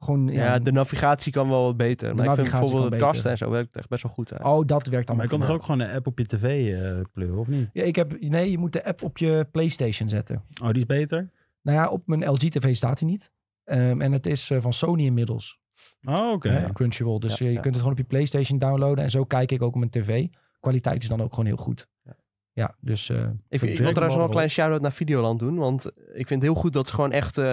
Speaker 1: gewoon.
Speaker 2: Ja,
Speaker 1: Ja,
Speaker 2: de navigatie kan wel wat beter. Maar ik vind
Speaker 1: navigatie
Speaker 2: bijvoorbeeld het
Speaker 1: kan beter.
Speaker 2: kasten en zo werkt echt best wel goed. Uit.
Speaker 1: Oh, dat werkt
Speaker 3: Ja, maar
Speaker 1: allemaal.
Speaker 3: je kan toch
Speaker 1: prima.
Speaker 3: ook gewoon een app op je tv eh, pleuren, of niet?
Speaker 1: Ja, ik heb, nee, je moet de app op je PlayStation zetten.
Speaker 3: Oh, die is beter?
Speaker 1: Nou ja, op mijn LG TV staat hij niet. Ehm, en het is eh, van Sony inmiddels.
Speaker 3: Oh, oké.
Speaker 1: Ja, Crunchyroll. Dus
Speaker 2: Ja,
Speaker 1: je
Speaker 2: ja.
Speaker 1: kunt het gewoon op je PlayStation downloaden. En zo kijk ik ook op mijn tv. Kwaliteit is dan ook gewoon heel goed.
Speaker 2: Ja.
Speaker 1: Ja, dus eh,
Speaker 2: Ik,
Speaker 3: Zo'n
Speaker 2: ik wil
Speaker 3: Dragon
Speaker 2: trouwens nog
Speaker 3: Ball
Speaker 2: een kleine shout-out naar Videoland doen. Want ik vind het heel goed dat ze gewoon echt... eh,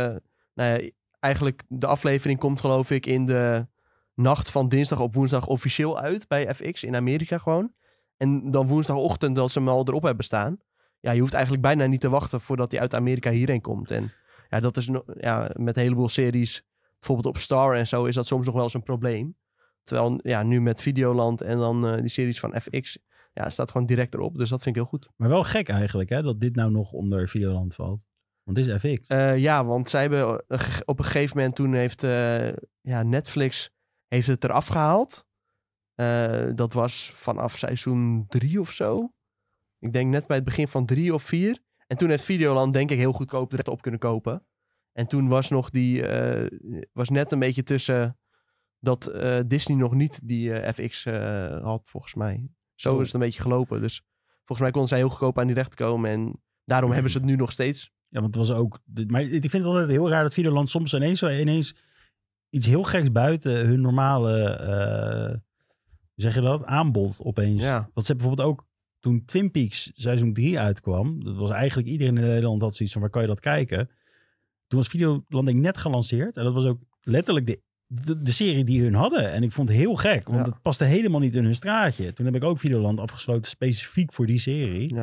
Speaker 2: nou ja, eigenlijk de aflevering komt geloof ik in de nacht van dinsdag op woensdag officieel uit. Bij FX in Amerika gewoon. En dan woensdagochtend dat ze hem al erop hebben staan. Ja, je hoeft eigenlijk bijna niet te wachten voordat hij uit Amerika hierheen komt. En ja, dat is no- ja, met een heleboel series, bijvoorbeeld op Star en zo, is dat soms nog wel eens een probleem. Terwijl ja, nu met Videoland en dan eh, die series van FX, ja, het staat gewoon direct erop. Dus dat vind ik heel goed.
Speaker 3: Maar wel gek eigenlijk, hè, dat dit nou nog onder Videoland valt. Want dit is FX.
Speaker 2: Eh, ja, want zij hebben eh, ge- op een gegeven moment toen heeft eh, ja, Netflix heeft het eraf gehaald. Eh, dat was vanaf seizoen drie of zo. Ik denk net bij het begin van drie of vier. En toen heeft Videoland denk ik heel goedkoop de rechten op kunnen kopen. En toen was nog die, eh, was net een beetje tussen dat eh, Disney nog niet die eh, FX eh, had, volgens mij. Zo
Speaker 1: Oh.
Speaker 2: is het een beetje gelopen. Dus volgens mij konden zij heel goedkoop aan die recht komen. En daarom hebben ze het nu nog steeds.
Speaker 3: Ja, want het was ook... dit- Maar ik vind het altijd heel raar dat Videoland soms ineens, zo, ineens iets heel geks buiten hun normale, eh, hoe zeg je dat, aanbod opeens.
Speaker 2: Ja.
Speaker 3: Want ze hebben bijvoorbeeld ook, toen Twin Peaks seizoen 3 uitkwam, dat was eigenlijk iedereen in Nederland had zoiets van, waar kan je dat kijken? Toen was Videoland denk ik net gelanceerd en dat was ook letterlijk de, de, de serie die hun hadden. En ik vond het heel gek, want
Speaker 2: Ja.
Speaker 3: het paste helemaal niet in hun straatje. Toen heb ik ook Videoland afgesloten specifiek voor die serie.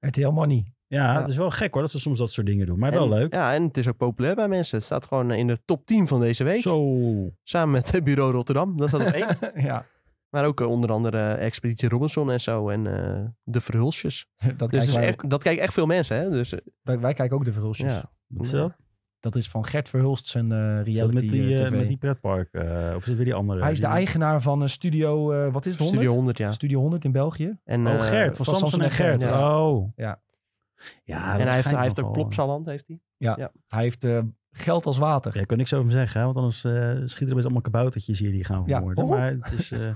Speaker 1: RTL Money.
Speaker 3: Ja,
Speaker 2: Ja.
Speaker 3: het is wel gek hoor, dat ze soms dat soort dingen doen. Maar wel
Speaker 2: En-
Speaker 3: leuk.
Speaker 2: Ja, en het is ook populair bij mensen. Het staat gewoon eh, in de top 10 van deze week.
Speaker 3: Zo.
Speaker 2: Samen met eh, Bureau Rotterdam. Dat staat op één.
Speaker 1: ja,
Speaker 2: maar ook eh, onder andere eh, Expeditie Robinson en zo. En eh, de Verhulsjes.
Speaker 1: dat
Speaker 2: Dus
Speaker 1: kijken
Speaker 2: dat,
Speaker 1: wij,
Speaker 2: is
Speaker 1: ook.
Speaker 2: echt, dat kijken echt veel mensen. Hè? Dus, eh,
Speaker 1: Wij- wij kijken ook de Verhulstjes.
Speaker 2: ja.
Speaker 3: Wat is
Speaker 2: Ja.
Speaker 3: dat?
Speaker 1: Dat is van Gert Verhulst zijn eh,
Speaker 3: Is dat
Speaker 1: reality
Speaker 3: met die,
Speaker 1: eh,
Speaker 3: eh,
Speaker 1: TV.
Speaker 3: met die pretpark? eh, of is het weer die andere?
Speaker 1: Hij is de
Speaker 3: Die-
Speaker 1: eigenaar van een studio, eh, wat is het, 100?
Speaker 2: Studio 100, ja.
Speaker 1: Studio 100 in België.
Speaker 2: En,
Speaker 3: Oh,
Speaker 2: eh,
Speaker 3: Gert. Van,
Speaker 1: van
Speaker 3: Samson en Gert. Oh.
Speaker 1: Ja.
Speaker 3: Ja, dat
Speaker 2: en hij heeft,
Speaker 3: schijnt
Speaker 2: hij heeft ook
Speaker 3: nogal. eh,
Speaker 1: eh.
Speaker 2: Plopsaland. Heeft hij.
Speaker 1: Hij heeft eh, geld als water.
Speaker 3: Ja, ik kan niks over hem zeggen, hè, want anders eh, schieten er best allemaal kaboutertjes hier die gaan
Speaker 1: Ja.
Speaker 3: vermoorden.
Speaker 1: Oh.
Speaker 3: Maar het is... eh,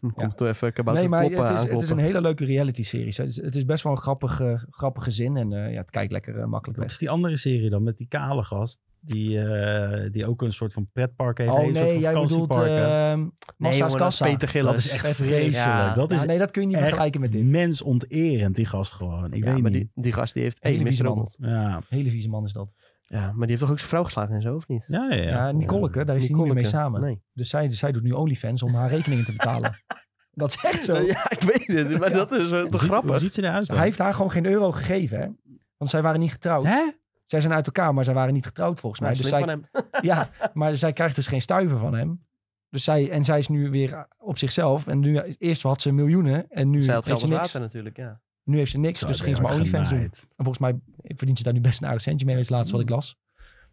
Speaker 2: Dan Komt er even kabouter
Speaker 1: nee, maar
Speaker 2: Plop,
Speaker 1: het
Speaker 2: eh,
Speaker 1: is, het is
Speaker 2: aankloppen.
Speaker 1: een hele leuke reality-serie. Het, is- het is best wel een grappige, grappige zin en eh, ja, het kijkt lekker eh, makkelijk
Speaker 3: wat
Speaker 1: weg.
Speaker 3: is die andere serie dan? Met die kale gast. Die, eh, die ook een soort van pretpark heeft.
Speaker 1: Oh
Speaker 3: een soort
Speaker 1: nee,
Speaker 3: van
Speaker 1: jij bedoelt
Speaker 3: vakantiepark, hè.
Speaker 1: ehm,
Speaker 2: Nee,
Speaker 1: Massa's
Speaker 2: jongen, dat is
Speaker 1: Kassa.
Speaker 2: Peter Gillis.
Speaker 3: dat is echt
Speaker 1: Even-
Speaker 3: vreselijk.
Speaker 2: Ja.
Speaker 3: Dat is
Speaker 1: Ja, nee, dat kun je niet
Speaker 3: echt
Speaker 1: vergelijken met dit.
Speaker 3: mensonterend, die gast gewoon. Ik
Speaker 2: ja,
Speaker 3: weet
Speaker 2: maar
Speaker 3: niet.
Speaker 2: die, die gast die heeft... Hey,
Speaker 1: Hele
Speaker 2: Mr.
Speaker 1: vieze man.
Speaker 2: Robot.
Speaker 3: Ja,
Speaker 1: Hele vieze man is dat.
Speaker 2: Ja, maar die heeft toch ook zijn vrouw geslagen en zo, of niet?
Speaker 3: ja, ja. ja.
Speaker 1: Ja, Nicoleke, daar is hij niet meer mee
Speaker 2: Nicoleke.
Speaker 1: samen.
Speaker 2: Nee.
Speaker 1: Dus zij, zij doet nu OnlyFans om haar rekeningen te betalen. dat is echt zo.
Speaker 2: Ja, ik weet het. Maar dat is eh,
Speaker 3: Hoe
Speaker 2: toch
Speaker 3: ziet- Hoe
Speaker 2: grappig.
Speaker 3: ziet ze eruit? dan?
Speaker 1: Hij heeft haar gewoon geen euro gegeven, hè? Want zij waren niet getrouwd.
Speaker 3: Hè?
Speaker 1: Zij zijn uit elkaar, maar zij waren niet getrouwd volgens mij.
Speaker 2: Nou,
Speaker 1: Dus
Speaker 2: slim
Speaker 1: zij,
Speaker 2: van hem.
Speaker 1: ja, maar zij krijgt dus geen stuiver van hem. Dus zij, en zij is nu weer op zichzelf. En nu, eerst had ze miljoenen en nu
Speaker 2: Zij had
Speaker 1: heeft
Speaker 2: geld
Speaker 1: ze
Speaker 2: als
Speaker 1: niks.
Speaker 2: water natuurlijk, ja.
Speaker 1: Nu heeft ze niks,
Speaker 3: Zo,
Speaker 1: dus
Speaker 3: ben
Speaker 1: ging ze
Speaker 3: je
Speaker 1: maar
Speaker 3: hard
Speaker 1: OnlyFans doen. En
Speaker 3: genaaid.
Speaker 1: volgens mij verdient ze daar nu best een aardig centje mee, is het laatste wat ik las.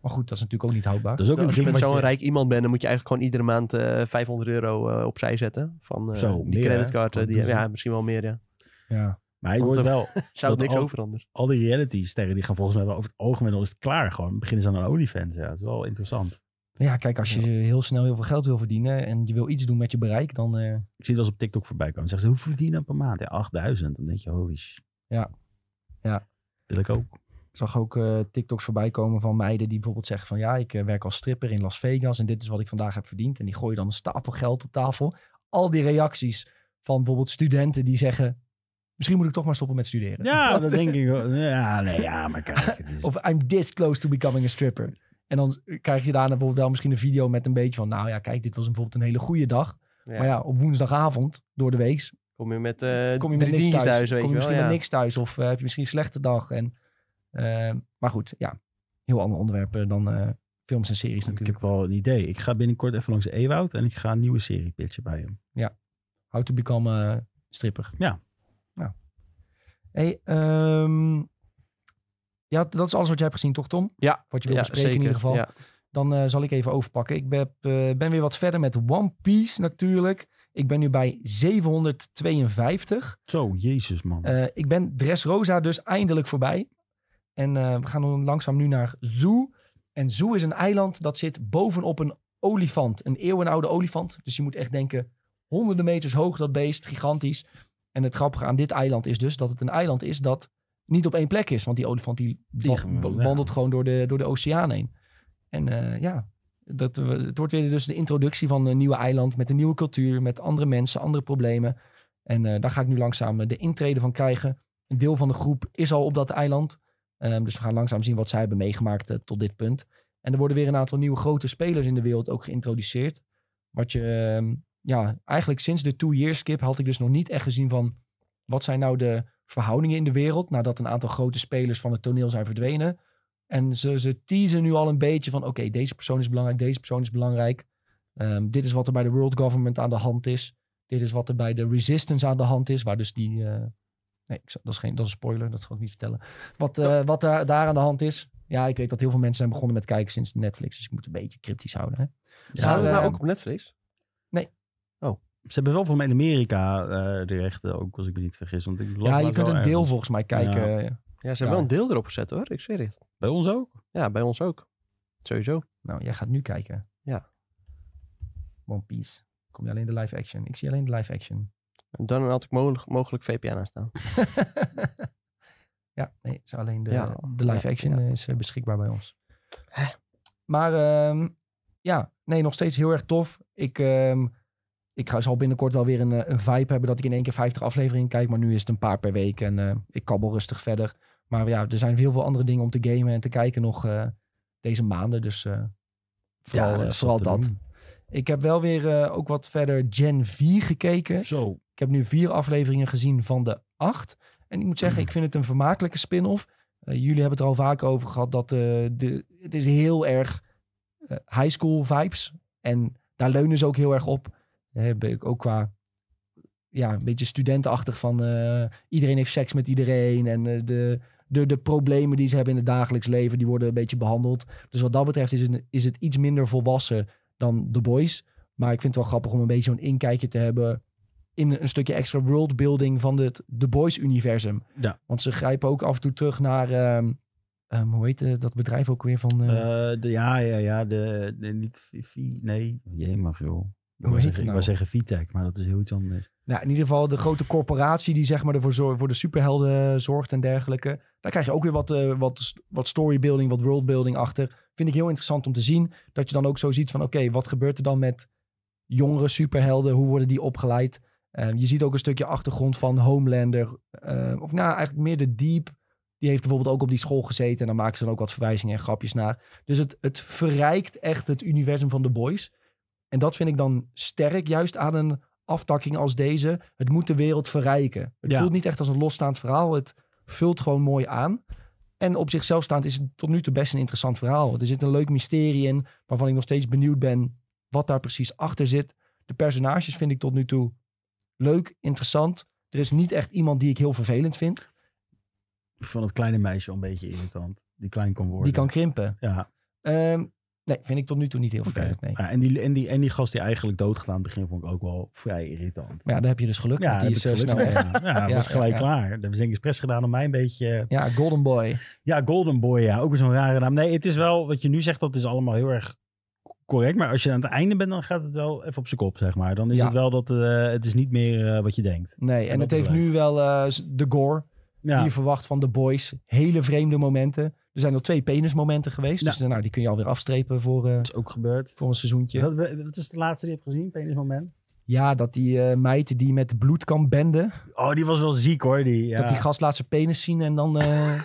Speaker 1: Maar goed, dat is natuurlijk ook niet houdbaar.
Speaker 3: Dat is ook een
Speaker 2: Als je
Speaker 3: ding
Speaker 2: met
Speaker 3: wat
Speaker 2: zo'n
Speaker 3: je...
Speaker 2: rijk iemand bent, dan moet je eigenlijk gewoon iedere maand eh, 500 euro eh, opzij zetten. Van eh,
Speaker 3: Zo,
Speaker 2: die
Speaker 3: meer, hè?
Speaker 2: creditcard. eh,
Speaker 3: Wat
Speaker 2: die,
Speaker 3: doen ze?
Speaker 2: ja, misschien wel meer, ja.
Speaker 1: Ja.
Speaker 3: Maar hij
Speaker 2: Want
Speaker 3: wordt
Speaker 2: er-
Speaker 3: wel...
Speaker 2: Zou
Speaker 3: Dat
Speaker 2: het niks
Speaker 3: al-
Speaker 2: over anders.
Speaker 3: Al die reality-sterren die gaan volgens mij wel over het algemeen al is het klaar. Gewoon beginnen ze aan een OnlyFans. Ja, dat is wel interessant.
Speaker 1: Nou ja, kijk, als je heel snel heel veel geld wil verdienen en je wil iets doen met je bereik, dan... eh,
Speaker 3: Ik zie het wel eens op TikTok voorbij komen. Zeggen ze, hoeveel verdien je dan per maand? Ja, 8000. Dan denk je, holy sh-
Speaker 1: Ja. Ja.
Speaker 3: Wil ik ook.
Speaker 1: Ik zag ook eh, TikToks voorbij komen van meiden die bijvoorbeeld zeggen van ja, ik eh, werk als stripper in Las Vegas en dit is wat ik vandaag heb verdiend. En die gooien dan een stapel geld op tafel. Al die reacties van bijvoorbeeld studenten die zeggen, misschien moet ik toch maar stoppen met studeren.
Speaker 3: Ja, dat denk ik wel. Ja, nee, ja, maar kijk. Het is...
Speaker 1: Of I'm this close to becoming a stripper. En dan eh, krijg je daarna bijvoorbeeld wel misschien een video met een beetje van nou ja, kijk, dit was bijvoorbeeld een hele goede dag.
Speaker 2: Ja.
Speaker 1: Maar ja, op woensdagavond door de week
Speaker 2: Kom je met eh
Speaker 1: kom je met
Speaker 2: drie
Speaker 1: niks
Speaker 2: tientjes
Speaker 1: thuis.
Speaker 2: thuis, weet
Speaker 1: kom je
Speaker 2: je wel.
Speaker 1: misschien
Speaker 2: Ja.
Speaker 1: met niks thuis of eh, heb je misschien een slechte dag. En, eh, maar goed, ja, heel andere onderwerpen dan eh, films en series
Speaker 3: Ik
Speaker 1: natuurlijk.
Speaker 3: heb wel een idee. Ik ga binnenkort even langs Ewoud en ik ga een nieuwe serie pitchen bij hem.
Speaker 1: How to become eh, stripper.
Speaker 3: Ja.
Speaker 1: Nou. Hey, ehm, ja, dat is alles wat jij hebt gezien, toch Tom?
Speaker 2: Ja,
Speaker 1: Wat je wil
Speaker 2: ja,
Speaker 1: bespreken in
Speaker 2: zeker,
Speaker 1: ieder geval.
Speaker 2: ja.
Speaker 1: Dan eh, zal ik even overpakken. Ik ben, eh, ben weer wat verder met One Piece natuurlijk. Ik ben nu bij 752.
Speaker 3: Zo, jezus man.
Speaker 1: Eh, ik ben Dressrosa dus eindelijk voorbij. En eh, we gaan dan langzaam nu naar Zoo. En Zoo is een eiland dat zit bovenop een olifant. Een eeuwenoude olifant. Dus je moet echt denken, honderden meters hoog dat beest. Gigantisch. En het grappige aan dit eiland is dus dat het een eiland is dat niet op één plek is. Want die olifant die,
Speaker 3: Die
Speaker 1: wa-
Speaker 3: gewoon,
Speaker 1: wa-
Speaker 3: ja.
Speaker 1: wandelt gewoon door de, door de oceaan heen. En eh, ja, dat, we- het wordt weer dus de introductie van een nieuwe eiland. Met een nieuwe cultuur, met andere mensen, andere problemen. En eh, daar ga ik nu langzaam eh, de intrede van krijgen. Een deel van de groep is al op dat eiland. Ehm, dus we gaan langzaam zien wat zij hebben meegemaakt eh, tot dit punt. En er worden weer een aantal nieuwe grote spelers in de wereld ook geïntroduceerd. Wat je, ehm, ja, eigenlijk sinds de two-year skip had ik dus nog niet echt gezien van... wat zijn nou de verhoudingen in de wereld nadat een aantal grote spelers van het toneel zijn verdwenen. En ze, ze teasen nu al een beetje van, oké, deze persoon is belangrijk, deze persoon is belangrijk. Ehm, dit is wat er bij de world government aan de hand is. Dit is wat er bij de Resistance aan de hand is. Waar dus die. eh, nee, ik zal- dat is, geen, dat is een spoiler. Dat ga ik niet vertellen. Wat, eh, wat daar, daar aan de hand is. Ja, ik weet dat heel veel mensen zijn begonnen met kijken sinds Netflix. Dus ik moet een beetje cryptisch houden. Hè?
Speaker 2: Staat het
Speaker 1: Maar,
Speaker 2: nou
Speaker 1: eh,
Speaker 2: ook op Netflix?
Speaker 1: nee.
Speaker 2: Oh.
Speaker 3: Ze hebben wel voor mij in Amerika eh, de rechten ook, als ik me niet vergis. Want ik las
Speaker 1: Ja, je
Speaker 3: laatst
Speaker 1: kunt
Speaker 3: wel
Speaker 1: een deel
Speaker 3: ergens.
Speaker 1: volgens mij kijken.
Speaker 2: Ja, ze
Speaker 1: Ja.
Speaker 2: hebben wel een deel erop gezet hoor. Ik zweer het.
Speaker 3: Bij ons ook?
Speaker 2: Ja, bij ons ook. Sowieso.
Speaker 1: Nou, jij gaat nu kijken.
Speaker 2: Ja.
Speaker 1: One Piece. Kom je alleen de live action? Ik zie alleen de live action.
Speaker 2: En dan had ik mogelijk, mogelijk VPN aan staan.
Speaker 1: ja, nee, is alleen de,
Speaker 2: Ja.
Speaker 1: de live
Speaker 2: Ja,
Speaker 1: action
Speaker 2: ja.
Speaker 1: eh, is eh, beschikbaar bij ons.
Speaker 2: Hè?
Speaker 1: Maar ehm, ja, nee, nog steeds heel erg tof. Ik, ehm, ik ga, zal binnenkort wel weer een, eh, een vibe hebben dat ik in één keer 50 afleveringen kijk. Maar nu is het een paar per week en eh, ik kabbel rustig verder. Maar ja, er zijn heel veel andere dingen om te gamen en te kijken nog eh, deze maanden. Dus eh, vooral,
Speaker 3: dat
Speaker 1: eh,
Speaker 3: is
Speaker 1: vooral
Speaker 3: wat te
Speaker 1: dat.
Speaker 3: doen.
Speaker 1: Ik heb wel weer eh, ook wat verder Gen 4 gekeken.
Speaker 3: Zo.
Speaker 1: Ik heb nu vier afleveringen gezien van de acht. En ik moet zeggen, ik vind het een vermakelijke spin-off. Eh, jullie hebben het er al vaak over gehad dat eh, de, het is heel erg eh, high school vibes. En daar leunen ze ook heel erg op. Eh, ben ik ook qua ja, een beetje studentenachtig van eh, iedereen heeft seks met iedereen. En eh, de, de, de problemen die ze hebben in het dagelijks leven, die worden een beetje behandeld. Dus wat dat betreft is het, is het iets minder volwassen dan The Boys. Maar ik vind het wel grappig om een beetje zo'n inkijkje te hebben in een stukje extra worldbuilding van het The Boys-universum.
Speaker 3: Ja.
Speaker 1: Want ze grijpen ook af en toe terug naar, ehm, ehm, hoe heet eh, dat bedrijf ook weer van... eh,
Speaker 3: Eh, de, ja, ja, ja. De, de- niet vi- vi- nee. Jee, mag joh. Ik
Speaker 1: heet
Speaker 3: wou,
Speaker 1: het
Speaker 3: zeggen, ik
Speaker 1: nou?
Speaker 3: wou zeggen Vitec, maar dat is heel iets anders.
Speaker 1: Nou, in ieder geval de grote corporatie die zeg maar ervoor zor- voor de superhelden eh, zorgt en dergelijke. Daar krijg je ook weer wat, eh, wat, wat storybuilding, wat worldbuilding achter. Vind ik heel interessant om te zien. Dat je dan ook zo ziet van oké, wat gebeurt er dan met jongere superhelden? Hoe worden die opgeleid? Eh, je ziet ook een stukje achtergrond van Homelander. eh, of nou, eigenlijk meer de Deep. Die heeft bijvoorbeeld ook op die school gezeten. En daar maken ze dan ook wat verwijzingen en grapjes naar. Dus het, het verrijkt echt het universum van The Boys. En dat vind ik dan sterk, juist aan een aftakking als deze. Het moet de wereld verrijken. Het
Speaker 3: Ja.
Speaker 1: voelt niet echt als een losstaand verhaal. Het vult gewoon mooi aan. En op zichzelf staand is het tot nu toe best een interessant verhaal. Er zit een leuk mysterie in, waarvan ik nog steeds benieuwd ben wat daar precies achter zit. De personages vind ik tot nu toe leuk, interessant. Er is niet echt iemand die ik heel vervelend vind.
Speaker 3: Ik vond het kleine meisje al een beetje irritant. Die klein kon worden.
Speaker 1: Die kan krimpen.
Speaker 3: Ja,
Speaker 1: Ehm, nee, vind ik tot nu toe niet heel
Speaker 3: oké.
Speaker 1: vervelend. Nee.
Speaker 3: Ja, en, die, en, die, en die gast die eigenlijk doodging aan het begin vond ik ook wel vrij irritant.
Speaker 1: Maar ja, daar heb je dus geluk.
Speaker 3: Ja,
Speaker 1: Ja, die
Speaker 3: heb
Speaker 1: is
Speaker 3: ik
Speaker 1: eh,
Speaker 3: geluk
Speaker 1: snel
Speaker 3: mee.
Speaker 1: weg.
Speaker 3: ja, ja,
Speaker 1: Ja,
Speaker 3: was gelijk
Speaker 1: ja, ja.
Speaker 3: klaar. Dat hebben ze denk ik expres gedaan om mij een beetje... eh,
Speaker 1: Ja, Golden Boy.
Speaker 3: Ja, Golden Boy, ja. Ook weer zo'n rare naam. Nee, het is wel, wat je nu zegt, dat is allemaal heel erg correct. Maar als je aan het einde bent, dan gaat het wel even op zijn kop, zeg maar. Dan is
Speaker 1: Ja.
Speaker 3: het wel dat eh, het is niet meer eh, wat je denkt.
Speaker 1: Nee, en
Speaker 3: dat
Speaker 1: het heeft
Speaker 3: blijft.
Speaker 1: nu wel eh, de gore.
Speaker 3: Ja,
Speaker 1: die je verwacht van de boys. Hele vreemde momenten. Er zijn al twee penismomenten geweest.
Speaker 3: Ja.
Speaker 1: Dus eh, nou, die kun je alweer afstrepen voor, eh,
Speaker 3: dat is ook gebeurd.
Speaker 1: voor een seizoentje.
Speaker 3: Wat, wat is de laatste die je hebt gezien, penis moment?
Speaker 1: Ja, dat die eh, meid die met bloed kan benden.
Speaker 3: Oh, die was wel ziek hoor, die. Ja.
Speaker 1: Dat die gast laat zijn penis zien en dan... eh,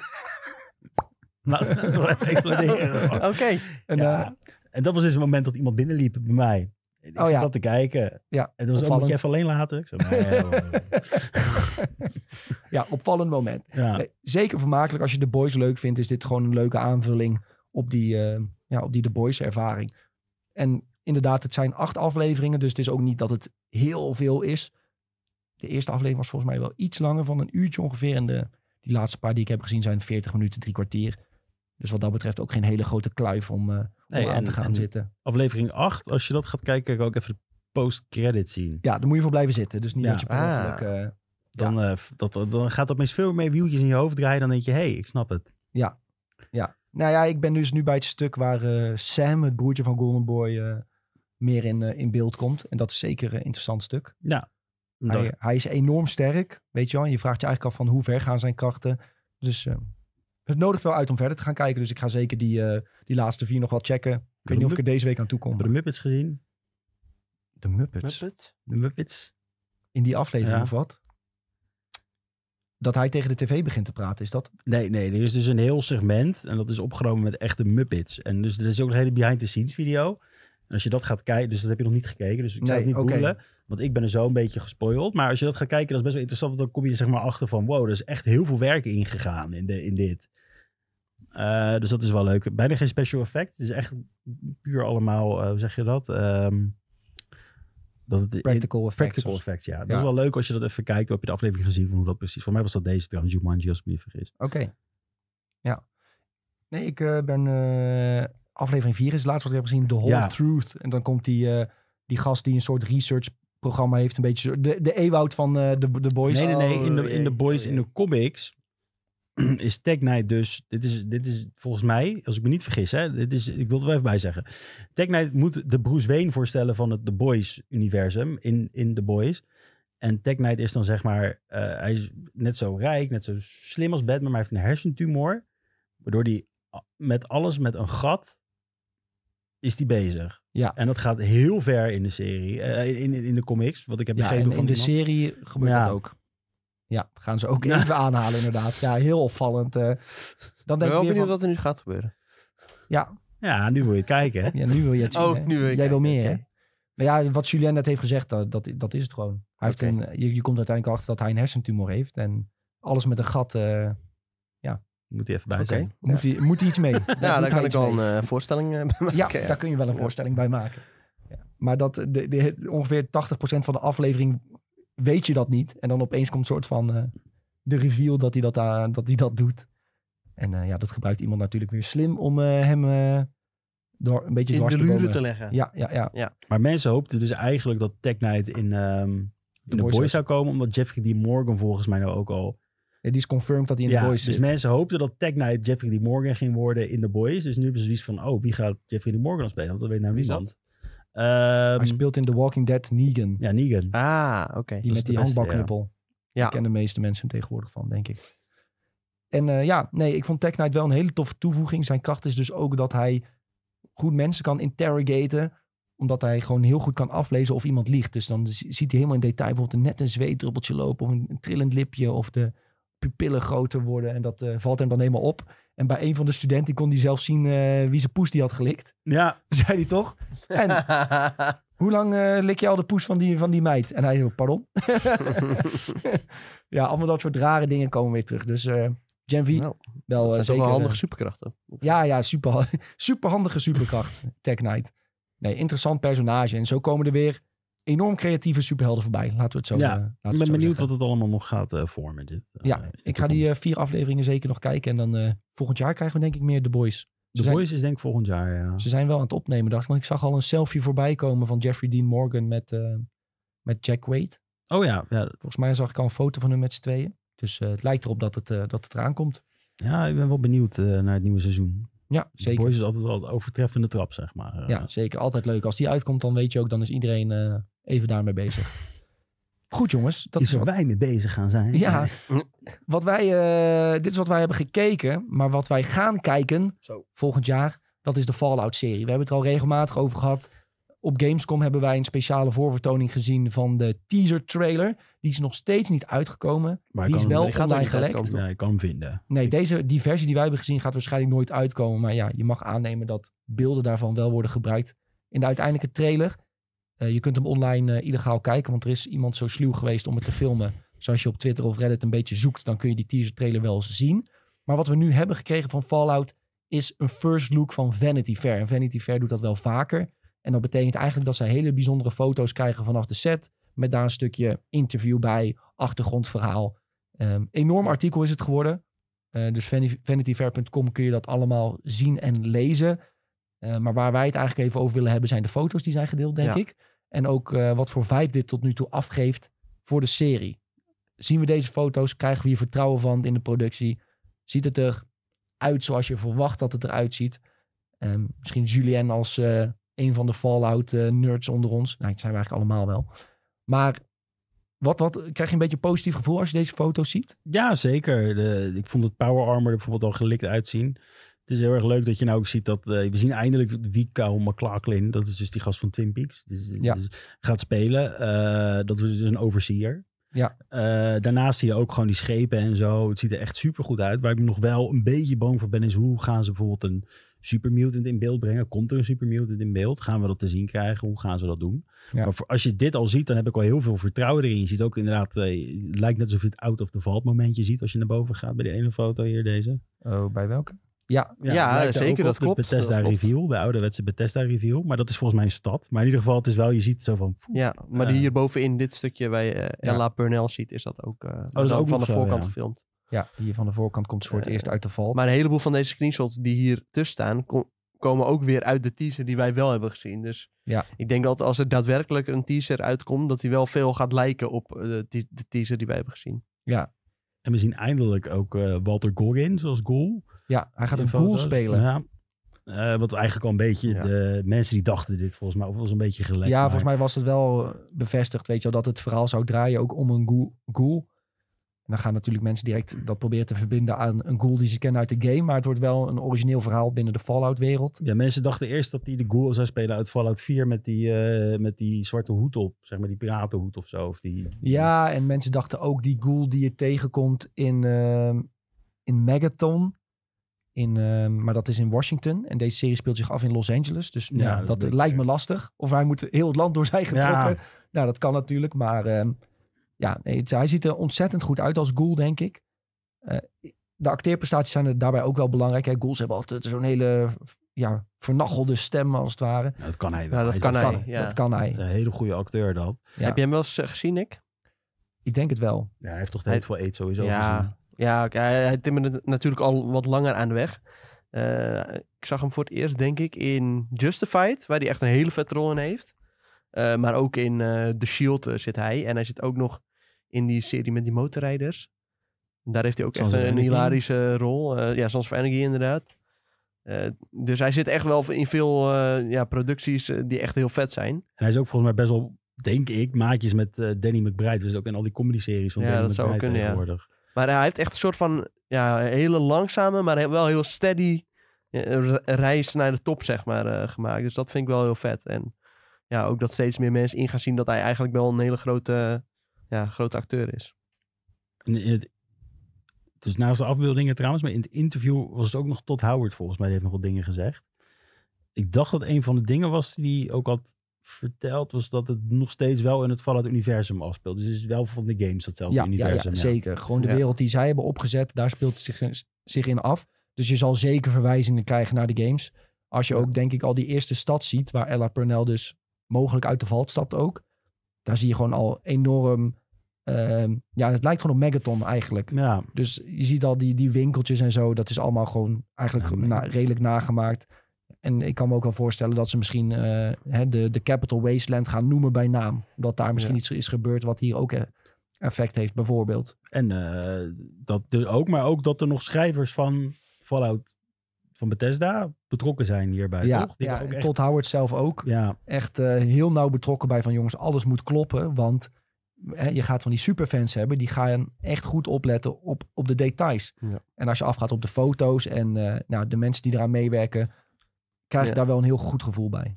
Speaker 3: Nou, dat is wel even exploderen.
Speaker 2: Oké.
Speaker 1: en,
Speaker 3: Ja.
Speaker 1: eh,
Speaker 3: En dat was dus het moment dat iemand binnenliep bij mij. En Ik
Speaker 1: Oh,
Speaker 3: zat
Speaker 1: ja.
Speaker 3: dat te kijken.
Speaker 1: Ja,
Speaker 3: En toen was ook,
Speaker 1: opvallend.
Speaker 3: moet je even alleen laten? Ik zei, nee, hoor.
Speaker 1: ja, opvallend moment.
Speaker 3: ja.
Speaker 1: Nee, Eh, zeker vermakelijk. Als je de boys leuk vindt, is dit gewoon een leuke aanvulling op die, eh, ja, op die de boys ervaring. En inderdaad, het zijn acht afleveringen. Dus het is ook niet dat het heel veel is. De eerste aflevering was volgens mij wel iets langer van een uurtje ongeveer. En de, die laatste paar die ik heb gezien zijn 40 minuten, drie kwartier. Dus wat dat betreft ook geen hele grote kluif om, eh, om
Speaker 3: Nee,
Speaker 1: aan
Speaker 3: en-
Speaker 1: te gaan
Speaker 3: en-
Speaker 1: zitten.
Speaker 3: Aflevering 8, als je dat gaat kijken, kan ik ook even de post-credit zien.
Speaker 1: Ja, daar moet je voor blijven zitten. Dus niet
Speaker 3: Ja.
Speaker 1: dat je per
Speaker 2: Ah.
Speaker 1: ongeluk, eh,
Speaker 3: Dan, eh, f- dat, dat- dan gaat dat meest veel meer wieltjes in je hoofd draaien. Dan denk je, hé, hey, ik snap het.
Speaker 1: Nou ja, ik ben dus nu bij het stuk waar eh, Sam, het broertje van Golden Boy, eh, meer in, eh, in beeld komt. En dat is zeker een interessant stuk.
Speaker 3: Dan-
Speaker 1: Hij, hij is enorm sterk, weet je wel. En je vraagt je eigenlijk af van hoe ver gaan zijn krachten. Dus eh, het nodigt wel uit om verder te gaan kijken. Dus ik ga zeker die, eh, die laatste vier nog wel checken. Ik weet niet of ik er deze week aan toe kom.
Speaker 3: Hebben we de Muppets gezien?
Speaker 1: De Muppets.
Speaker 2: Muppet.
Speaker 3: De Muppets?
Speaker 1: In die aflevering
Speaker 3: Ja.
Speaker 1: of wat? Dat hij tegen de tv begint te praten, is dat?
Speaker 3: Nee, nee, er is dus een heel segment. En dat is opgenomen met echte Muppets. En dus er is ook een hele behind-the-scenes video. En als je dat gaat kijken, dus dat heb je nog niet gekeken. Dus ik
Speaker 1: Nee,
Speaker 3: zou het niet
Speaker 1: oké.
Speaker 3: googlen. Want ik ben er zo een beetje gespoild. Maar als je dat gaat kijken, dat is best wel interessant. Want dan kom je er zeg maar achter van, wow, er is echt heel veel werk ingegaan in, de, in dit. Eh, dus dat is wel leuk. Bijna geen special effect. Het is echt puur allemaal, eh, hoe zeg je dat? Ehm, dat het in-
Speaker 1: Practical effects.
Speaker 3: Practical
Speaker 1: of-
Speaker 3: effects, ja. Dat
Speaker 1: Ja.
Speaker 3: is wel leuk als je dat even kijkt. Dan heb je de aflevering gezien van hoe dat precies... Voor mij was dat deze trouwens, Jumanji, als ik me niet vergis.
Speaker 1: Oké. Ja. Nee, ik eh, ben... eh, aflevering 4 is het laatst wat ik heb gezien. The Whole
Speaker 3: Ja.
Speaker 1: Truth. En dan komt die, eh, die gast die een soort research programma heeft een beetje zo- de, de Ewoud van eh, de, de Boys.
Speaker 3: Nee, nee, nee.
Speaker 2: Oh,
Speaker 3: In de, in de
Speaker 2: jee,
Speaker 3: boys,
Speaker 2: oh,
Speaker 3: in de comics is Tech Knight dus... Dit is, dit is volgens mij, als ik me niet vergis, hè, dit is, ik wil het er wel even bij zeggen. Tech Knight moet de Bruce Wayne voorstellen van het The Boys-universum in, in The Boys. En Tech Knight is dan zeg maar... eh, hij is net zo rijk, net zo slim als Batman, maar hij heeft een hersentumor. Waardoor hij a- met alles, met een gat, is hij bezig.
Speaker 1: Ja.
Speaker 3: En dat gaat heel ver in de serie, eh, in, in, in de comics, wat ik heb
Speaker 1: Ja,
Speaker 3: begrepen
Speaker 1: en
Speaker 3: van
Speaker 1: in de
Speaker 3: iemand.
Speaker 1: serie gebeurt
Speaker 3: Ja.
Speaker 1: dat ook. Ja, gaan ze ook
Speaker 3: Ja.
Speaker 1: even aanhalen inderdaad. Ja, heel opvallend. eh. dan denk
Speaker 2: ben wel
Speaker 1: je weer
Speaker 2: benieuwd
Speaker 1: van,
Speaker 2: wat er nu gaat gebeuren.
Speaker 3: Ja, nu wil je het kijken, hè?
Speaker 1: ja, nu wil je het zien.
Speaker 2: Oh,
Speaker 1: hè?
Speaker 2: nu wil ik
Speaker 1: Jij wil
Speaker 2: kijken,
Speaker 1: meer, hè?
Speaker 2: oké.
Speaker 1: Maar ja, wat Julien net heeft gezegd, dat, dat, dat is het gewoon. Hij heeft
Speaker 2: Oké.
Speaker 1: een, je, je komt uiteindelijk achter dat hij een hersentumor heeft. En alles met een gat, eh,
Speaker 3: Moet hij even bij
Speaker 2: Oké.
Speaker 3: zijn.
Speaker 1: moet, hij, moet hij iets mee. Daar
Speaker 2: Nou,
Speaker 1: doet
Speaker 2: daar
Speaker 1: hij
Speaker 2: kan ik
Speaker 1: iets
Speaker 2: al
Speaker 1: mee.
Speaker 2: een eh, voorstelling eh, bij maken.
Speaker 1: Ja,
Speaker 2: ja.
Speaker 1: daar kun je wel een
Speaker 2: Ja.
Speaker 1: voorstelling bij maken. Ja. Maar dat, eh, de, de, het- ongeveer 80% van de aflevering weet je dat niet. En dan opeens komt een soort van eh, de reveal dat hij dat, eh, dat, hij dat doet. En eh, ja, dat gebruikt iemand natuurlijk weer slim om eh, hem eh, door, een beetje
Speaker 2: In
Speaker 1: dwars
Speaker 2: de
Speaker 1: te bomen.
Speaker 2: luren te leggen.
Speaker 1: Ja, ja, ja.
Speaker 3: Maar mensen hoopten dus eigenlijk dat Tech Knight in, ehm, in de
Speaker 1: Boys
Speaker 3: Boys
Speaker 1: was.
Speaker 3: zou komen. Omdat Jeffrey D. Morgan volgens mij nou ook al...
Speaker 1: Ja, Die is confirmed dat hij in
Speaker 3: ja,
Speaker 1: de boys
Speaker 3: dus
Speaker 1: zit.
Speaker 3: mensen hoopten dat Tech Knight Jeffrey D. Morgan ging worden in de Boys. Dus nu hebben ze zoiets van, oh, wie gaat Jeffrey D. Morgan dan spelen? Want dat weet nou
Speaker 2: Wie is
Speaker 3: niemand. Ehm,
Speaker 1: Hij speelt in The Walking Dead Negan.
Speaker 3: Ja, Negan.
Speaker 2: Ah, oké.
Speaker 1: die
Speaker 3: is
Speaker 1: met
Speaker 3: de
Speaker 1: die
Speaker 3: beste,
Speaker 1: handbalknuppel.
Speaker 2: Ja.
Speaker 1: Ja. Ik ken de meeste mensen hem tegenwoordig van, denk ik. En eh, ja, nee, ik vond Tech Knight wel een hele toffe toevoeging. Zijn kracht is dus ook dat hij goed mensen kan interrogaten. Omdat hij gewoon heel goed kan aflezen of iemand liegt. Dus dan z- ziet hij helemaal in detail bijvoorbeeld net een zweetdruppeltje lopen. Of een, een trillend lipje. Of de pupillen groter worden. En dat eh, valt hem dan helemaal op. En bij een van de studenten kon hij zelf zien eh, wie zijn poes die had gelikt.
Speaker 3: Ja,
Speaker 1: Zei hij toch? En hoe lang eh, lik je al de poes van die, van die meid? En hij zei, pardon? ja, allemaal dat soort rare dingen komen weer terug. Dus eh Gen V,
Speaker 2: Nou,
Speaker 1: wel
Speaker 2: dat
Speaker 1: eh,
Speaker 2: zijn toch
Speaker 1: zeker...
Speaker 2: wel
Speaker 1: eh,
Speaker 2: handige superkrachten.
Speaker 1: ja, ja, super, superhandige superkracht, Tech Knight. Nee, interessant personage. En zo komen er weer enorm creatieve superhelden voorbij. Laten we het zo
Speaker 3: Ja,
Speaker 1: eh, laten we
Speaker 3: ik
Speaker 1: het
Speaker 3: ben
Speaker 1: zo
Speaker 3: benieuwd
Speaker 1: zeggen.
Speaker 3: wat het allemaal nog gaat eh, vormen. Dit, eh, in
Speaker 1: Ja,
Speaker 3: de
Speaker 1: ik ga die
Speaker 3: toekomst.
Speaker 1: eh, vier afleveringen zeker nog kijken. En dan eh, volgend jaar krijgen we denk ik meer The Boys.
Speaker 3: de
Speaker 1: zijn-
Speaker 3: Boys is denk ik volgend jaar, ja.
Speaker 1: Ze zijn wel aan het opnemen, dacht ik. Want ik zag al een selfie voorbij komen van Jeffrey Dean Morgan met, eh, met Jack Wade.
Speaker 3: Oh ja, ja,
Speaker 1: Volgens mij zag ik al een foto van hun met z'n tweeën. Dus eh, het lijkt erop dat het, eh, dat het eraan komt.
Speaker 3: ja, ik ben wel benieuwd eh, naar het nieuwe seizoen.
Speaker 1: Ja,
Speaker 3: De
Speaker 1: zeker.
Speaker 3: Boys is altijd wel de overtreffende trap, zeg maar. eh.
Speaker 1: Ja, zeker. Altijd leuk. Als die uitkomt, dan weet je ook, dan is iedereen eh, even daarmee bezig. Goed jongens, dat is
Speaker 3: is waar
Speaker 1: wat,
Speaker 3: wij mee bezig gaan zijn.
Speaker 1: Ja. wat wij, eh, dit is wat wij hebben gekeken. Maar wat wij gaan kijken
Speaker 3: Zo.
Speaker 1: volgend jaar, dat is de Fallout-serie. We hebben het er al regelmatig over gehad. Op Gamescom hebben wij een speciale voorvertoning gezien van de teaser-trailer. Die is nog steeds niet uitgekomen.
Speaker 3: Maar
Speaker 1: Die
Speaker 3: ik
Speaker 1: is
Speaker 3: kan hem-
Speaker 1: wel
Speaker 2: die gaat er
Speaker 1: online
Speaker 2: niet
Speaker 1: gelekt.
Speaker 2: uitkomen.
Speaker 3: Ja, ik kan hem vinden.
Speaker 1: Nee,
Speaker 3: Ik-
Speaker 1: deze die versie die wij hebben gezien gaat waarschijnlijk nooit uitkomen. Maar ja, je mag aannemen dat beelden daarvan wel worden gebruikt in de uiteindelijke trailer. Eh, je kunt hem online eh, illegaal kijken, want er is iemand zo sluw geweest om het te filmen. Dus als je op Twitter of Reddit een beetje zoekt, dan kun je die teaser trailer wel eens zien. Maar wat we nu hebben gekregen van Fallout is een first look van Vanity Fair. En Vanity Fair doet dat wel vaker. En dat betekent eigenlijk dat zij hele bijzondere foto's krijgen vanaf de set. Met daar een stukje interview bij, achtergrondverhaal. Ehm, enorm artikel is het geworden. Eh, dus vanity- vanityfair.com kun je dat allemaal zien en lezen. Eh, maar waar wij het eigenlijk even over willen hebben zijn de foto's die zijn gedeeld, denk
Speaker 2: Ja.
Speaker 1: ik. En ook eh, wat voor vibe dit tot nu toe afgeeft voor de serie. Zien we deze foto's? Krijgen we hier vertrouwen van in de productie? Ziet het eruit zoals je verwacht dat het eruit ziet? Ehm, misschien Julien als eh, een van de Fallout-nerds onder ons. Nou, dat zijn we eigenlijk allemaal wel. Maar wat, wat, krijg je een beetje een positief gevoel als je deze foto's ziet?
Speaker 3: Ja, zeker. De, ik vond het Power Armor er bijvoorbeeld al gelikt uitzien. Het is heel erg leuk dat je nou ook ziet dat... eh, we zien eindelijk wie Kyle MacLachlan, dat is dus die gast van Twin Peaks, dus,
Speaker 1: Ja.
Speaker 3: dus gaat spelen. Eh, dat is dus een overseer.
Speaker 1: Ja.
Speaker 3: Eh, daarnaast zie je ook gewoon die schepen en zo. Het ziet er echt supergoed uit. Waar ik nog wel een beetje bang voor ben is hoe gaan ze bijvoorbeeld een supermutant in beeld brengen? Komt er een supermutant in beeld? Gaan we dat te zien krijgen? Hoe gaan ze dat doen?
Speaker 1: Ja.
Speaker 3: Maar voor- als je dit al ziet, dan heb ik al heel veel vertrouwen erin. Je ziet ook inderdaad, eh, het lijkt net alsof je het out of the vault momentje ziet als je naar boven gaat bij de ene foto hier, deze.
Speaker 1: Oh, bij welke? Ja,
Speaker 2: Ja,
Speaker 3: het lijkt er
Speaker 2: zeker,
Speaker 3: ook op
Speaker 2: dat
Speaker 3: de
Speaker 2: klopt,
Speaker 3: Bethesda
Speaker 2: dat klopt.
Speaker 3: Reveal, de ouderwetse Bethesda Reveal. Maar dat is volgens mij een stad. Maar in ieder geval, het is wel, je ziet zo van,
Speaker 2: Ja, maar die
Speaker 3: Eh.
Speaker 2: hier bovenin dit stukje bij eh, Ella Purnell ziet, is dat ook, eh, maar dan
Speaker 3: ook
Speaker 2: van
Speaker 3: nog
Speaker 2: de
Speaker 3: zo,
Speaker 2: voorkant
Speaker 3: ja.
Speaker 2: gefilmd.
Speaker 1: Ja, hier van de voorkant komt ze voor het
Speaker 2: Eh,
Speaker 1: eerst uit de val.
Speaker 2: Maar een heleboel van deze screenshots die hier tussen staan, ko- komen ook weer uit de teaser die wij wel hebben gezien. Dus
Speaker 1: Ja.
Speaker 2: Ik denk dat als er daadwerkelijk een teaser uitkomt, dat hij wel veel gaat lijken op eh, de, de teaser die wij hebben gezien.
Speaker 3: En we zien eindelijk ook eh, Walter Goggin, zoals goal.
Speaker 1: Ja, hij gaat
Speaker 3: In
Speaker 1: een goal
Speaker 3: foto's.
Speaker 1: spelen.
Speaker 3: Ja. Eh, wat eigenlijk al een beetje
Speaker 2: Ja.
Speaker 3: de mensen die dachten dit volgens mij, of was een beetje
Speaker 1: Ja,
Speaker 3: gelijk.
Speaker 1: volgens mij was het wel eh, bevestigd, weet je wel, dat het verhaal zou draaien ook om een goal. goal. En dan gaan natuurlijk mensen direct dat proberen te verbinden aan een goal die ze kennen uit de game. Maar het wordt wel een origineel verhaal binnen de Fallout-wereld.
Speaker 3: Ja, mensen dachten eerst dat hij de goal zou spelen uit Fallout 4 met die, eh, met die zwarte hoed op. Zeg maar die piratenhoed of zo. Of die,
Speaker 1: Ja, en mensen dachten ook die ghoul die je tegenkomt in, ehm, in Megaton. In, ehm, maar dat is in Washington. En deze serie speelt zich af in Los Angeles. Dus nou,
Speaker 3: Ja, dat is
Speaker 1: dat
Speaker 3: een
Speaker 1: lijkt me
Speaker 3: beetje-
Speaker 1: lastig. Of hij moet heel het land door zijn getrokken. Nou, dat kan natuurlijk. Maar ehm, ja, nee, het- hij ziet er ontzettend goed uit als ghoul, denk ik. Eh, de acteerprestaties zijn er daarbij ook wel belangrijk. Hè? Ghouls hebben altijd zo'n hele ja, vernachelde stem, als het ware.
Speaker 3: Nou, dat kan hij wel.
Speaker 2: Ja, dat
Speaker 3: Hij
Speaker 2: kan
Speaker 3: is
Speaker 2: hij.
Speaker 3: een-
Speaker 2: ja.
Speaker 1: Dat kan hij.
Speaker 3: Een hele goede acteur dat.
Speaker 1: Ja.
Speaker 2: Heb jij hem wel eens eh, gezien, Nick?
Speaker 1: Ik denk het wel.
Speaker 3: Ja, hij heeft toch
Speaker 2: Hij-
Speaker 3: heel veel eet sowieso gezien.
Speaker 2: ja, ja oké, hij, hij timmerde natuurlijk al wat langer aan de weg. Eh, ik zag hem voor het eerst, denk ik, in Justified, waar hij echt een hele vette rol in heeft. Eh, maar ook in eh, The Shield eh, zit hij. En hij zit ook nog in die serie met die motorrijders. Daar heeft hij ook
Speaker 3: Sons
Speaker 2: echt
Speaker 3: of
Speaker 2: een, een
Speaker 3: Anarchy.
Speaker 2: hilarische rol. Eh, ja, Sons of Anarchy inderdaad. Eh, dus hij zit echt wel in veel eh, ja, producties eh, die echt heel vet zijn.
Speaker 3: En hij is ook volgens mij best wel, denk ik, maatjes met eh, Danny McBride. Dus ook in al die comedy-series van
Speaker 2: Ja,
Speaker 3: Danny
Speaker 2: dat zou
Speaker 3: McBride
Speaker 2: wel kunnen, ja.
Speaker 3: tegenwoordig.
Speaker 2: Maar hij heeft echt een soort van ja, hele langzame, maar he- wel heel steady eh, re- reis naar de top, zeg maar, eh, gemaakt. Dus dat vind ik wel heel vet. En ja, ook dat steeds meer mensen in gaan zien dat hij eigenlijk wel een hele grote, ja, grote acteur is.
Speaker 3: En in het, dus naast de afbeeldingen trouwens, maar in het interview was het ook nog tot Howard volgens mij. Die heeft nog wat dingen gezegd. Ik dacht dat een van de dingen was die hij ook had verteld, was dat het nog steeds wel in het Fallout-universum afspeelt. Dus het is wel van de games datzelfde
Speaker 1: Ja, ja, ja,
Speaker 3: universum. ja.
Speaker 1: zeker. Gewoon de
Speaker 2: Ja.
Speaker 1: wereld die zij hebben opgezet, daar speelt het zich, zich in af. Dus je zal zeker verwijzingen krijgen naar de games. Als je ook, denk ik, al die eerste stad ziet, waar Ella Purnell dus mogelijk uit de valt stapt ook. Daar zie je gewoon al enorm... ehm, ja, het lijkt gewoon op Megaton eigenlijk.
Speaker 3: Ja,
Speaker 1: Dus je ziet al die, die winkeltjes en zo. Dat is allemaal gewoon eigenlijk
Speaker 3: Ja,
Speaker 1: na- redelijk nagemaakt. En ik kan me ook wel voorstellen dat ze misschien eh, hè, de, de Capital Wasteland gaan noemen bij naam. Omdat daar misschien
Speaker 2: Ja.
Speaker 1: iets is gebeurd wat hier ook eh, effect heeft, bijvoorbeeld.
Speaker 3: en eh, dat er ook, maar ook dat er nog schrijvers van Fallout van Bethesda betrokken zijn hierbij,
Speaker 1: ja,
Speaker 3: toch? Die
Speaker 1: ja
Speaker 3: ook
Speaker 1: en
Speaker 3: echt-
Speaker 1: Todd Howard zelf ook.
Speaker 3: ja,
Speaker 1: Echt eh, heel nauw betrokken bij van jongens, alles moet kloppen. Want hè, je gaat van die superfans hebben, die gaan echt goed opletten op, op de details.
Speaker 2: Ja.
Speaker 1: En als je afgaat op de foto's en eh, nou, de mensen die eraan meewerken, krijg je
Speaker 2: Ja.
Speaker 1: daar wel een heel goed gevoel bij.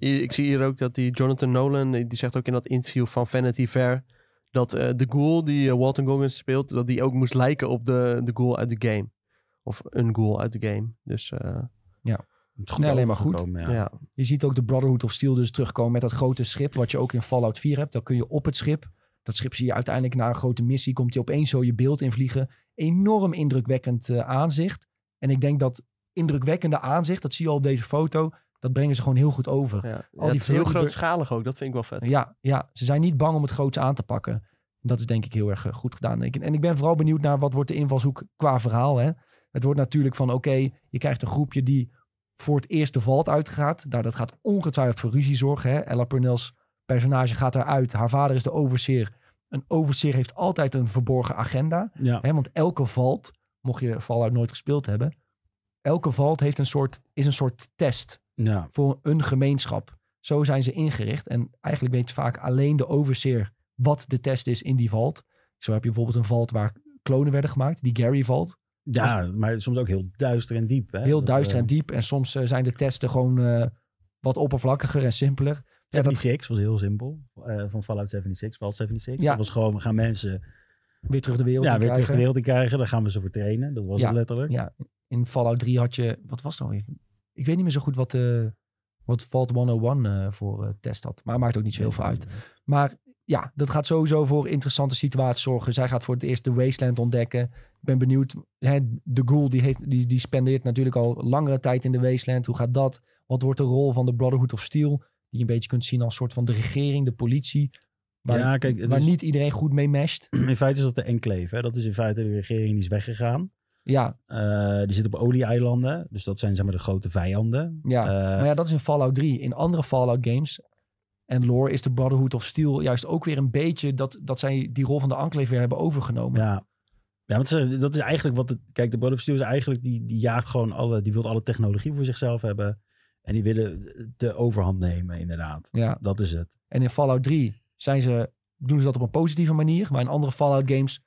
Speaker 2: I- Ik zie hier ook dat die Jonathan Nolan, eh, die zegt ook in dat interview van Vanity Fair, dat eh, de ghoul die eh, Walton Goggins speelt, dat die ook moest lijken op de, de ghoul uit de game. Of een ghoul uit de game. Dus eh,
Speaker 3: het is goed
Speaker 1: Nee, alleen maar goed.
Speaker 3: overgekomen,
Speaker 2: ja.
Speaker 3: Ja.
Speaker 1: Je ziet ook de Brotherhood of Steel dus terugkomen met dat grote schip, wat je ook in Fallout 4 hebt. Dan kun je op het schip, dat schip zie je uiteindelijk na een grote missie, komt hij opeens zo je beeld invliegen. Enorm indrukwekkend eh, aanzicht. En ik denk dat indrukwekkende aanzicht, dat zie je al op deze foto, dat brengen ze gewoon heel goed over.
Speaker 2: ja. Ja,
Speaker 1: die
Speaker 2: het is heel
Speaker 1: vleugelbe-
Speaker 2: grootschalig ook, dat vind ik wel vet.
Speaker 1: Ja, ja, ze zijn niet bang om het groots aan te pakken. Dat is denk ik heel erg eh, goed gedaan. Ik- En ik ben vooral benieuwd naar wat wordt de invalshoek qua verhaal. Hè? Het wordt natuurlijk van oké, je krijgt een groepje die voor het eerst de valt uitgaat. Nou, dat gaat ongetwijfeld voor ruzie zorgen. Hè? Ella Purnell's personage gaat daaruit. Haar vader is de overseer. Een overseer heeft altijd een verborgen agenda.
Speaker 3: Ja.
Speaker 1: Hè? Want elke valt, mocht je Fallout nooit gespeeld hebben... elke valt heeft een soort, is een soort test
Speaker 3: ja.
Speaker 1: voor een gemeenschap. Zo zijn ze ingericht. En eigenlijk weet vaak alleen de overseer wat de test is in die valt. Zo heb je bijvoorbeeld een valt waar klonen werden gemaakt, die Gary valt.
Speaker 3: Ja, maar soms ook heel duister en diep. Hè?
Speaker 1: Heel
Speaker 3: Dat,
Speaker 1: duister
Speaker 3: eh,
Speaker 1: en diep. En soms eh, zijn de testen gewoon eh, wat oppervlakkiger en simpeler. Ja, dat
Speaker 3: 76 was heel simpel. eh, van Fallout 76, Fallout 76.
Speaker 1: Ja.
Speaker 3: Dat was gewoon, we gaan mensen
Speaker 1: weer terug de wereld
Speaker 3: ja,
Speaker 1: in
Speaker 3: weer terug
Speaker 1: krijgen.
Speaker 3: de wereld in krijgen. Daar gaan we ze voor trainen. Dat was
Speaker 1: Ja.
Speaker 3: het letterlijk.
Speaker 1: Ja, in Fallout 3 had je, wat was dat? alweer? Ik weet niet meer zo goed wat, eh wat Vault 101 eh, voor eh, test had. Maar maakt ook niet zoveel uit. Maar ja, dat gaat sowieso voor interessante situaties zorgen. Zij gaat voor het eerst de Wasteland ontdekken. Ik ben benieuwd. Hè, de Ghoul die, heeft, die, die spendeert natuurlijk al langere tijd in de Wasteland. Hoe gaat dat? Wat wordt de rol van de Brotherhood of Steel? Die je een beetje kunt zien als soort van de regering, de politie. Waar,
Speaker 3: Ja, kijk, het
Speaker 1: waar
Speaker 3: is-
Speaker 1: niet iedereen goed mee mesht.
Speaker 3: In feite is dat de enclave. Hè? Dat is in feite de regering die is weggegaan.
Speaker 1: Ja,
Speaker 3: Eh, die zit op olieeilanden. Dus dat zijn zeg maar de grote vijanden.
Speaker 1: ja.
Speaker 3: Eh,
Speaker 1: maar ja, dat is in Fallout 3. In andere Fallout games en lore is de Brotherhood of Steel juist ook weer een beetje dat, dat zij die rol van de Enclave weer hebben overgenomen.
Speaker 3: Ja. Ja, want ze- dat is eigenlijk wat het... Kijk, de Brotherhood of Steel is eigenlijk... Die, die jaagt gewoon alle... Die wil alle technologie voor zichzelf hebben. En die willen de overhand nemen, inderdaad.
Speaker 1: Ja.
Speaker 3: Dat is het.
Speaker 1: En in Fallout 3 zijn ze, doen ze dat op een positieve manier. Maar in andere Fallout games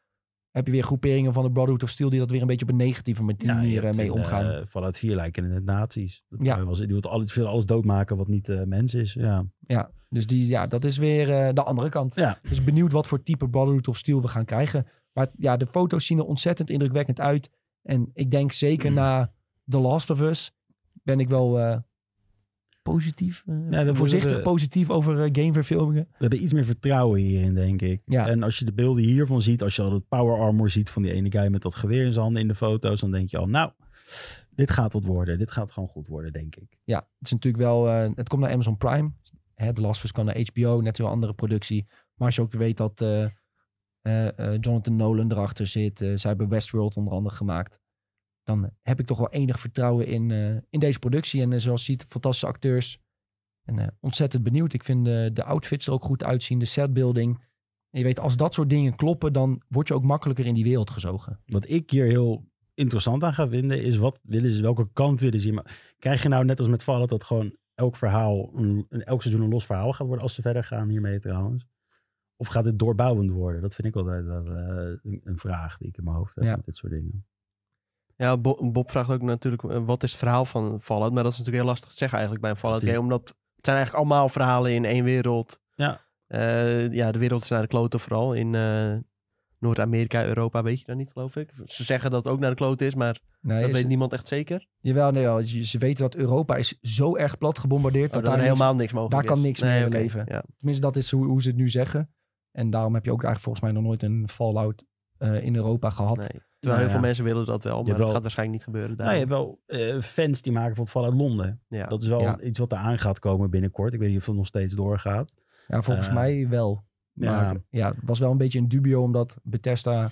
Speaker 1: heb je weer groeperingen van de Brotherhood of Steel die dat weer een beetje op een negatieve
Speaker 3: Ja, je
Speaker 1: manier eh,
Speaker 3: hebt
Speaker 1: mee
Speaker 3: in,
Speaker 1: omgaan.
Speaker 3: eh, Fallout 4 lijken in het nazi's. Dat
Speaker 1: Ja.
Speaker 3: ja. Was, die wil alles, die wil alles doodmaken wat niet eh, mens is. Ja.
Speaker 1: Ja, dus die, ja, dat is weer eh, de andere kant.
Speaker 3: Ja.
Speaker 1: Dus benieuwd wat voor type Brotherhood of Steel we gaan krijgen. Maar het- ja, de foto's zien er ontzettend indrukwekkend uit. En ik denk
Speaker 3: Mm.
Speaker 1: zeker na The Last of Us ben ik wel eh, positief, eh,
Speaker 3: Ja, we-
Speaker 1: voorzichtig
Speaker 3: we-
Speaker 1: positief over eh, gameverfilmingen.
Speaker 3: We hebben iets meer vertrouwen hierin, denk ik.
Speaker 1: Ja.
Speaker 3: En als je de beelden hiervan ziet, als je al het power armor ziet van die ene guy met dat geweer in zijn handen in de foto's, dan denk je al, nou, dit gaat wat worden. Dit gaat gewoon goed worden, denk ik.
Speaker 1: Ja, het is natuurlijk wel, eh, het komt naar Amazon Prime. Hè, The Last of Us kan naar HBO, net weer een andere productie. Maar als je ook weet dat eh, eh, eh, Jonathan Nolan erachter zit, eh, zij hebben Westworld onder andere gemaakt. Dan heb ik toch wel enig vertrouwen in, eh, in deze productie. En eh, zoals je ziet, fantastische acteurs. En eh, ontzettend benieuwd. Ik vind eh, de outfits er ook goed uitzien, de setbuilding. En je weet, als dat soort dingen kloppen, dan word je ook makkelijker in die wereld gezogen.
Speaker 3: Wat ik hier heel interessant aan ga vinden, is wat willen ze, welke kant willen ze hier maar Krijg je nou net als met Fallout dat gewoon elk verhaal, een, een- elk seizoen een los verhaal gaat worden als ze verder gaan hiermee trouwens? Of gaat dit doorbouwend worden? Dat vind ik altijd wel eh, een, een vraag die ik in mijn hoofd heb
Speaker 1: Ja.
Speaker 3: met dit soort dingen.
Speaker 2: Ja, Bo- Bob vraagt ook natuurlijk, eh, wat is het verhaal van Fallout? Maar dat is natuurlijk heel lastig te zeggen eigenlijk bij een Fallout
Speaker 3: Het is-
Speaker 2: game. Omdat het zijn eigenlijk allemaal verhalen in één wereld.
Speaker 3: Ja.
Speaker 2: Eh, ja, de wereld is naar de kloten vooral. In eh, Noord-Amerika, Europa weet je dat niet, geloof ik. Ze zeggen dat het ook naar de kloten is, maar
Speaker 1: Nee,
Speaker 2: dat
Speaker 1: is-
Speaker 2: weet niemand echt zeker.
Speaker 1: Jawel, nee, wel. Ze weten dat Europa is zo erg plat gebombardeerd...
Speaker 2: Oh, dat
Speaker 1: daar
Speaker 2: er
Speaker 1: niks-
Speaker 2: helemaal niks mogelijk
Speaker 1: daar
Speaker 2: is.
Speaker 1: kan niks meer
Speaker 2: oké,
Speaker 1: leven.
Speaker 2: Ja.
Speaker 1: Tenminste, dat is hoe, hoe ze het nu zeggen. En daarom heb je ook eigenlijk volgens mij nog nooit een Fallout eh, in Europa gehad.
Speaker 2: Nee. Terwijl
Speaker 3: Nou
Speaker 2: heel
Speaker 3: ja.
Speaker 2: veel mensen willen dat wel, maar
Speaker 3: wel-
Speaker 2: dat gaat waarschijnlijk niet gebeuren daar.
Speaker 3: Nou, je hebt wel eh, fans die maken van Fallout Londen.
Speaker 2: ja.
Speaker 3: Dat is wel
Speaker 1: Ja.
Speaker 3: iets wat eraan gaat komen binnenkort. Ik weet niet of het nog steeds doorgaat.
Speaker 1: Ja, volgens
Speaker 3: Eh,
Speaker 1: mij wel. Maar ja.
Speaker 3: ja.
Speaker 1: het was wel een beetje een dubio, omdat Bethesda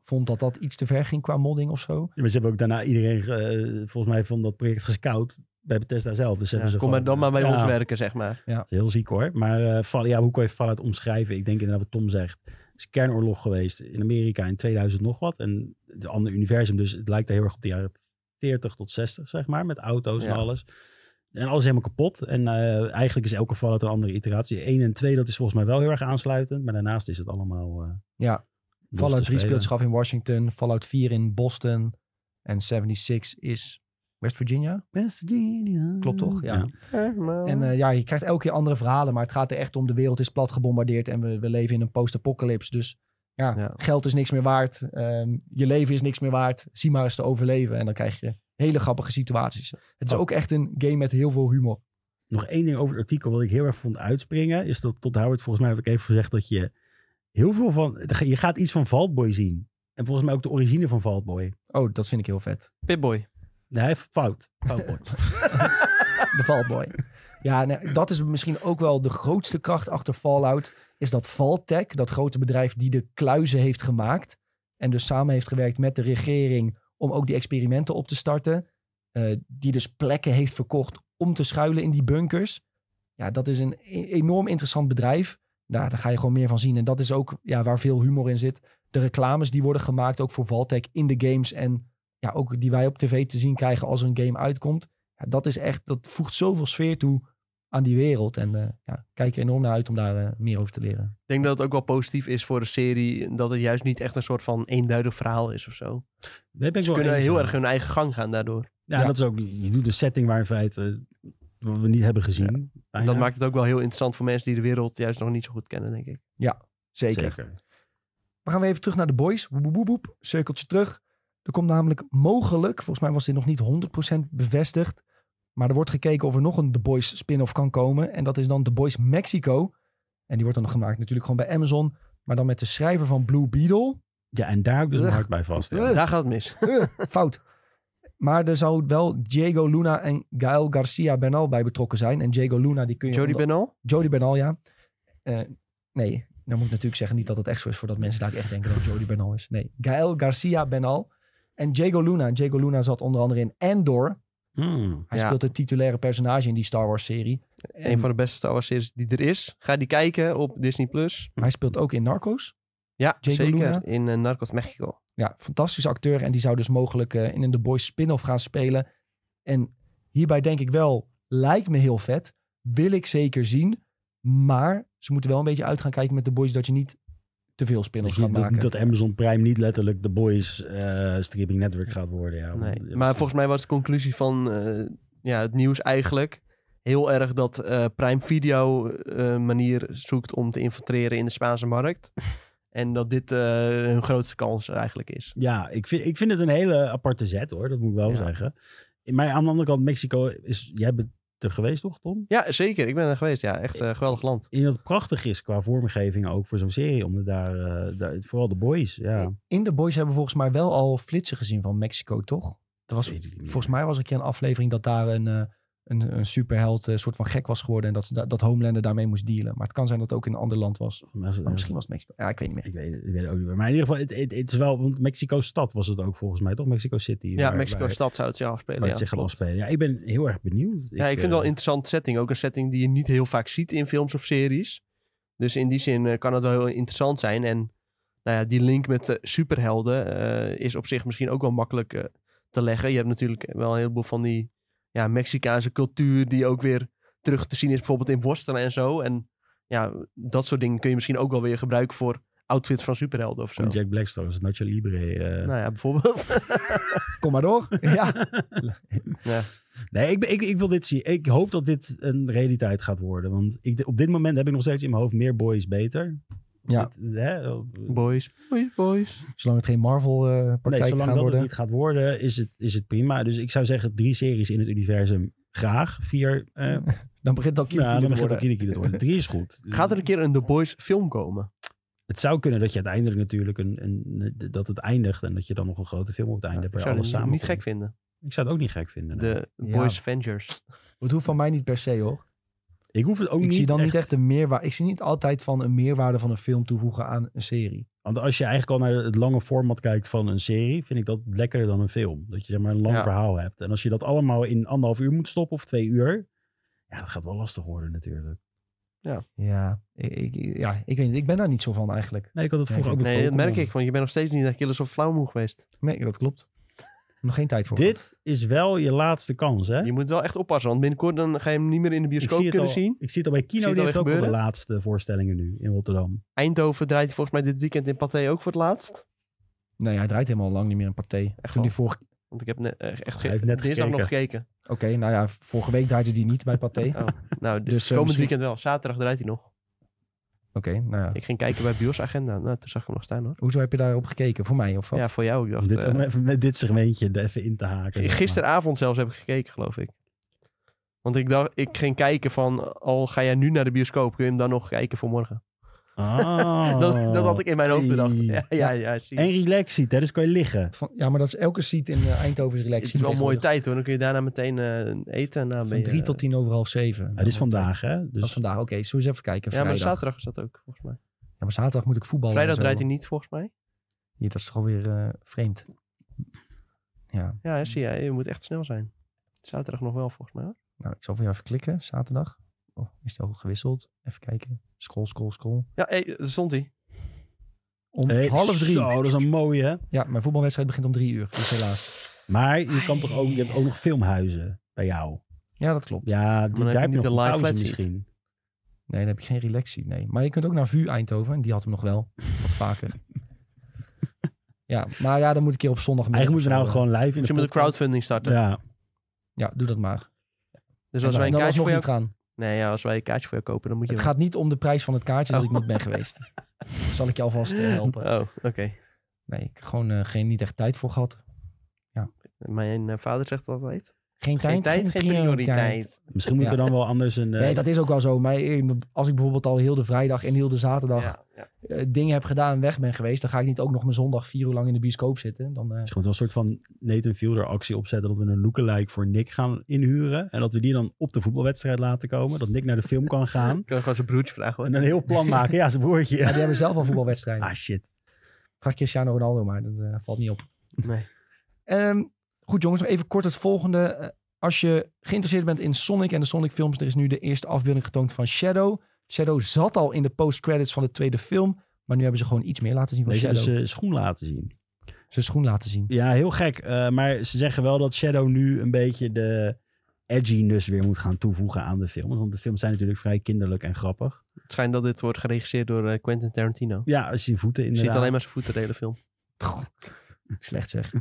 Speaker 1: vond dat dat iets te ver ging qua modding of zo.
Speaker 3: Maar ze hebben ook daarna iedereen, eh, volgens mij, van dat project gescout bij Bethesda zelf. Dus ze
Speaker 2: Ja,
Speaker 3: hebben ze
Speaker 2: kom maar
Speaker 3: gewoon,
Speaker 2: dan maar bij
Speaker 3: ja,
Speaker 2: ons werken, zeg maar.
Speaker 3: dat is heel ziek hoor. Maar eh, Fall- ja, hoe kan je Fallout omschrijven? Ik denk inderdaad wat Tom zegt. Het is kernoorlog geweest in Amerika in 2000 nog wat. En het andere universum, dus het lijkt er heel erg op de jaren 40 tot 60, zeg maar. Met auto's
Speaker 2: Ja.
Speaker 3: en alles. En alles helemaal kapot. En eh, eigenlijk is elke Fallout een andere iteratie. 1 en 2, dat is volgens mij wel heel erg aansluitend. Maar daarnaast is het allemaal... eh,
Speaker 1: Ja.
Speaker 3: los
Speaker 1: Fallout
Speaker 3: te
Speaker 1: 3
Speaker 3: spelen.
Speaker 1: speelt zich af in Washington, Fallout 4 in Boston en 76 is West Virginia.
Speaker 3: West Virginia.
Speaker 1: Klopt toch? Ja.
Speaker 3: Ja.
Speaker 1: En
Speaker 2: Oh.
Speaker 1: eh, ja, je krijgt elke keer andere verhalen, maar het gaat er echt om de wereld is plat gebombardeerd en we, we leven in een post-apocalypse. Dus ja,
Speaker 2: Ja.
Speaker 1: geld is niks meer waard, ehm, je leven is niks meer waard, zie maar eens te overleven. En dan krijg je hele grappige situaties. Het is
Speaker 3: Oh.
Speaker 1: ook echt een game met heel veel humor.
Speaker 3: Nog één ding over het artikel wat ik heel erg vond uitspringen. Is dat tot Howard, volgens mij heb ik even gezegd dat je heel veel van... Je gaat iets van Valtboy zien. En volgens mij ook de origine van Valtboy.
Speaker 1: Oh, dat vind ik heel vet.
Speaker 2: Pipboy.
Speaker 3: Nee, hij heeft fout. Foutboy.
Speaker 1: De Fallboy. Ja, nee, dat is misschien ook wel de grootste kracht achter Fallout. Is dat Valtech, dat grote bedrijf die de kluizen heeft gemaakt. En dus samen heeft gewerkt met de regering om ook die experimenten op te starten. eh, die dus plekken heeft verkocht om te schuilen in die bunkers. Ja, dat is een e- enorm interessant bedrijf. Nou, daar ga je gewoon meer van zien. En dat is ook ja, waar veel humor in zit. De reclames die worden gemaakt ook voor Valtech in de games. En ja, ook die wij op tv te zien krijgen als er een game uitkomt. Ja, dat is echt, dat voegt zoveel sfeer toe aan die wereld. En eh, ja, ik kijk er enorm naar uit om daar eh, meer over te leren.
Speaker 2: Ik denk dat het ook wel positief is voor de serie dat het juist niet echt een soort van eenduidig verhaal is of zo.
Speaker 3: Daar ben ik
Speaker 2: Ze
Speaker 3: wel
Speaker 2: kunnen
Speaker 3: Oh, eens
Speaker 2: heel
Speaker 3: aan.
Speaker 2: erg hun eigen gang gaan daardoor.
Speaker 3: Ja,
Speaker 1: Ja.
Speaker 3: dat is ook... Je doet een setting waar in feite... eh, Wat we niet hebben gezien.
Speaker 2: En
Speaker 3: Bijna.
Speaker 2: dat maakt het ook wel heel interessant voor mensen die de wereld juist nog niet zo goed kennen, denk ik.
Speaker 1: Zeker. We gaan weer even terug naar de boys. Woep, woep, woep, woep. Cirkeltje terug. Er komt namelijk mogelijk, volgens mij was dit nog niet 100% bevestigd. Maar er wordt gekeken of er nog een The Boys spin-off kan komen. En dat is dan The Boys Mexico. En die wordt dan gemaakt natuurlijk gewoon bij Amazon. Maar dan met de schrijver van Blue Beetle.
Speaker 3: Ja, en daar hou ik dus mijn
Speaker 1: Ugh.
Speaker 3: hart bij vast. ja.
Speaker 1: Ugh.
Speaker 2: Daar gaat het mis.
Speaker 1: Fout. Maar er zou wel Diego Luna en Gael Garcia Bernal bij betrokken zijn. En Diego Luna, die kun je...
Speaker 2: Jody
Speaker 1: onder-
Speaker 2: Benal?
Speaker 1: Jody Bernal, ja. Eh, nee, dan moet ik natuurlijk zeggen niet dat het echt zo is... voordat mensen daar echt denken dat het Jody Bernal is. Nee, Gael Garcia Bernal. En Diego Luna. Diego Luna zat onder andere in Andor.
Speaker 3: Hmm.
Speaker 1: Hij
Speaker 2: Ja.
Speaker 1: speelt het titulaire personage in die Star Wars-serie.
Speaker 2: Een van de beste Star Wars series die er is. Ga die kijken op Disney+. Plus.
Speaker 1: Hij speelt ook in Narcos.
Speaker 2: Ja,
Speaker 1: Diego
Speaker 2: zeker.
Speaker 1: Luna?
Speaker 2: In eh, Narcos Mexico.
Speaker 1: Ja, fantastische acteur. En die zou dus mogelijk eh, in een The Boys spin-off gaan spelen. En hierbij denk ik wel, lijkt me heel vet. Wil ik zeker zien. Maar ze moeten wel een beetje uit gaan kijken met The Boys dat je niet te veel spin-offs
Speaker 3: Dus
Speaker 1: gaat
Speaker 3: niet dat,
Speaker 1: maken.
Speaker 3: dat Amazon Prime niet letterlijk de boys eh, streaming network gaat worden. Ja, Nou, Want-
Speaker 2: Nee. Maar volgens mij was de conclusie van eh, ja, het nieuws eigenlijk heel erg dat eh, Prime Video eh, een manier zoekt om te infiltreren in de Spaanse markt. en dat dit eh, hun grootste kans eigenlijk is.
Speaker 3: Ja, ik vind, ik vind het een hele aparte zet hoor. Dat moet ik wel
Speaker 2: Ja.
Speaker 3: zeggen. Maar aan de andere kant, Mexico is... Jij bent er geweest toch, Tom?
Speaker 2: Ja, zeker. Ik ben er geweest. Ja, echt een geweldig land.
Speaker 3: In dat het prachtig is qua vormgeving ook voor zo'n serie. Omdat daar, eh, daar... Vooral de boys, ja.
Speaker 1: In The Boys hebben we volgens mij wel al flitsen gezien van Mexico, toch? Dat was,
Speaker 3: Weet ik niet meer.
Speaker 1: volgens mij was er een keer een aflevering dat daar een, eh, een, een superheld eh, soort van gek was geworden. En dat, ze da- dat Homelander daarmee moest dealen. Maar het kan zijn dat het ook in een ander land was.
Speaker 3: Volgens mij was het
Speaker 1: Maar
Speaker 3: ergens-
Speaker 1: misschien was het Mexico. Ja, ik weet niet meer.
Speaker 3: Ik weet, het- ik weet het ook niet meer. Maar in ieder geval, het, het, het is wel... Want Mexico stad was het ook volgens mij, toch? Mexico City.
Speaker 2: Ja,
Speaker 3: waar-
Speaker 2: Mexico
Speaker 3: waar-
Speaker 2: stad zou het zich afspelen.
Speaker 3: waar
Speaker 2: ja,
Speaker 3: het zich gaat
Speaker 2: klopt.
Speaker 3: afspelen. Ja, ik ben heel erg benieuwd.
Speaker 2: Ja, ik vind het wel
Speaker 3: eh,
Speaker 2: een interessante setting. Ook een setting die je niet heel vaak ziet in films of series. Dus in die zin eh, kan het wel heel interessant zijn. En nou ja, die link met de superhelden eh, is op zich misschien ook wel makkelijk eh, te leggen. Je hebt natuurlijk wel een heleboel van die ja, Mexicaanse cultuur die ook weer terug te zien is. Bijvoorbeeld in worstelen en zo. En ja, dat soort dingen kun je misschien ook wel weer gebruiken voor outfits van superhelden of zo.
Speaker 3: van Jack Blackstar is Nacho Libre. eh,
Speaker 2: Nou ja, bijvoorbeeld.
Speaker 1: Kom maar door. ja.
Speaker 3: Nee, ik, ben- ik, ik wil dit zien. Ik hoop dat dit een realiteit gaat worden. Want ik, op dit moment heb ik nog steeds in mijn hoofd meer boys beter.
Speaker 1: ja,
Speaker 3: Dit, hè, eh, op-
Speaker 2: boys, boys, boys.
Speaker 1: zolang het geen Marvel-praktijk
Speaker 3: nee, zolang
Speaker 1: gaan
Speaker 3: dat
Speaker 1: worden.
Speaker 3: het niet gaat worden, is het, is het prima. Dus ik zou zeggen, drie series in het universum graag. Vier, eh, nou,
Speaker 1: Dan begint dat
Speaker 3: dan
Speaker 1: te
Speaker 3: begint het
Speaker 1: worden.
Speaker 3: ook iedere keer te worden. Drie is goed.
Speaker 2: Gaat er een keer een The Boys film komen?
Speaker 3: Het zou kunnen dat je uiteindelijk natuurlijk een, een, dat het eindigt en dat je dan nog een grote film op het einde
Speaker 2: ik
Speaker 3: hebt. waar
Speaker 2: zou
Speaker 3: alles
Speaker 2: het niet,
Speaker 3: samen.
Speaker 2: niet gek vinden.
Speaker 3: Ik zou het ook niet gek vinden. nee.
Speaker 2: De
Speaker 1: Ja.
Speaker 2: Boys Avengers.
Speaker 1: Het hoeft van mij niet per se, hoor.
Speaker 3: Ik hoef het ook
Speaker 1: ik
Speaker 3: niet.
Speaker 1: zie dan niet echt een meerwaarde. Ik zie niet altijd van een meerwaarde van een film toevoegen aan een serie.
Speaker 3: Want als je eigenlijk al naar het lange format kijkt van een serie, vind ik dat lekkerder dan een film. Dat je zeg maar een lang
Speaker 2: Ja.
Speaker 3: verhaal hebt. En als je dat allemaal in anderhalf uur moet stoppen of twee uur, ja, dat gaat wel lastig worden natuurlijk.
Speaker 1: Ja, ik, ik- ja, ik weet niet. Ik ben daar niet zo van eigenlijk.
Speaker 3: Nee, ik had het
Speaker 1: Nee,
Speaker 3: vroeger ook met
Speaker 2: Nee, dat
Speaker 3: Pokémon.
Speaker 2: merk ik, want je bent nog steeds niet naar Killers of Flower Moon geweest.
Speaker 1: Nee, dat klopt. Nog geen tijd voor.
Speaker 3: Dit is wel je laatste kans, hè?
Speaker 2: Je moet wel echt oppassen, want binnenkort dan ga je hem niet meer in de
Speaker 3: ik
Speaker 2: bioscoop
Speaker 3: zie, het
Speaker 2: kunnen
Speaker 3: al,
Speaker 2: zien.
Speaker 3: ik zie het al bij
Speaker 2: Zie
Speaker 3: Kino,
Speaker 2: je het
Speaker 3: die
Speaker 2: al
Speaker 3: heeft ook
Speaker 2: weer
Speaker 3: al de
Speaker 2: gebeuren?
Speaker 3: laatste voorstellingen nu in Rotterdam.
Speaker 2: Eindhoven draait hij volgens mij dit weekend in Pathé ook voor het laatst.
Speaker 1: Nee, hij draait helemaal lang niet meer in Pathé. Toen
Speaker 2: wel?
Speaker 1: die vorige...
Speaker 2: Want ik heb net, eh, echt
Speaker 3: Hij heeft net
Speaker 2: dinsdag nog gekeken.
Speaker 1: Oké, nou ja, vorige week draaide die niet bij Pathé. Oké,
Speaker 2: Oh, nou, dus
Speaker 1: Dus, eh,
Speaker 2: komend
Speaker 1: misschien-
Speaker 2: weekend wel. Zaterdag draait hij nog.
Speaker 1: nou ja.
Speaker 2: Ik ging kijken bij Bios Agenda. Nou, toen zag ik hem nog staan hoor.
Speaker 1: Hoezo heb je daarop gekeken? Voor mij of wat?
Speaker 2: Ja, voor jou. Ik dacht,
Speaker 3: Om, dit,
Speaker 2: eh,
Speaker 3: om even met dit segmentje er even in te haken.
Speaker 2: Gisteravond zelfs heb ik gekeken, geloof ik. Want ik dacht, ik ging kijken van, al ga jij nu naar de bioscoop, kun je hem dan nog kijken voor morgen?
Speaker 3: Ah.
Speaker 2: Dat, dat had ik in mijn hoofd bedacht.
Speaker 3: Hey.
Speaker 2: Ja, ja, ja. zie je.
Speaker 3: En relaxie, hè? dus kan je liggen.
Speaker 1: Van, ja, maar dat is elke seat in eh, Eindhoven is relaxed.
Speaker 2: Het is wel een mooie
Speaker 1: tegenwoordig.
Speaker 2: tijd hoor. Dan kun je daarna meteen eh, eten. En daarna ben
Speaker 1: Van
Speaker 2: je,
Speaker 1: drie tot tien over half zeven.
Speaker 3: Het is vandaag, hè?
Speaker 1: Dat
Speaker 3: Dus
Speaker 1: is vandaag. Oké, zullen we eens even kijken.
Speaker 2: Ja, maar
Speaker 1: Vrijdag. Ja, maar zaterdag,
Speaker 2: zaterdag is dat ook volgens mij.
Speaker 1: moet ik voetballen.
Speaker 2: Vrijdag
Speaker 1: en zo.
Speaker 2: draait hij niet volgens mij.
Speaker 1: Ja, dat is toch alweer eh, vreemd. Ja,
Speaker 2: Ja, hè, zie je. Je moet echt snel zijn. Zaterdag nog wel volgens mij. hoor.
Speaker 1: nou, ik zal voor jou even klikken. Zaterdag. Oh, is die al gewisseld? Even kijken. Scroll, scroll, scroll.
Speaker 2: Ja, hé, daar stond hij.
Speaker 1: Om
Speaker 3: Hey,
Speaker 1: half drie.
Speaker 3: Zo, dat is een mooie. hè?
Speaker 1: Ja, mijn voetbalwedstrijd begint om drie uur. Dus helaas.
Speaker 3: Maar je kan toch ook, je hebt ook nog filmhuizen bij jou.
Speaker 1: Ja, dat klopt.
Speaker 3: Ja, die,
Speaker 2: heb je
Speaker 3: daar heb je
Speaker 2: niet
Speaker 3: nog
Speaker 2: de
Speaker 3: een
Speaker 2: live
Speaker 3: pauze
Speaker 2: flat seat.
Speaker 3: misschien.
Speaker 1: Nee, dan heb ik geen relaxie. Nee. Maar je kunt ook naar VU Eindhoven. En die had hem nog wel. Wat vaker. ja, maar ja, dan moet ik hier op zondag
Speaker 3: Eigenlijk moeten we nou gewoon live in de
Speaker 2: Misschien moet de
Speaker 3: podcast-
Speaker 2: crowdfunding starten.
Speaker 3: Ja,
Speaker 1: Ja, doe dat maar.
Speaker 2: Dus
Speaker 1: En
Speaker 2: als wij een
Speaker 1: dan
Speaker 2: kaartje
Speaker 1: alsnog
Speaker 2: voor jou...
Speaker 1: niet gaan.
Speaker 2: Nee, ja, als wij een kaartje voor jou kopen, dan Oh. moet je...
Speaker 1: Het gaat niet om de prijs van het kaartje dat ik niet ben geweest. Zal ik je alvast eh, helpen?
Speaker 2: Oh, oké.
Speaker 1: Nee, ik heb gewoon eh, geen, niet echt tijd voor gehad.
Speaker 2: Mijn eh, vader zegt altijd.
Speaker 1: Geen tijd,
Speaker 2: Geen tijd, geen prioriteit.
Speaker 3: misschien moeten we dan wel anders een... eh,
Speaker 1: Nee, dat is ook wel zo. Maar eh, als ik bijvoorbeeld al heel de vrijdag en heel de zaterdag
Speaker 2: Ja, ja.
Speaker 1: eh, dingen heb gedaan en weg ben geweest, dan ga ik niet ook nog mijn zondag vier uur lang in de bioscoop zitten. Dan, eh,
Speaker 3: misschien moeten we een soort van Nathan Fielder actie opzetten... dat we een lookalike voor Nick gaan inhuren... en dat we die dan op de voetbalwedstrijd laten komen. Dat Nick naar de film kan gaan.
Speaker 2: Ik kan gewoon zijn broertje vragen
Speaker 3: En
Speaker 2: hoor.
Speaker 3: een heel plan maken. Ja, zijn
Speaker 1: ja,
Speaker 3: broertje.
Speaker 1: die hebben zelf al voetbalwedstrijden.
Speaker 3: Ah, shit.
Speaker 1: Vraag Cristiano Ronaldo maar, dat eh, valt niet op.
Speaker 2: Nee.
Speaker 1: Ehm, goed jongens, nog even kort het volgende. Eh, Als je geïnteresseerd bent in Sonic en de Sonic films, er is nu de eerste afbeelding getoond van Shadow. Shadow zat al in de post-credits van de tweede film. Maar nu hebben ze gewoon iets meer laten zien van
Speaker 3: Weet je,
Speaker 1: Shadow.
Speaker 3: hebben
Speaker 1: Ze...
Speaker 3: ze schoen laten zien.
Speaker 1: Zijn schoen laten zien.
Speaker 3: Ja, heel gek. eh, maar ze zeggen wel dat Shadow nu een beetje de edginess weer moet gaan toevoegen aan de films. Want de films zijn natuurlijk vrij kinderlijk en grappig.
Speaker 2: Het schijnt dat dit wordt geregisseerd door eh, Quentin Tarantino.
Speaker 3: Ja, als je die voeten
Speaker 2: Je
Speaker 3: inderdaad...
Speaker 2: ziet alleen maar zijn voeten de hele film.
Speaker 1: Slecht zeg.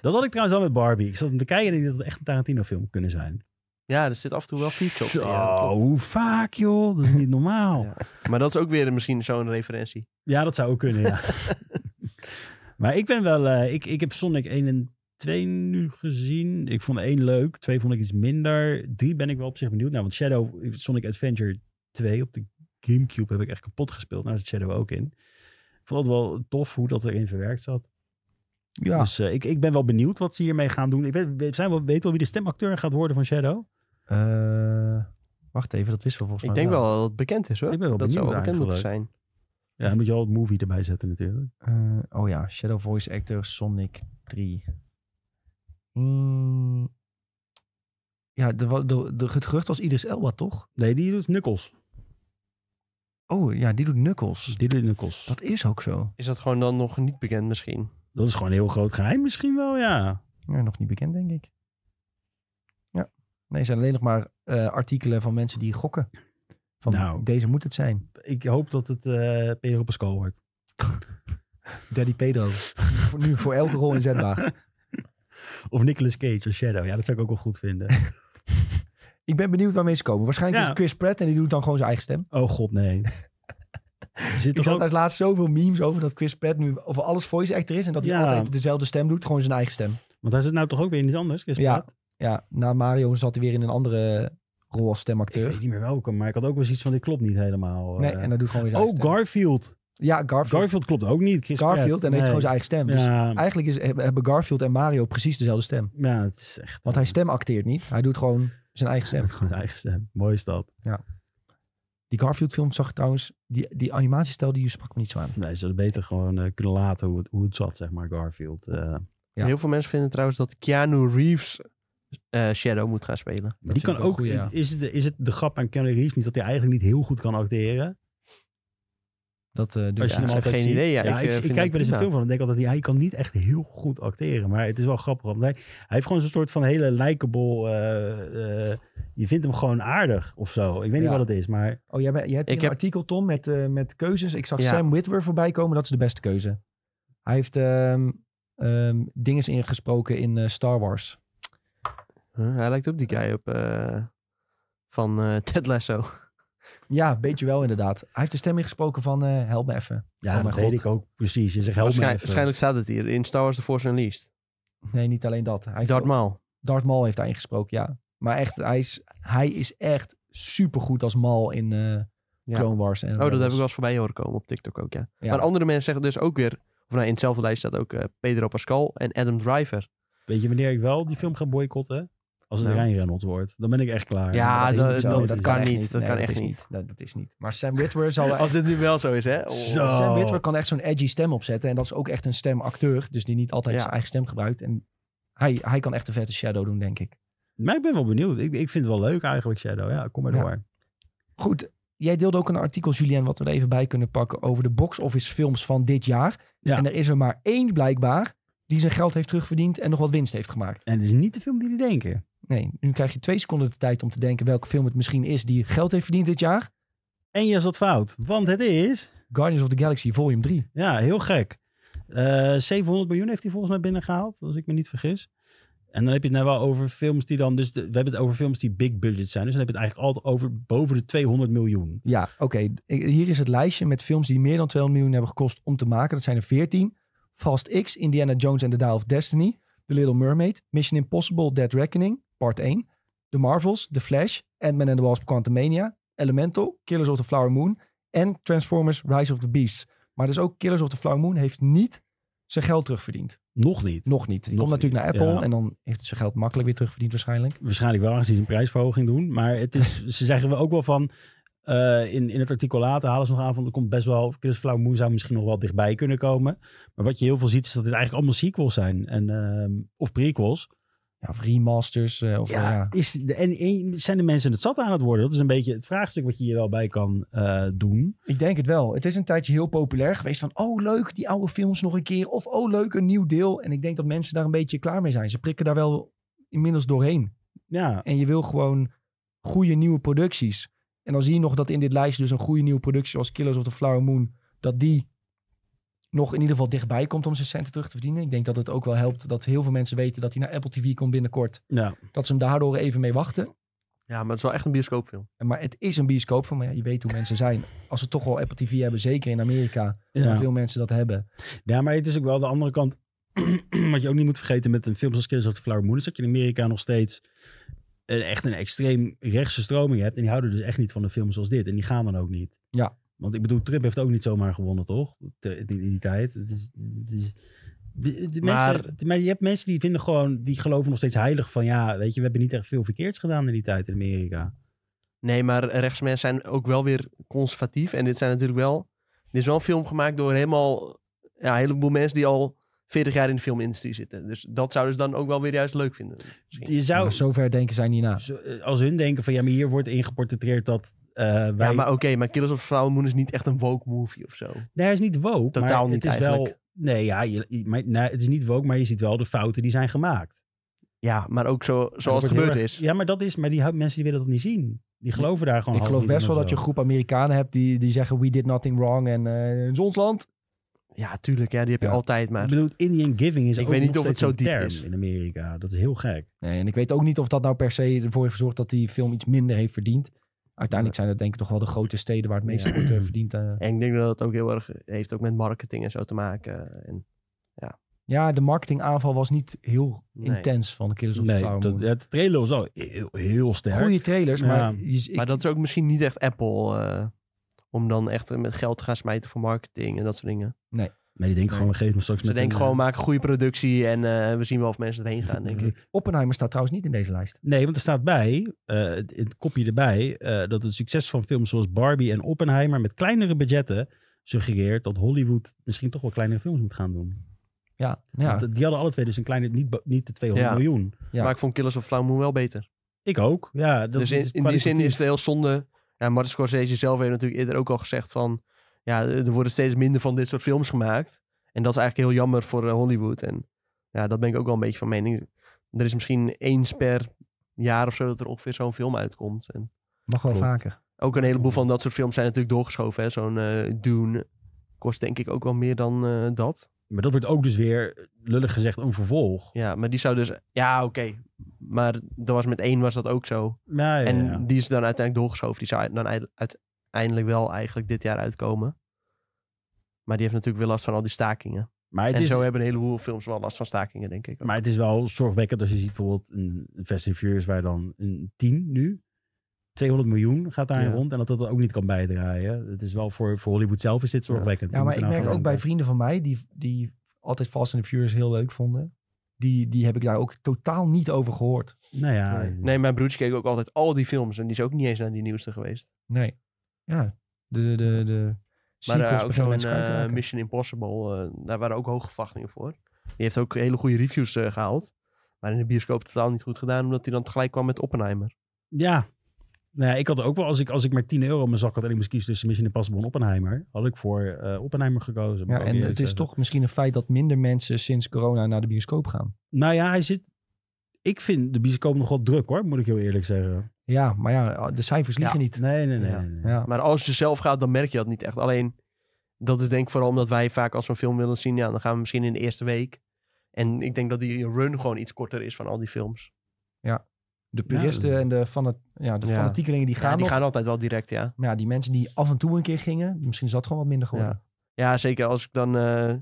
Speaker 3: Dat had ik trouwens al met Barbie. Ik zat hem te kijken en ik dacht dat het echt een Tarantino film kunnen zijn.
Speaker 2: Ja, er zit af en toe wel features
Speaker 3: Zo,
Speaker 2: in. ja, dat klopt.
Speaker 3: hoe vaak joh. Dat is niet normaal.
Speaker 2: Ja. Maar dat is ook weer misschien zo'n referentie.
Speaker 3: Ja, dat zou ook kunnen, ja. maar ik ben wel... eh, ik, ik heb Sonic 1 en 2 nu gezien. Ik vond 1 leuk. 2 vond ik iets minder. 3 ben ik wel op zich benieuwd naar. Want Shadow... Sonic Adventure 2 op de Gamecube heb ik echt kapot gespeeld. Daar zit Shadow ook in. Ik vond het wel tof hoe dat erin verwerkt zat.
Speaker 1: Ja,
Speaker 3: Dus eh, ik, ik ben wel benieuwd wat ze hiermee gaan doen. Ik weet, we- zijn wel, weet wel wie de stemacteur gaat worden van Shadow.
Speaker 1: eh, wacht even, dat wisten we volgens mij
Speaker 2: Ik denk wel dat het bekend is hoor.
Speaker 3: Ik ben wel
Speaker 2: dat zou wel
Speaker 3: benieuwd
Speaker 2: bekend moeten zijn.
Speaker 3: Ja, dan moet je wel het movie erbij zetten natuurlijk.
Speaker 1: Eh, oh ja, Shadow Voice Actor Sonic 3. Hmm. Ja, de, wa- de, de, het gerucht was Idris Elba, toch?
Speaker 3: Nee, die doet Knuckles.
Speaker 1: Oh ja, die doet Knuckles.
Speaker 3: Die doet Knuckles. Dat,
Speaker 1: Dat is ook zo.
Speaker 2: Is dat gewoon dan nog niet bekend misschien?
Speaker 3: is gewoon een heel groot geheim misschien wel, ja.
Speaker 1: Ja, nog niet bekend, denk ik. Ja. Nee, er zijn alleen nog maar eh, artikelen van mensen die gokken. Van
Speaker 3: Nou.
Speaker 1: deze moet het zijn.
Speaker 3: Ik hoop dat het eh Pedro Pascal wordt.
Speaker 1: Daddy Pedro. Voor- nu voor elke rol inzetbaar.
Speaker 3: Of Nicolas Cage als Shadow. Ja, dat zou ik ook wel goed vinden.
Speaker 1: Ik ben benieuwd waarmee ze komen. Waarschijnlijk
Speaker 3: Ja.
Speaker 1: is Chris Pratt en die doet dan gewoon zijn eigen stem.
Speaker 3: oh god, nee. Er zit
Speaker 1: Ik
Speaker 3: toch
Speaker 1: zag
Speaker 3: ook...
Speaker 1: daar laatst zoveel memes over dat Chris Pratt nu over alles voice actor is. En dat hij
Speaker 3: Ja.
Speaker 1: altijd dezelfde stem doet. Gewoon zijn eigen stem.
Speaker 3: Want hij zit nou toch ook weer in iets anders, Chris
Speaker 1: Ja,
Speaker 3: Pratt?
Speaker 1: Ja, na Mario zat hij weer in een andere rol als
Speaker 3: Ik weet
Speaker 1: stemacteur.
Speaker 3: niet meer welke, maar ik had ook wel zoiets van dit klopt niet helemaal. eh.
Speaker 1: Nee, en dat doet gewoon weer zijn
Speaker 3: oh,
Speaker 1: eigen stem.
Speaker 3: Garfield.
Speaker 1: Ja, Garfield. Garfield,
Speaker 3: Garfield klopt ook niet. Chris Pratt.
Speaker 1: en heeft
Speaker 3: Nee.
Speaker 1: gewoon zijn eigen stem. Dus
Speaker 3: Ja,
Speaker 1: eigenlijk is, hebben Garfield en Mario precies dezelfde stem.
Speaker 3: ja, het is echt...
Speaker 1: Want hij stemacteert niet. Hij doet gewoon zijn eigen stem.
Speaker 3: Met gewoon zijn eigen stem. Mooi is dat.
Speaker 1: Die Garfield film zag ik trouwens... Die, die animatiestijl die sprak me niet zo aan.
Speaker 3: Nee, ze hadden beter gewoon eh, kunnen laten hoe het, hoe het zat, zeg maar, Garfield. Eh,
Speaker 1: Ja.
Speaker 2: Heel veel mensen vinden trouwens dat Keanu Reeves eh, Shadow moet gaan spelen.
Speaker 3: die kan
Speaker 1: ik wel
Speaker 3: ook...
Speaker 1: goed, ja.
Speaker 3: is, het, de- is het de grap aan Keanu Reeves niet dat hij eigenlijk niet heel goed kan acteren?
Speaker 1: Dat eh doet
Speaker 3: Als je
Speaker 1: hij
Speaker 3: hem
Speaker 1: eigenlijk.
Speaker 2: ik heb
Speaker 3: altijd
Speaker 2: geen
Speaker 3: ziet.
Speaker 2: idee, ja.
Speaker 3: Ja,
Speaker 2: Ik, eh,
Speaker 3: ik, ik,
Speaker 2: vind dat
Speaker 3: kijk wel eens een
Speaker 2: prima.
Speaker 3: film van en denk altijd, ja, hij kan niet echt heel goed acteren. Maar het is wel grappig, want hij, hij heeft gewoon zo'n soort van hele likable... eh, eh, je vindt hem gewoon aardig of zo. Ik weet
Speaker 1: Ja.
Speaker 3: niet wat het is, maar...
Speaker 1: Oh, jij, bent- jij hebt hier
Speaker 2: Ik
Speaker 1: een
Speaker 2: heb-
Speaker 1: artikel, Tom, met, eh, met keuzes. Ik zag
Speaker 2: Ja.
Speaker 1: Sam Witwer voorbij komen. Dat is de beste keuze. Hij heeft ehm ehm dingen ingesproken in eh, Star Wars.
Speaker 2: Huh, hij lijkt ook die guy op eh, van eh, Ted Lasso.
Speaker 1: Ja, een beetje wel inderdaad. Hij heeft de stem ingesproken van eh, help me even.
Speaker 3: Ja,
Speaker 1: Oh mijn
Speaker 3: dat
Speaker 1: God.
Speaker 3: weet ik ook precies. Je zegt, help me
Speaker 2: Waarschijn-
Speaker 3: even.
Speaker 2: waarschijnlijk staat het hier in Star Wars The Force Unleashed.
Speaker 1: Nee, niet alleen dat. Hij heeft
Speaker 2: Darth
Speaker 1: ook-
Speaker 2: Maul.
Speaker 1: Darth Maul heeft hij ingesproken, ja. Maar echt, hij is, hij is echt supergoed als Maul in eh
Speaker 2: Ja.
Speaker 1: Clone Wars. En
Speaker 2: Oh, dat heb ik wel eens voorbij horen komen op TikTok ook, ja.
Speaker 1: Ja.
Speaker 2: Maar andere mensen zeggen dus ook weer... Of nou, in hetzelfde lijst staat ook eh, Pedro Pascal en Adam Driver.
Speaker 3: Weet je wanneer ik wel die film ga boycotten? Als het
Speaker 2: Nou.
Speaker 3: Rijn Reynolds wordt. Dan ben ik echt klaar.
Speaker 2: Ja,
Speaker 3: Maar
Speaker 1: is
Speaker 2: Ah, dat-
Speaker 1: niet
Speaker 3: zo.
Speaker 1: zo.
Speaker 2: dat-
Speaker 3: is-
Speaker 2: kan
Speaker 1: echt
Speaker 2: niet. Dat
Speaker 1: Nee,
Speaker 2: kan
Speaker 1: is
Speaker 2: echt niet.
Speaker 1: Dat, dat is niet. Maar Sam Witwer zal...
Speaker 2: dit nu wel zo is, hè?
Speaker 3: Zo.
Speaker 1: Sam Witwer kan echt zo'n edgy stem opzetten. En dat is ook echt een stemacteur. Dus die niet altijd
Speaker 2: Ja.
Speaker 1: zijn eigen stem gebruikt. En hij, hij kan echt een vette shadow doen, denk ik.
Speaker 3: Maar ik ben wel benieuwd. Ik, ik vind het wel leuk eigenlijk, Shadow. Ja, kom maar
Speaker 1: Ja.
Speaker 3: door.
Speaker 1: Goed, jij deelde ook een artikel, Julien, wat we er even bij kunnen pakken over de box office films van dit jaar.
Speaker 3: Ja.
Speaker 1: En er is er maar één blijkbaar die zijn geld heeft terugverdiend en nog wat winst heeft gemaakt.
Speaker 3: En het is niet de film die jullie denken.
Speaker 1: Nee, nu krijg je twee seconden de tijd om te denken welke film het misschien is die geld heeft verdiend dit jaar.
Speaker 3: En je zat fout. Want het is...
Speaker 1: Guardians of the Galaxy Volume 3.
Speaker 3: Ja, heel gek. Eh, 700 miljoen heeft hij volgens mij binnengehaald. Als ik me niet vergis. En dan heb je het nou wel over films die dan... Dus de- we hebben het over films die big budget zijn. Dus dan heb je het eigenlijk altijd over boven de 200 miljoen.
Speaker 1: Ja, oké. ik- Hier is het lijstje met films die meer dan 200 miljoen hebben gekost om te maken. Dat zijn er 14. Fast X, Indiana Jones and the Dial of Destiny, The Little Mermaid, Mission Impossible, Dead Reckoning, part 1, The Marvels, The Flash, Ant-Man and the Wasp, Quantumania, Elemental, Killers of the Flower Moon en Transformers Rise of the Beasts. Maar dus ook Killers of the Flower Moon heeft niet zijn geld terugverdiend.
Speaker 3: Nog niet.
Speaker 1: Nog niet. Die
Speaker 3: Nog
Speaker 1: komt natuurlijk
Speaker 3: niet,
Speaker 1: naar Apple
Speaker 3: ja.
Speaker 1: en dan heeft het zijn geld makkelijk weer terugverdiend waarschijnlijk.
Speaker 3: waarschijnlijk wel aangezien ze een prijsverhoging doen. Maar het is, ze zeggen we ook wel van. eh, Eh, in, in het artikel later halen ze nog aan van er komt best wel. Chris Flauw zou misschien nog wel dichtbij kunnen komen. Maar wat je heel veel ziet is dat dit eigenlijk allemaal sequels zijn. En, ehm, of prequels.
Speaker 1: Ja, of remasters. eh, of,
Speaker 3: ja,
Speaker 1: eh, ja.
Speaker 3: Is de, en, en zijn de mensen het zat aan het worden? Dat is een beetje het vraagstuk wat je hier wel bij kan eh, doen.
Speaker 1: Ik denk het wel. Het is een tijdje heel populair geweest van... oh, leuk, die oude films nog een keer. Of oh, leuk, een nieuw deel. En ik denk dat mensen daar een beetje klaar mee zijn. Ze prikken daar wel inmiddels doorheen.
Speaker 3: Ja,
Speaker 1: En je wil gewoon goede nieuwe producties. En dan zie je nog dat in dit lijstje dus een goede nieuwe productie... zoals Killers of the Flower Moon... dat die nog in ieder geval dichtbij komt om zijn centen terug te verdienen. Ik denk dat het ook wel helpt dat heel veel mensen weten... dat hij naar Apple TV komt binnenkort.
Speaker 3: ja.
Speaker 1: Dat ze hem daardoor even mee wachten.
Speaker 2: Ja, maar het is wel echt een bioscoopfilm.
Speaker 1: En Maar het is een bioscoop van, maar ja, je weet hoe mensen zijn. Als ze toch wel Apple TV hebben, zeker in Amerika, waar
Speaker 3: ja.
Speaker 1: veel mensen dat hebben.
Speaker 3: Ja, maar het is ook wel de andere kant. wat je ook niet moet vergeten met een film zoals Killers of the Flower Moon... is dat je in Amerika nog steeds een, echt een extreem rechtse stroming hebt. En die houden dus echt niet van een film zoals dit. En die gaan dan ook niet.
Speaker 1: Ja.
Speaker 3: Want ik bedoel, Trump heeft ook niet zomaar gewonnen, toch? Te- In in die tijd. Het is, het is- de- de
Speaker 2: Maar-
Speaker 3: mensen, maar je hebt mensen die vinden gewoon... die geloven nog steeds heilig van... ja, weet je, we hebben niet echt veel verkeerds gedaan in die tijd in Amerika.
Speaker 2: Nee, maar rechtsmensen zijn ook wel weer conservatief. En dit zijn natuurlijk wel... Dit is wel een film gemaakt door helemaal... Ja, een heleboel mensen die al 40 jaar in de filmindustrie zitten. Dus dat zouden ze dan ook wel weer juist leuk vinden. misschien.
Speaker 3: Je zou,
Speaker 1: Maar zover denken zij niet na.
Speaker 3: zo- eh, als hun denken van... ja, maar hier wordt ingeportretteerd dat eh, wij...
Speaker 2: Ja, maar oké, maar Killers of the Flower Moon is niet echt een woke movie of zo.
Speaker 3: Nee, hij is niet woke.
Speaker 2: Totaal
Speaker 3: maar
Speaker 2: niet
Speaker 3: het is wel.
Speaker 2: eigenlijk.
Speaker 3: Nee, ja, je, je- maar, nee, het is niet woke, maar je ziet wel de fouten die zijn gemaakt.
Speaker 2: Ja, maar ook zo, zoals het
Speaker 3: Dat wordt heel
Speaker 2: gebeurd
Speaker 3: erg-
Speaker 2: is.
Speaker 3: Ja, maar dat is. Maar die hou- mensen die willen dat niet zien. Die geloven daar gewoon.
Speaker 1: Ik
Speaker 3: half
Speaker 1: geloof
Speaker 3: niet in
Speaker 1: best wel
Speaker 3: of
Speaker 1: dat je
Speaker 3: zo.
Speaker 1: een groep Amerikanen hebt die, die zeggen, we did nothing wrong en eh het is ons land.
Speaker 2: Ja, tuurlijk. Ja, die heb je
Speaker 1: Ja.
Speaker 2: altijd maar.
Speaker 3: Ik bedoel, Indian giving is.
Speaker 2: Ik
Speaker 3: ook
Speaker 2: weet niet
Speaker 3: nog
Speaker 2: of het
Speaker 3: steeds
Speaker 2: zo
Speaker 3: een
Speaker 2: diep
Speaker 3: term
Speaker 2: is.
Speaker 3: in Amerika. Dat is heel gek.
Speaker 1: Nee, en ik weet ook niet of dat nou per se ervoor heeft gezorgd dat die film iets minder heeft verdiend. Uiteindelijk zijn dat denk ik toch wel de grote steden waar het meeste wordt eh, verdiend. eh.
Speaker 2: En ik denk dat het ook heel erg heeft ook met marketing en zo te maken. En,
Speaker 1: Ja, de marketingaanval was niet heel
Speaker 2: Nee.
Speaker 1: intens van Killers of the
Speaker 3: Nee,
Speaker 1: Flower
Speaker 3: dat,
Speaker 1: Moon.
Speaker 3: het trailer was al heel, heel sterk.
Speaker 1: Goede trailers, maar,
Speaker 3: Ja.
Speaker 1: je- ik-
Speaker 2: maar dat is ook misschien niet echt Apple. eh, om dan echt met geld te gaan smijten voor marketing en dat soort dingen.
Speaker 3: Maar die denken
Speaker 1: Nee.
Speaker 3: gewoon, we geven hem straks
Speaker 2: Ze
Speaker 3: met
Speaker 2: denken
Speaker 3: een, eh,
Speaker 2: gewoon, maak een goede productie en eh, we zien wel of mensen erheen gaan, denk ik.
Speaker 1: Oppenheimer staat trouwens niet in deze lijst.
Speaker 3: eh, Nee, want er staat bij, eh, het, het kopje erbij, eh, dat het succes van films zoals Barbie en Oppenheimer met kleinere budgetten suggereert dat Hollywood misschien toch wel kleinere films moet gaan doen.
Speaker 1: Ja, ja.
Speaker 3: Want die hadden alle twee dus een kleine, niet, bo- niet de 200
Speaker 2: Ja.
Speaker 3: miljoen.
Speaker 1: Ja.
Speaker 2: Maar ik vond Killers of the Flower Moon wel beter.
Speaker 3: Ik ook, ja. Dat
Speaker 2: dus in,
Speaker 3: is
Speaker 2: in die zin is
Speaker 3: kwalitatief.
Speaker 2: het heel zonde. Ja, Martin Scorsese zelf heeft natuurlijk eerder ook al gezegd van... Ja, er worden steeds minder van dit soort films gemaakt. En dat is eigenlijk heel jammer voor eh, Hollywood. En ja, dat ben ik ook wel een beetje van mening. Er is misschien eens per jaar of zo dat er ongeveer zo'n film uitkomt. En
Speaker 1: Mag wel
Speaker 3: Klopt.
Speaker 1: vaker.
Speaker 2: ook een heleboel van dat soort films zijn natuurlijk doorgeschoven. hè. Zo'n eh Dune kost denk ik ook wel meer dan eh, dat.
Speaker 3: Maar dat wordt ook dus weer, lullig gezegd, een vervolg.
Speaker 2: Ja, maar die zou dus... Ja, oké. Maar dat was met één was dat ook zo.
Speaker 3: Ja, ja,
Speaker 2: En
Speaker 3: ja.
Speaker 2: die is dan uiteindelijk doorgeschoven. Die zou dan uite- uiteindelijk wel eigenlijk dit jaar uitkomen. Maar die heeft natuurlijk weer last van al die stakingen.
Speaker 3: Maar, het
Speaker 2: en
Speaker 3: is,
Speaker 2: zo hebben een heleboel films wel last van stakingen, denk ik. ook.
Speaker 3: maar het is wel zorgwekkend als je ziet bijvoorbeeld een een Fast and Furious waar dan een 10 nu, 200 miljoen gaat daarin
Speaker 2: Ja.
Speaker 3: rond en dat dat ook niet kan bijdragen. Het is wel voor, voor Hollywood zelf is dit zorgwekkend. nou
Speaker 1: Ja, maar ik merk ook bij
Speaker 3: vrienden.
Speaker 1: vrienden van mij die, die altijd Fast and the Furious heel leuk vonden. Die, die heb ik daar ook totaal niet over gehoord.
Speaker 3: Nou ja,
Speaker 2: nee. Nee, mijn broertje keek ook altijd al die films. En die is ook niet eens naar die nieuwste geweest.
Speaker 1: Nee. Ja, de, de, de
Speaker 2: Maar
Speaker 1: sequels
Speaker 2: eh, ook
Speaker 1: beginnen
Speaker 2: zo'n
Speaker 1: mensen kwijt te
Speaker 2: eh,
Speaker 1: raken.
Speaker 2: Mission Impossible, eh, daar waren ook hoge verwachtingen voor. Die heeft ook hele goede reviews eh, gehaald. Maar in de bioscoop totaal niet goed gedaan, omdat hij dan tegelijk kwam met Oppenheimer.
Speaker 3: Ja. Nou ja, ik had ook wel, als ik, als ik maar 10 euro in mijn zak had en ik moest kiezen tussen Mission Impossible en Oppenheimer, had ik voor eh, Oppenheimer gekozen.
Speaker 1: Ja,
Speaker 3: moet ik ook eh,
Speaker 1: en
Speaker 3: eerlijk
Speaker 1: het is
Speaker 3: zeggen.
Speaker 1: toch misschien een feit dat minder mensen sinds corona naar de bioscoop gaan.
Speaker 3: Nou ja, hij zit... Ik vind de bioscoop nog wel druk hoor, moet ik heel eerlijk zeggen.
Speaker 1: Ja, maar ja, de cijfers liegen niet.
Speaker 3: Nee, nee, nee.
Speaker 2: Ja.
Speaker 3: nee, nee.
Speaker 1: Ja.
Speaker 2: Maar als je zelf gaat, dan merk je dat niet echt. Alleen, dat is denk ik vooral omdat wij vaak als we een film willen zien, ja, dan gaan we misschien in de eerste week. En ik denk dat die run gewoon iets korter is van al die films.
Speaker 1: De puristen
Speaker 3: Ja.
Speaker 1: en de, fanat, ja, de
Speaker 2: Ja.
Speaker 1: fanatiekelingen die gaan
Speaker 2: ja, die
Speaker 1: nog.
Speaker 2: gaan altijd wel direct, ja.
Speaker 1: Maar ja, die mensen die af en toe een keer gingen, misschien is dat gewoon wat minder geworden.
Speaker 2: Ja, zeker als ik dan... eh,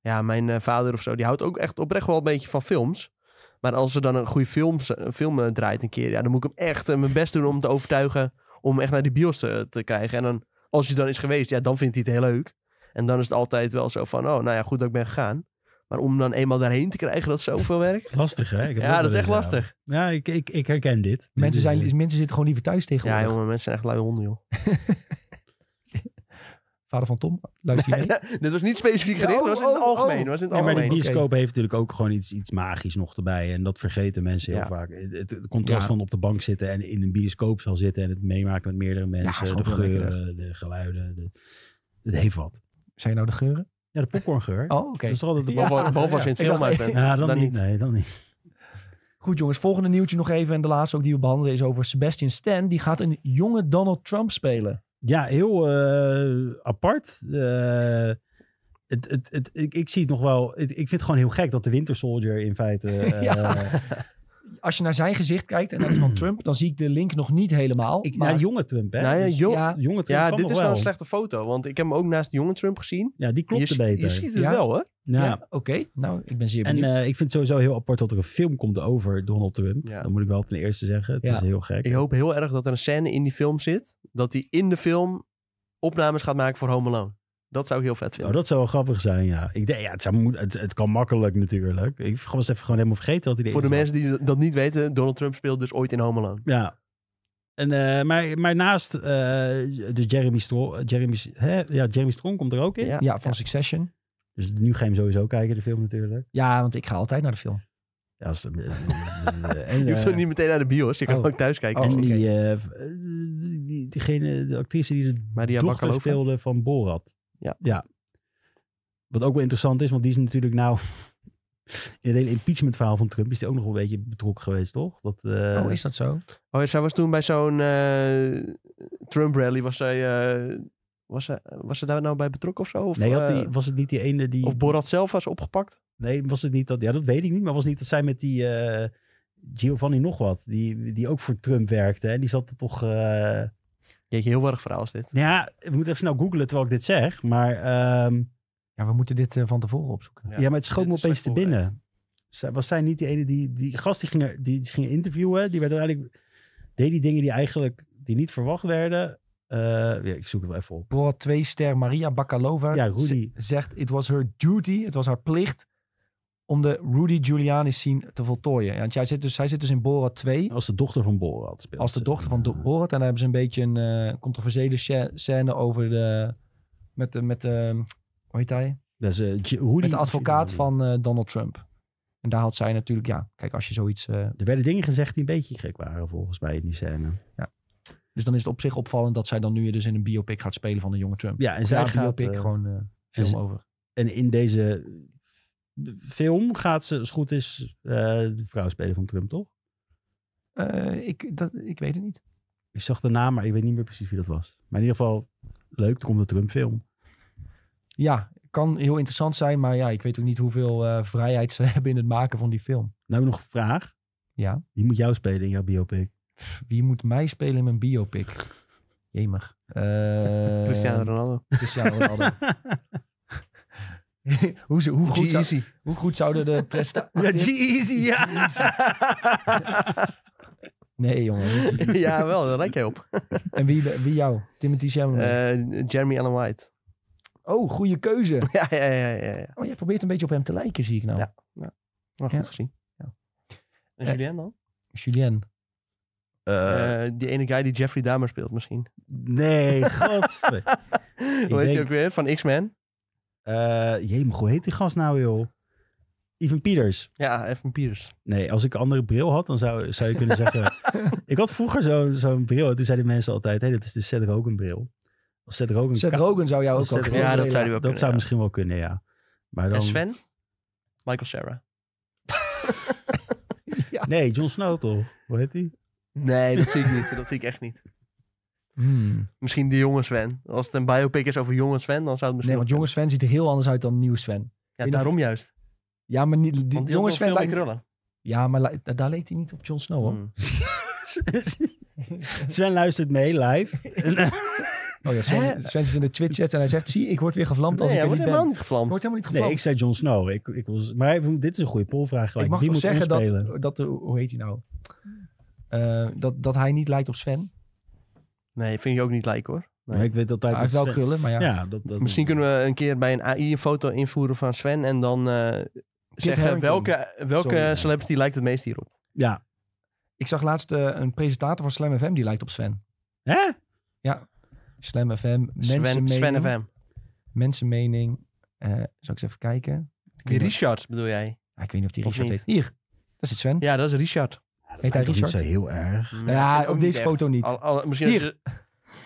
Speaker 2: ja, mijn eh, vader of zo, die houdt ook echt oprecht wel een beetje van films. Maar als er dan een goede films, een film eh, draait een keer, ja, dan moet ik hem echt eh, mijn best doen om te overtuigen om hem echt naar die bios te, te krijgen. En dan, als hij dan is geweest, ja, dan vindt hij het heel leuk. En dan is het altijd wel zo van, oh, nou ja, goed dat ik ben gegaan. Maar om dan eenmaal daarheen te krijgen, dat is zoveel werk.
Speaker 3: Lastig, hè? Ik heb ook
Speaker 2: Ja,
Speaker 3: wel
Speaker 2: dat is
Speaker 3: eens,
Speaker 2: echt lastig.
Speaker 3: Ja, ik, ik, ik herken dit. Dit
Speaker 1: Mensen,
Speaker 3: is-
Speaker 1: zijn, mensen zitten gewoon liever thuis tegenwoordig.
Speaker 2: Ja, jongen, mensen zijn echt lui honden, joh.
Speaker 1: Vader van Tom, luister je mee?
Speaker 2: Dit was niet specifiek gericht,
Speaker 1: Oh,
Speaker 2: dat was in het
Speaker 1: oh, oh.
Speaker 2: algemeen. dat Was in het
Speaker 3: Nee, maar die
Speaker 2: algemeen.
Speaker 3: bioscoop heeft natuurlijk ook gewoon iets, iets magisch nog erbij. En dat vergeten mensen heel
Speaker 2: Ja.
Speaker 3: vaak. Het, het- het contrast
Speaker 1: Ja.
Speaker 3: van op de bank zitten en in een bioscoop zal zitten. En het meemaken met meerdere mensen.
Speaker 1: is
Speaker 3: de
Speaker 1: gewoon heel
Speaker 3: geuren, de geluiden. De, het heeft wat.
Speaker 1: Zijn nou de geuren?
Speaker 3: Ja, de popcorngeur.
Speaker 1: Oh, oké.
Speaker 3: Dat is toch altijd de
Speaker 1: Ja.
Speaker 3: ja.
Speaker 2: Behalve behalve als je in het
Speaker 1: Ja.
Speaker 2: film uit bent.
Speaker 3: ja, dan,
Speaker 2: Dan
Speaker 3: niet.
Speaker 2: niet.
Speaker 3: Nee, dan niet.
Speaker 1: Goed jongens, volgende nieuwtje nog even. En de laatste ook die we behandelen is over Sebastian Stan. Die gaat een jonge Donald Trump spelen.
Speaker 3: Ja, heel eh, apart. Eh, het, het, het, ik, ik zie het nog wel. het- ik vind het gewoon heel gek dat de Winter Soldier in feite. eh,
Speaker 1: Ja. Als je naar zijn gezicht kijkt en naar die van Trump, dan zie ik de link nog niet helemaal.
Speaker 3: ik,
Speaker 1: maar
Speaker 3: ja, jonge Trump, hè?
Speaker 2: Nou ja,
Speaker 3: Dus
Speaker 2: jong-
Speaker 1: ja,
Speaker 3: jonge Trump
Speaker 2: Ja,
Speaker 3: kan
Speaker 2: dit
Speaker 3: nog
Speaker 2: is wel
Speaker 3: wel.
Speaker 2: een slechte foto, want ik heb hem ook naast de jonge Trump gezien.
Speaker 3: Ja, die klopte
Speaker 2: je,
Speaker 3: beter.
Speaker 2: Je ziet het
Speaker 1: Ja.
Speaker 2: wel, hè?
Speaker 3: ja.
Speaker 1: ja, oké. Nou, ik ben zeer
Speaker 3: En
Speaker 1: benieuwd.
Speaker 3: eh, ik vind het sowieso heel apart dat er een film komt over Donald Trump.
Speaker 2: Ja.
Speaker 3: Dat moet ik wel ten eerste zeggen. Het
Speaker 1: Ja.
Speaker 3: is heel gek.
Speaker 2: Ik hoop heel erg dat er een scène in die film zit, dat hij in de film opnames gaat maken voor Home Alone. Dat zou ik heel vet
Speaker 3: Nou,
Speaker 2: vinden.
Speaker 3: dat zou wel grappig zijn, ja. Ik denk, ja, het, zou, moet- het, het kan makkelijk natuurlijk. Ik was even gewoon helemaal vergeten dat hij erin
Speaker 2: voor de
Speaker 3: zat.
Speaker 2: mensen die dat niet weten, Donald Trump speelt dus ooit in Home Alone.
Speaker 3: Ja. En, eh, maar, maar naast eh, dus Jeremy Strong, Jeremy, hè? Ja, Jeremy Strong komt er ook in.
Speaker 1: eh, ja, van Succession.
Speaker 3: Dus nu ga je hem sowieso kijken, de film natuurlijk.
Speaker 1: Ja, want ik ga altijd naar de film.
Speaker 3: Ja, als, en, eh,
Speaker 2: Je hoeft ook niet meteen naar de bios, je kan
Speaker 1: Oh.
Speaker 2: ook thuis kijken.
Speaker 1: Oh,
Speaker 3: en
Speaker 1: oké.
Speaker 3: die, eh, v- eh, die, diegene, de actrice die de
Speaker 2: Maria
Speaker 3: dochter
Speaker 2: Bakalova.
Speaker 3: speelde van Borat.
Speaker 2: Ja.
Speaker 3: ja. Wat ook wel interessant is, want die is natuurlijk nou... In het hele impeachment verhaal van Trump is die ook nog wel een beetje betrokken geweest, toch? Dat, eh,
Speaker 1: oh, is dat zo?
Speaker 2: Oh, zij was toen bij zo'n eh, Trump rally, was zij, eh, was, zij, was zij daar nou bij betrokken of zo? Of,
Speaker 3: Nee, had die,
Speaker 2: eh,
Speaker 3: was het niet die ene die...
Speaker 2: of Borat zelf was opgepakt?
Speaker 3: Nee, was het niet dat... Ja, dat weet ik niet. Maar was het niet dat zij met die eh, Giovanni nog wat... Die, die ook voor Trump werkte. En die zat er toch... eh,
Speaker 2: Jeetje, heel erg verhaal is dit.
Speaker 3: Nou ja, we moeten even snel googlen terwijl ik dit zeg. Maar, ehm,
Speaker 1: Ja, we moeten dit eh, van tevoren opzoeken.
Speaker 3: ja, maar het schoot
Speaker 2: dit
Speaker 3: me
Speaker 2: is
Speaker 3: opeens te
Speaker 2: slecht voorbereid.
Speaker 3: binnen. Zij, was zij niet die ene die... Die gast die ging, er- die ging interviewen. Die werd uiteindelijk... Deed die dingen die eigenlijk... Die niet verwacht werden. Eh, ja, ik zoek het wel even op.
Speaker 1: Borat 2 ster Maria Bakalova
Speaker 3: Ja, Rudy.
Speaker 1: z- zegt... It was her duty, het was haar plicht... om de Rudy Giuliani scene te voltooien. Ja, Want jij zit dus, zij zit dus in Borat 2...
Speaker 3: Als de dochter van Borat speelt.
Speaker 1: als de dochter van Do- Borat. En daar hebben ze een beetje een eh, controversiële scha- scène over de... Met de... Met de hoe heet hij?
Speaker 3: Dat is, eh, Gi- Rudy
Speaker 1: Met de advocaat
Speaker 3: Giuliani.
Speaker 1: van eh, Donald Trump. En daar had zij natuurlijk... Ja, kijk, als je zoiets... eh,
Speaker 3: Er werden dingen gezegd die een beetje gek waren volgens mij in die scène.
Speaker 1: dus dan is het op zich opvallend... dat zij dan nu dus in een biopic gaat spelen van de jonge Trump.
Speaker 3: Ja, en
Speaker 1: Of
Speaker 3: zij
Speaker 1: ja,
Speaker 3: gaat,
Speaker 1: biopic,
Speaker 3: eh,
Speaker 1: gewoon eh, film
Speaker 3: ze-
Speaker 1: over.
Speaker 3: En in deze film gaat ze, als het goed is, eh, de vrouw spelen van Trump, toch?
Speaker 1: Eh, ik, dat, ik weet het niet.
Speaker 3: Ik zag de naam, maar ik weet niet meer precies wie dat was. Maar in ieder geval, leuk, er komt een Trump-film.
Speaker 1: Ja, kan heel interessant zijn, maar ja, ik weet ook niet hoeveel eh, vrijheid ze hebben in het maken van die film.
Speaker 3: Nou, nog een vraag.
Speaker 1: Ja.
Speaker 3: Wie moet jou spelen in jouw biopic?
Speaker 1: Pff, wie moet mij spelen in mijn biopic? Jemig. Eh,
Speaker 2: Cristiano Ronaldo.
Speaker 1: Cristiano Ronaldo. hoe, ze- hoe, goed zou,
Speaker 2: G-Eazy.
Speaker 1: hoe goed zouden de prestaties...
Speaker 3: Ja, G-Eazy, ja!
Speaker 1: Nee, jongen. niet G-Eazy.
Speaker 2: ja, wel, daar lijkt jij op.
Speaker 1: En wie, wie jou? Timothy Chalamet.
Speaker 2: Eh, Jeremy Allen White.
Speaker 1: oh, goede keuze.
Speaker 2: ja, ja, ja, ja, ja.
Speaker 1: Oh, jij probeert een beetje op hem te lijken, zie ik nou.
Speaker 2: Ja. Maar goed
Speaker 1: Ja.
Speaker 2: gezien.
Speaker 1: Ja.
Speaker 2: En
Speaker 1: Eh,
Speaker 2: Julien dan?
Speaker 1: Julien.
Speaker 3: Eh,
Speaker 2: Eh, die ene guy die Jeffrey Dahmer speelt misschien.
Speaker 3: nee, god.
Speaker 2: Hoe heet
Speaker 3: denk-
Speaker 2: je ook weer? Van X-Men?
Speaker 3: Eh jee, maar hoe heet die gast nou, joh? Ivan Peters.
Speaker 2: Ja, Evan Peters.
Speaker 3: Nee, als ik een andere bril had, dan zou, zou je kunnen zeggen... ik had vroeger zo'n zo'n bril en toen zeiden mensen altijd... Hé, dat is de Seth Rogen bril. Als Seth Rogen...
Speaker 1: Seth
Speaker 3: ka-
Speaker 1: Rogen zou jou ook
Speaker 3: Seth
Speaker 1: al
Speaker 3: Rogen-
Speaker 1: kunnen
Speaker 2: Ja, dat
Speaker 1: spelen.
Speaker 2: zou die wel kunnen,
Speaker 3: Dat zou
Speaker 2: ja.
Speaker 3: misschien wel kunnen, ja. Maar dan...
Speaker 2: En Sven? Michael Sarah.
Speaker 3: Nee, Jon Snow toch? Hoe heet die?
Speaker 2: Nee, dat zie ik niet. Dat zie ik echt niet.
Speaker 1: Hmm.
Speaker 2: Misschien de jonge Sven. Als het een biopic is over jonge Sven, dan zou het misschien...
Speaker 1: Nee, want
Speaker 2: wel
Speaker 1: jonge Sven ziet er heel anders uit dan nieuw Sven.
Speaker 2: kunnen. Ja, daarom juist.
Speaker 1: Ja, maar niet, die,
Speaker 2: Want die
Speaker 1: jonge
Speaker 2: jongens
Speaker 1: Sven
Speaker 2: veel meer
Speaker 1: lijkt... Oh,
Speaker 2: krullen.
Speaker 1: Ja, maar li- daar leek hij niet op Jon Snow, hoor.
Speaker 2: Hmm.
Speaker 3: Sven luistert mee live.
Speaker 1: Oh ja,
Speaker 2: Hè?
Speaker 1: Sven, Sven is in de Twitch-chat en hij zegt... Zie, ik word weer gevlamd als
Speaker 2: Nee,
Speaker 1: ik er
Speaker 2: hij wordt
Speaker 1: niet ben.
Speaker 2: helemaal niet
Speaker 1: Ik
Speaker 2: gevlamd.
Speaker 1: word helemaal niet
Speaker 3: Nee,
Speaker 1: gevlamd.
Speaker 3: ik zei Jon Snow. Ik, ik was, maar even- dit is een goede polvraag gelijk.
Speaker 1: ik mag
Speaker 3: Wie
Speaker 1: toch
Speaker 3: moet hem
Speaker 1: zeggen
Speaker 3: spelen?
Speaker 1: dat, dat... de- Hoe heet hij nou? Eh, dat, dat hij niet lijkt op Sven.
Speaker 2: Nee, vind je ook niet lijken hoor. Nee.
Speaker 3: Maar ik weet altijd
Speaker 1: Hij heeft wel
Speaker 3: dat Sven-
Speaker 1: krullen, maar ja.
Speaker 3: Ja, dat, dat,
Speaker 2: Misschien kunnen we een keer bij een AI een foto invoeren van Sven en dan eh, zeggen
Speaker 1: Harington.
Speaker 2: welke, welke
Speaker 1: Sorry.
Speaker 2: celebrity lijkt het meest hierop.
Speaker 3: Ja.
Speaker 1: Ik zag laatst eh, een presentator van Slam FM, die lijkt op Sven.
Speaker 3: Hè?
Speaker 1: Slam FM,
Speaker 2: Sven, Sven
Speaker 1: mensenmening.
Speaker 2: FM.
Speaker 1: Mensenmening. Eh, zal ik eens even kijken? Ik
Speaker 2: Die
Speaker 1: weet, niet,
Speaker 2: Richard bedoel jij?
Speaker 1: ah, ik weet niet of die
Speaker 2: Of
Speaker 1: Richard
Speaker 2: niet.
Speaker 1: heet. Hier, daar zit Sven.
Speaker 2: Ja, dat is Richard.
Speaker 1: heet hij
Speaker 3: Lijkt toch niet
Speaker 1: Richard?
Speaker 3: zo heel erg.
Speaker 1: Ja,
Speaker 2: vind ik
Speaker 1: op
Speaker 2: ook
Speaker 1: deze
Speaker 2: echt.
Speaker 1: foto niet.
Speaker 2: Al- al- misschien als
Speaker 1: Hier.
Speaker 2: je,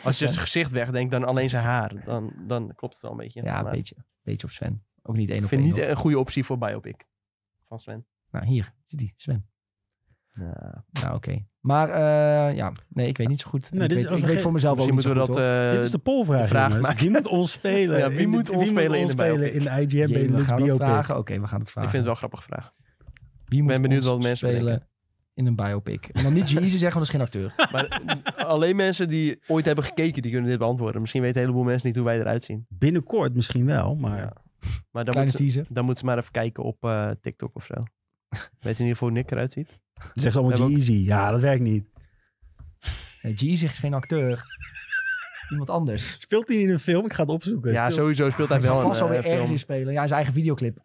Speaker 2: als je zijn gezicht wegdenkt, dan alleen zijn haar. Dan, dan klopt het wel een beetje.
Speaker 1: Ja,
Speaker 2: Maar
Speaker 1: een beetje, beetje op Sven. Ook niet één
Speaker 2: Ik
Speaker 1: op
Speaker 2: vind
Speaker 1: één,
Speaker 2: niet e-
Speaker 1: hoor.
Speaker 2: een goede optie voor biopic van Sven.
Speaker 1: Nou, hier zit die, Sven. Nou, oké. Maar eh, ja, nee, ik weet niet zo goed.
Speaker 3: Nee,
Speaker 1: ik
Speaker 3: Nou, dit is
Speaker 1: weet,
Speaker 3: als
Speaker 1: ik
Speaker 3: een
Speaker 1: weet
Speaker 3: ge-
Speaker 1: voor mezelf ook
Speaker 2: Misschien
Speaker 1: niet zo
Speaker 2: moeten we
Speaker 1: goed,
Speaker 2: dat...
Speaker 1: hoor.
Speaker 2: eh,
Speaker 3: Dit is de polvraag.
Speaker 2: vraag
Speaker 3: jongens.
Speaker 2: maken.
Speaker 3: Wie moet ons spelen?
Speaker 2: Ja, wie
Speaker 3: In-
Speaker 2: moet ons spelen in de biopic?
Speaker 3: in de IGN
Speaker 1: Jee, we
Speaker 3: Benelux
Speaker 1: gaan dat
Speaker 3: biopic?
Speaker 1: vragen. Oké, we gaan het
Speaker 2: ik
Speaker 1: vragen.
Speaker 2: vind het wel een grappige vraag.
Speaker 1: Wie moet
Speaker 2: ben benieuwd
Speaker 1: ons
Speaker 2: wat mensen
Speaker 1: spelen
Speaker 2: denken.
Speaker 1: in een biopic? En dan niet G-Eazy zeggen, want dat is geen acteur.
Speaker 2: Maar eh, alleen mensen die ooit hebben gekeken, die kunnen dit beantwoorden. Misschien weten een heleboel mensen niet hoe wij eruit zien.
Speaker 3: Binnenkort misschien wel, maar...
Speaker 2: Ja. Maar
Speaker 1: Kleine
Speaker 2: dan moeten ze,
Speaker 1: teaser.
Speaker 2: dan moeten ze maar even kijken op eh, TikTok of zo. Weet je in ieder geval hoe Nick eruit ziet?
Speaker 3: Zeg ze allemaal
Speaker 2: We hebben
Speaker 3: G-Eazy. Ja, dat werkt niet.
Speaker 1: Nee, G-Eazy is geen acteur. Iemand anders.
Speaker 3: Speelt hij in een film? Ik ga het opzoeken.
Speaker 2: Ja,
Speaker 3: Speelt-
Speaker 2: sowieso speelt hij
Speaker 1: Hij zal
Speaker 2: wel
Speaker 1: vast
Speaker 2: een
Speaker 1: alweer
Speaker 2: eh,
Speaker 1: ergens in
Speaker 2: film.
Speaker 1: spelen. Ja, in zijn eigen videoclip.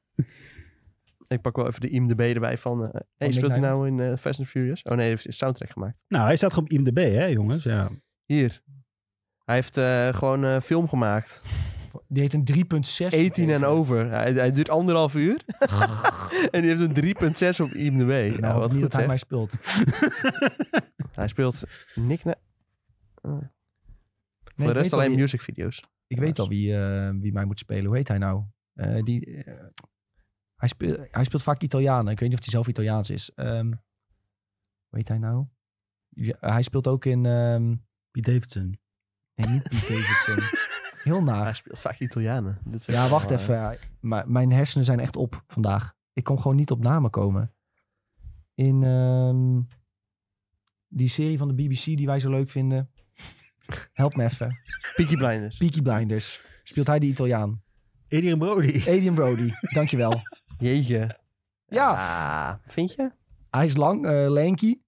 Speaker 2: Ik pak wel even de IMDB erbij van... eh, hey,
Speaker 1: Nick
Speaker 2: speelt hij
Speaker 1: Nijland.
Speaker 2: nou in eh, Fast and Furious? Oh nee, hij heeft een soundtrack gemaakt.
Speaker 3: Nou, hij staat gewoon op IMDb, hè, jongens? Ja.
Speaker 2: Hier. Hij heeft eh, gewoon een film gemaakt.
Speaker 1: Die heet een 3.6.
Speaker 2: 18 en over. Hij, hij duurt anderhalf uur. en die heeft een 3.6 op IMDb.
Speaker 1: Nou,
Speaker 2: ja, wat
Speaker 1: niet dat
Speaker 2: goed
Speaker 1: hij
Speaker 2: zeg.
Speaker 1: mij speelt.
Speaker 2: Hij speelt Nick... Na-
Speaker 1: Nee,
Speaker 2: Voor
Speaker 1: ik
Speaker 2: de
Speaker 1: weet
Speaker 2: rest
Speaker 1: al
Speaker 2: alleen
Speaker 1: wie-
Speaker 2: music video's.
Speaker 1: Ik weet al wie, eh, wie mij moet spelen. Hoe heet hij nou? Eh, die, eh, hij, speelt, hij speelt vaak Italianen. Ik weet niet of hij zelf Italiaans is. Ehm, hoe heet hij nou? Ja, hij speelt ook in... ehm,
Speaker 3: Pete Davidson.
Speaker 1: nee, niet Pete Davidson. Heel
Speaker 2: Hij
Speaker 1: naar.
Speaker 2: speelt vaak Italianen. Dit is
Speaker 1: Ja, wacht
Speaker 2: wel, eh,
Speaker 1: even. Ja, Maar mijn hersenen zijn echt op vandaag. Ik kon gewoon niet op namen komen. In ehm, die serie van de BBC die wij zo leuk vinden. Help me even.
Speaker 2: eh, Peaky Blinders.
Speaker 1: Peaky Blinders. Speelt hij de Italiaan?
Speaker 3: Adrian Brody.
Speaker 1: Adrian Brody, dankjewel.
Speaker 2: Jeetje.
Speaker 1: Ja,
Speaker 2: Ah, vind je?
Speaker 1: hij is lang, eh lanky.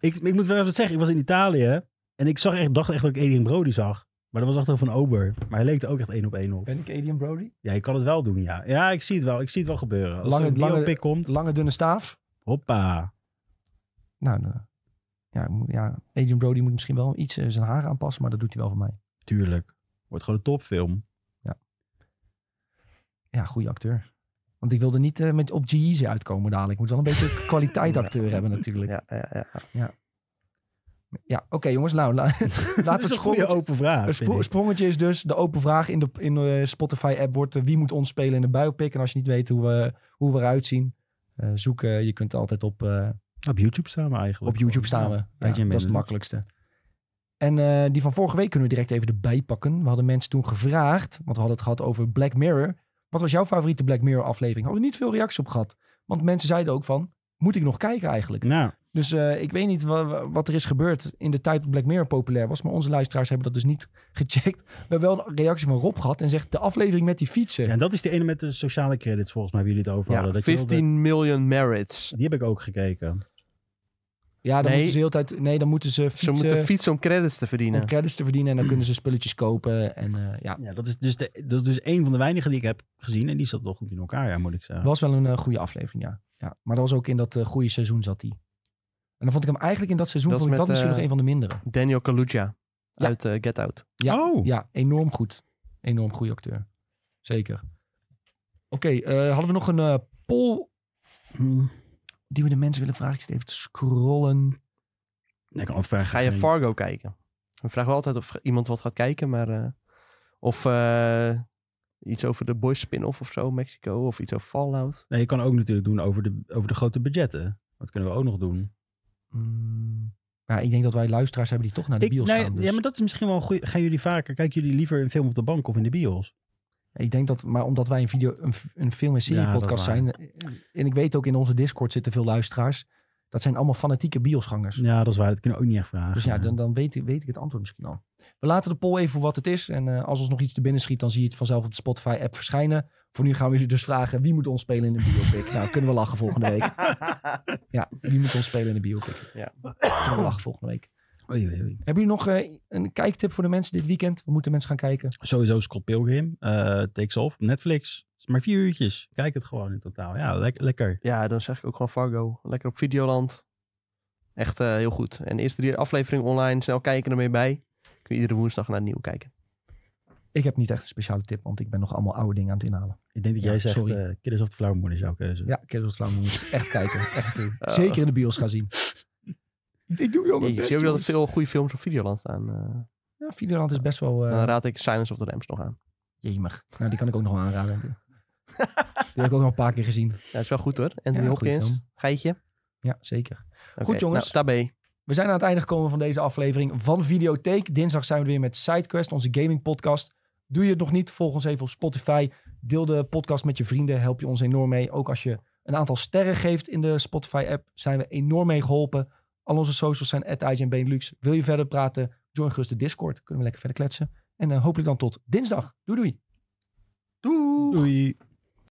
Speaker 3: Ik, ik moet wel even zeggen, ik was in Italië en ik zag echt, dacht echt dat ik Adrian Brody zag. Maar dat was achter van Ober. Maar hij leek er ook echt één op één op.
Speaker 1: Ben ik Adrian Brody?
Speaker 3: Ja, je kan het wel doen, ja. Ja, ik zie het wel. Ik zie het wel gebeuren. Als
Speaker 1: Lange-
Speaker 3: er een
Speaker 1: lange-
Speaker 3: biopic komt,
Speaker 1: Lange, dunne staaf.
Speaker 3: hoppa.
Speaker 1: Nou, nou, ja, ik moet- ja, Adrian Brody moet misschien wel iets eh, zijn haar aanpassen, maar dat doet hij wel voor mij.
Speaker 3: Tuurlijk. Wordt gewoon een topfilm.
Speaker 1: Ja, goede acteur. Want ik wilde niet eh, met op G-Eazy uitkomen dadelijk. Ik moet wel een beetje kwaliteit acteur hebben natuurlijk. Ja,
Speaker 2: Ja, ja, ja.
Speaker 1: oké jongens. Nou, la- laten
Speaker 3: Dat is
Speaker 1: we
Speaker 3: een
Speaker 1: het
Speaker 3: goede
Speaker 1: sprongetje.
Speaker 3: open vraag.
Speaker 1: Het
Speaker 3: vind
Speaker 1: spro-
Speaker 3: ik.
Speaker 1: sprongetje is dus de open vraag in de in, de Spotify-app wordt eh, wie moet ons spelen in de biopic. En als je niet weet hoe we, hoe we eruit zien, eh, zoek. eh, je kunt altijd op... eh,
Speaker 3: Op YouTube staan we eigenlijk.
Speaker 1: Op YouTube staan we. Ja,
Speaker 3: Benelux.
Speaker 1: dat is het makkelijkste. En eh, die van vorige week kunnen we direct even erbij pakken. We hadden mensen toen gevraagd, want we hadden het gehad over Black Mirror. Wat was jouw favoriete Black Mirror aflevering? Hadden we niet veel reacties op gehad. Want mensen zeiden ook van, moet ik nog kijken eigenlijk?
Speaker 3: Nou,
Speaker 1: Dus eh, ik weet niet wa- wat er is gebeurd in de tijd dat Black Mirror populair was. Maar onze luisteraars hebben dat dus niet gecheckt. We hebben wel een reactie van Rob gehad en zegt de aflevering met die fietsen.
Speaker 3: ja, en dat is de ene met de sociale credits volgens mij, waar jullie het over hadden.
Speaker 2: ja
Speaker 3: Dat je wilde-
Speaker 2: 15 million merits.
Speaker 3: die heb ik ook gekeken.
Speaker 1: Ja, dan
Speaker 2: Nee.
Speaker 1: moeten ze de hele tijd... Nee, dan moeten ze
Speaker 2: Ze
Speaker 1: fietsen
Speaker 2: moeten fietsen om credits te
Speaker 1: eh, om
Speaker 2: verdienen.
Speaker 1: credits te verdienen. En dan kunnen ze spulletjes kopen. En eh, ja,
Speaker 3: Ja, dat is, dus de, dat is dus een van de weinigen die ik heb gezien. En die zat wel goed in elkaar, ja, moet ik zeggen.
Speaker 1: was wel een eh, goede aflevering, ja. ja. Maar dat was ook in dat eh, goede seizoen zat hij. En dan vond ik hem eigenlijk in dat seizoen,
Speaker 2: Dat is
Speaker 1: vond ik dat
Speaker 2: met,
Speaker 1: misschien
Speaker 2: eh,
Speaker 1: nog een van de mindere.
Speaker 2: Daniel Kaluuya
Speaker 1: Ja.
Speaker 2: uit eh, Get Out.
Speaker 1: Ja,
Speaker 3: Oh.
Speaker 1: ja enorm goed. Enorm goede acteur. Zeker. Oké, eh, hadden we nog een eh, poll
Speaker 3: Hmm.
Speaker 1: die we de mensen willen vragen? Ik zit even te scrollen.
Speaker 3: Ik kan het vragen.
Speaker 2: Ga je
Speaker 3: geen-
Speaker 2: Fargo kijken? We vragen wel altijd of iemand wat gaat kijken, maar... eh, of eh, iets over de Boys spin-off of zo, Mexico. Of iets over Fallout.
Speaker 3: Nee, je kan ook natuurlijk doen over de, over de grote budgetten. Dat kunnen we ook nog doen.
Speaker 1: Mm, ja, ik denk dat wij luisteraars hebben die toch naar de
Speaker 3: Ik,
Speaker 1: bios
Speaker 3: nee,
Speaker 1: gaan. Dus.
Speaker 3: Ja, maar dat is misschien wel een goeie. Gaan jullie vaker, kijken jullie liever een film op de bank of in de bios?
Speaker 1: Ik denk dat, maar omdat wij een, video, een, f- een film- en
Speaker 3: Ja, dat is
Speaker 1: serie-podcast
Speaker 3: waar.
Speaker 1: zijn... eh, en ik weet ook in onze Discord zitten veel luisteraars... dat zijn allemaal fanatieke biosgangers.
Speaker 3: Ja, dat is waar. Dat kunnen we ook niet echt vragen.
Speaker 1: Dus ja, dan, dan weet, ik- weet ik het antwoord misschien al. We laten de poll even voor wat het is. En eh, als ons nog iets te binnen schiet, dan zie je het vanzelf op de Spotify-app verschijnen. Voor nu gaan we jullie dus vragen, wie moet ons spelen in de biopic? nou, kunnen we lachen volgende week. Ja, wie moet ons spelen in de biopic?
Speaker 2: Ja.
Speaker 1: Kunnen we lachen volgende week.
Speaker 3: Oei, oei, oei.
Speaker 1: Hebben jullie nog eh, een kijktip voor de mensen dit weekend? Wat moeten mensen gaan kijken?
Speaker 3: Sowieso Scott Pilgrim, eh, Takes Off, Netflix. Het is Maar vier uurtjes. Kijk het gewoon in totaal. Ja, lek- lekker.
Speaker 2: Ja, dan zeg ik ook gewoon Fargo. Lekker op Videoland. Echt eh, heel goed. En de eerste drie afleveringen online. Snel kijken ermee bij. Kun je iedere woensdag naar het nieuwe kijken.
Speaker 1: Ik heb niet echt een speciale tip, want ik ben nog allemaal oude dingen aan het inhalen.
Speaker 3: Ik denk dat
Speaker 1: Ja,
Speaker 3: jij zegt,
Speaker 1: sorry.
Speaker 3: eh Kidders of the Flower Moon is jouw keuze.
Speaker 1: Ja, Carol Sloan moet echt kijken. Echt doen.
Speaker 2: Oh.
Speaker 1: Zeker in de bios gaan zien. ik doe wel
Speaker 2: Je
Speaker 1: mijn
Speaker 2: ziet
Speaker 1: best,
Speaker 2: ook dat er
Speaker 1: jongens.
Speaker 2: veel goede films op Videoland staan. eh.
Speaker 1: Ja, Videoland is best wel... eh,
Speaker 2: dan raad ik Silence of the Lambs nog aan.
Speaker 1: Jemig. Nou, die kan ik ook nog wel aanraden. Die heb ik ook nog een paar keer gezien.
Speaker 2: Ja, dat is wel goed hoor. Anthony
Speaker 1: Ja, goede
Speaker 2: Hopkins.
Speaker 1: film.
Speaker 2: Geitje.
Speaker 1: Ja, zeker.
Speaker 2: Oké,
Speaker 1: Goed, jongens.
Speaker 2: Nou, tabé.
Speaker 1: We zijn aan het einde gekomen van deze aflevering van Videotheek. Dinsdag zijn we weer met SideQuest, onze gaming podcast. Doe je het nog niet, volg ons even op Spotify. Deel de podcast met je vrienden, help je ons enorm mee. Ook als je een aantal sterren geeft in de Spotify-app, zijn we enorm mee geholpen. Al onze socials zijn at Benelux. Wil je verder praten, join gerust de Discord. Kunnen we lekker verder kletsen. En eh, hopelijk dan tot dinsdag. Doei doei.
Speaker 3: Doei.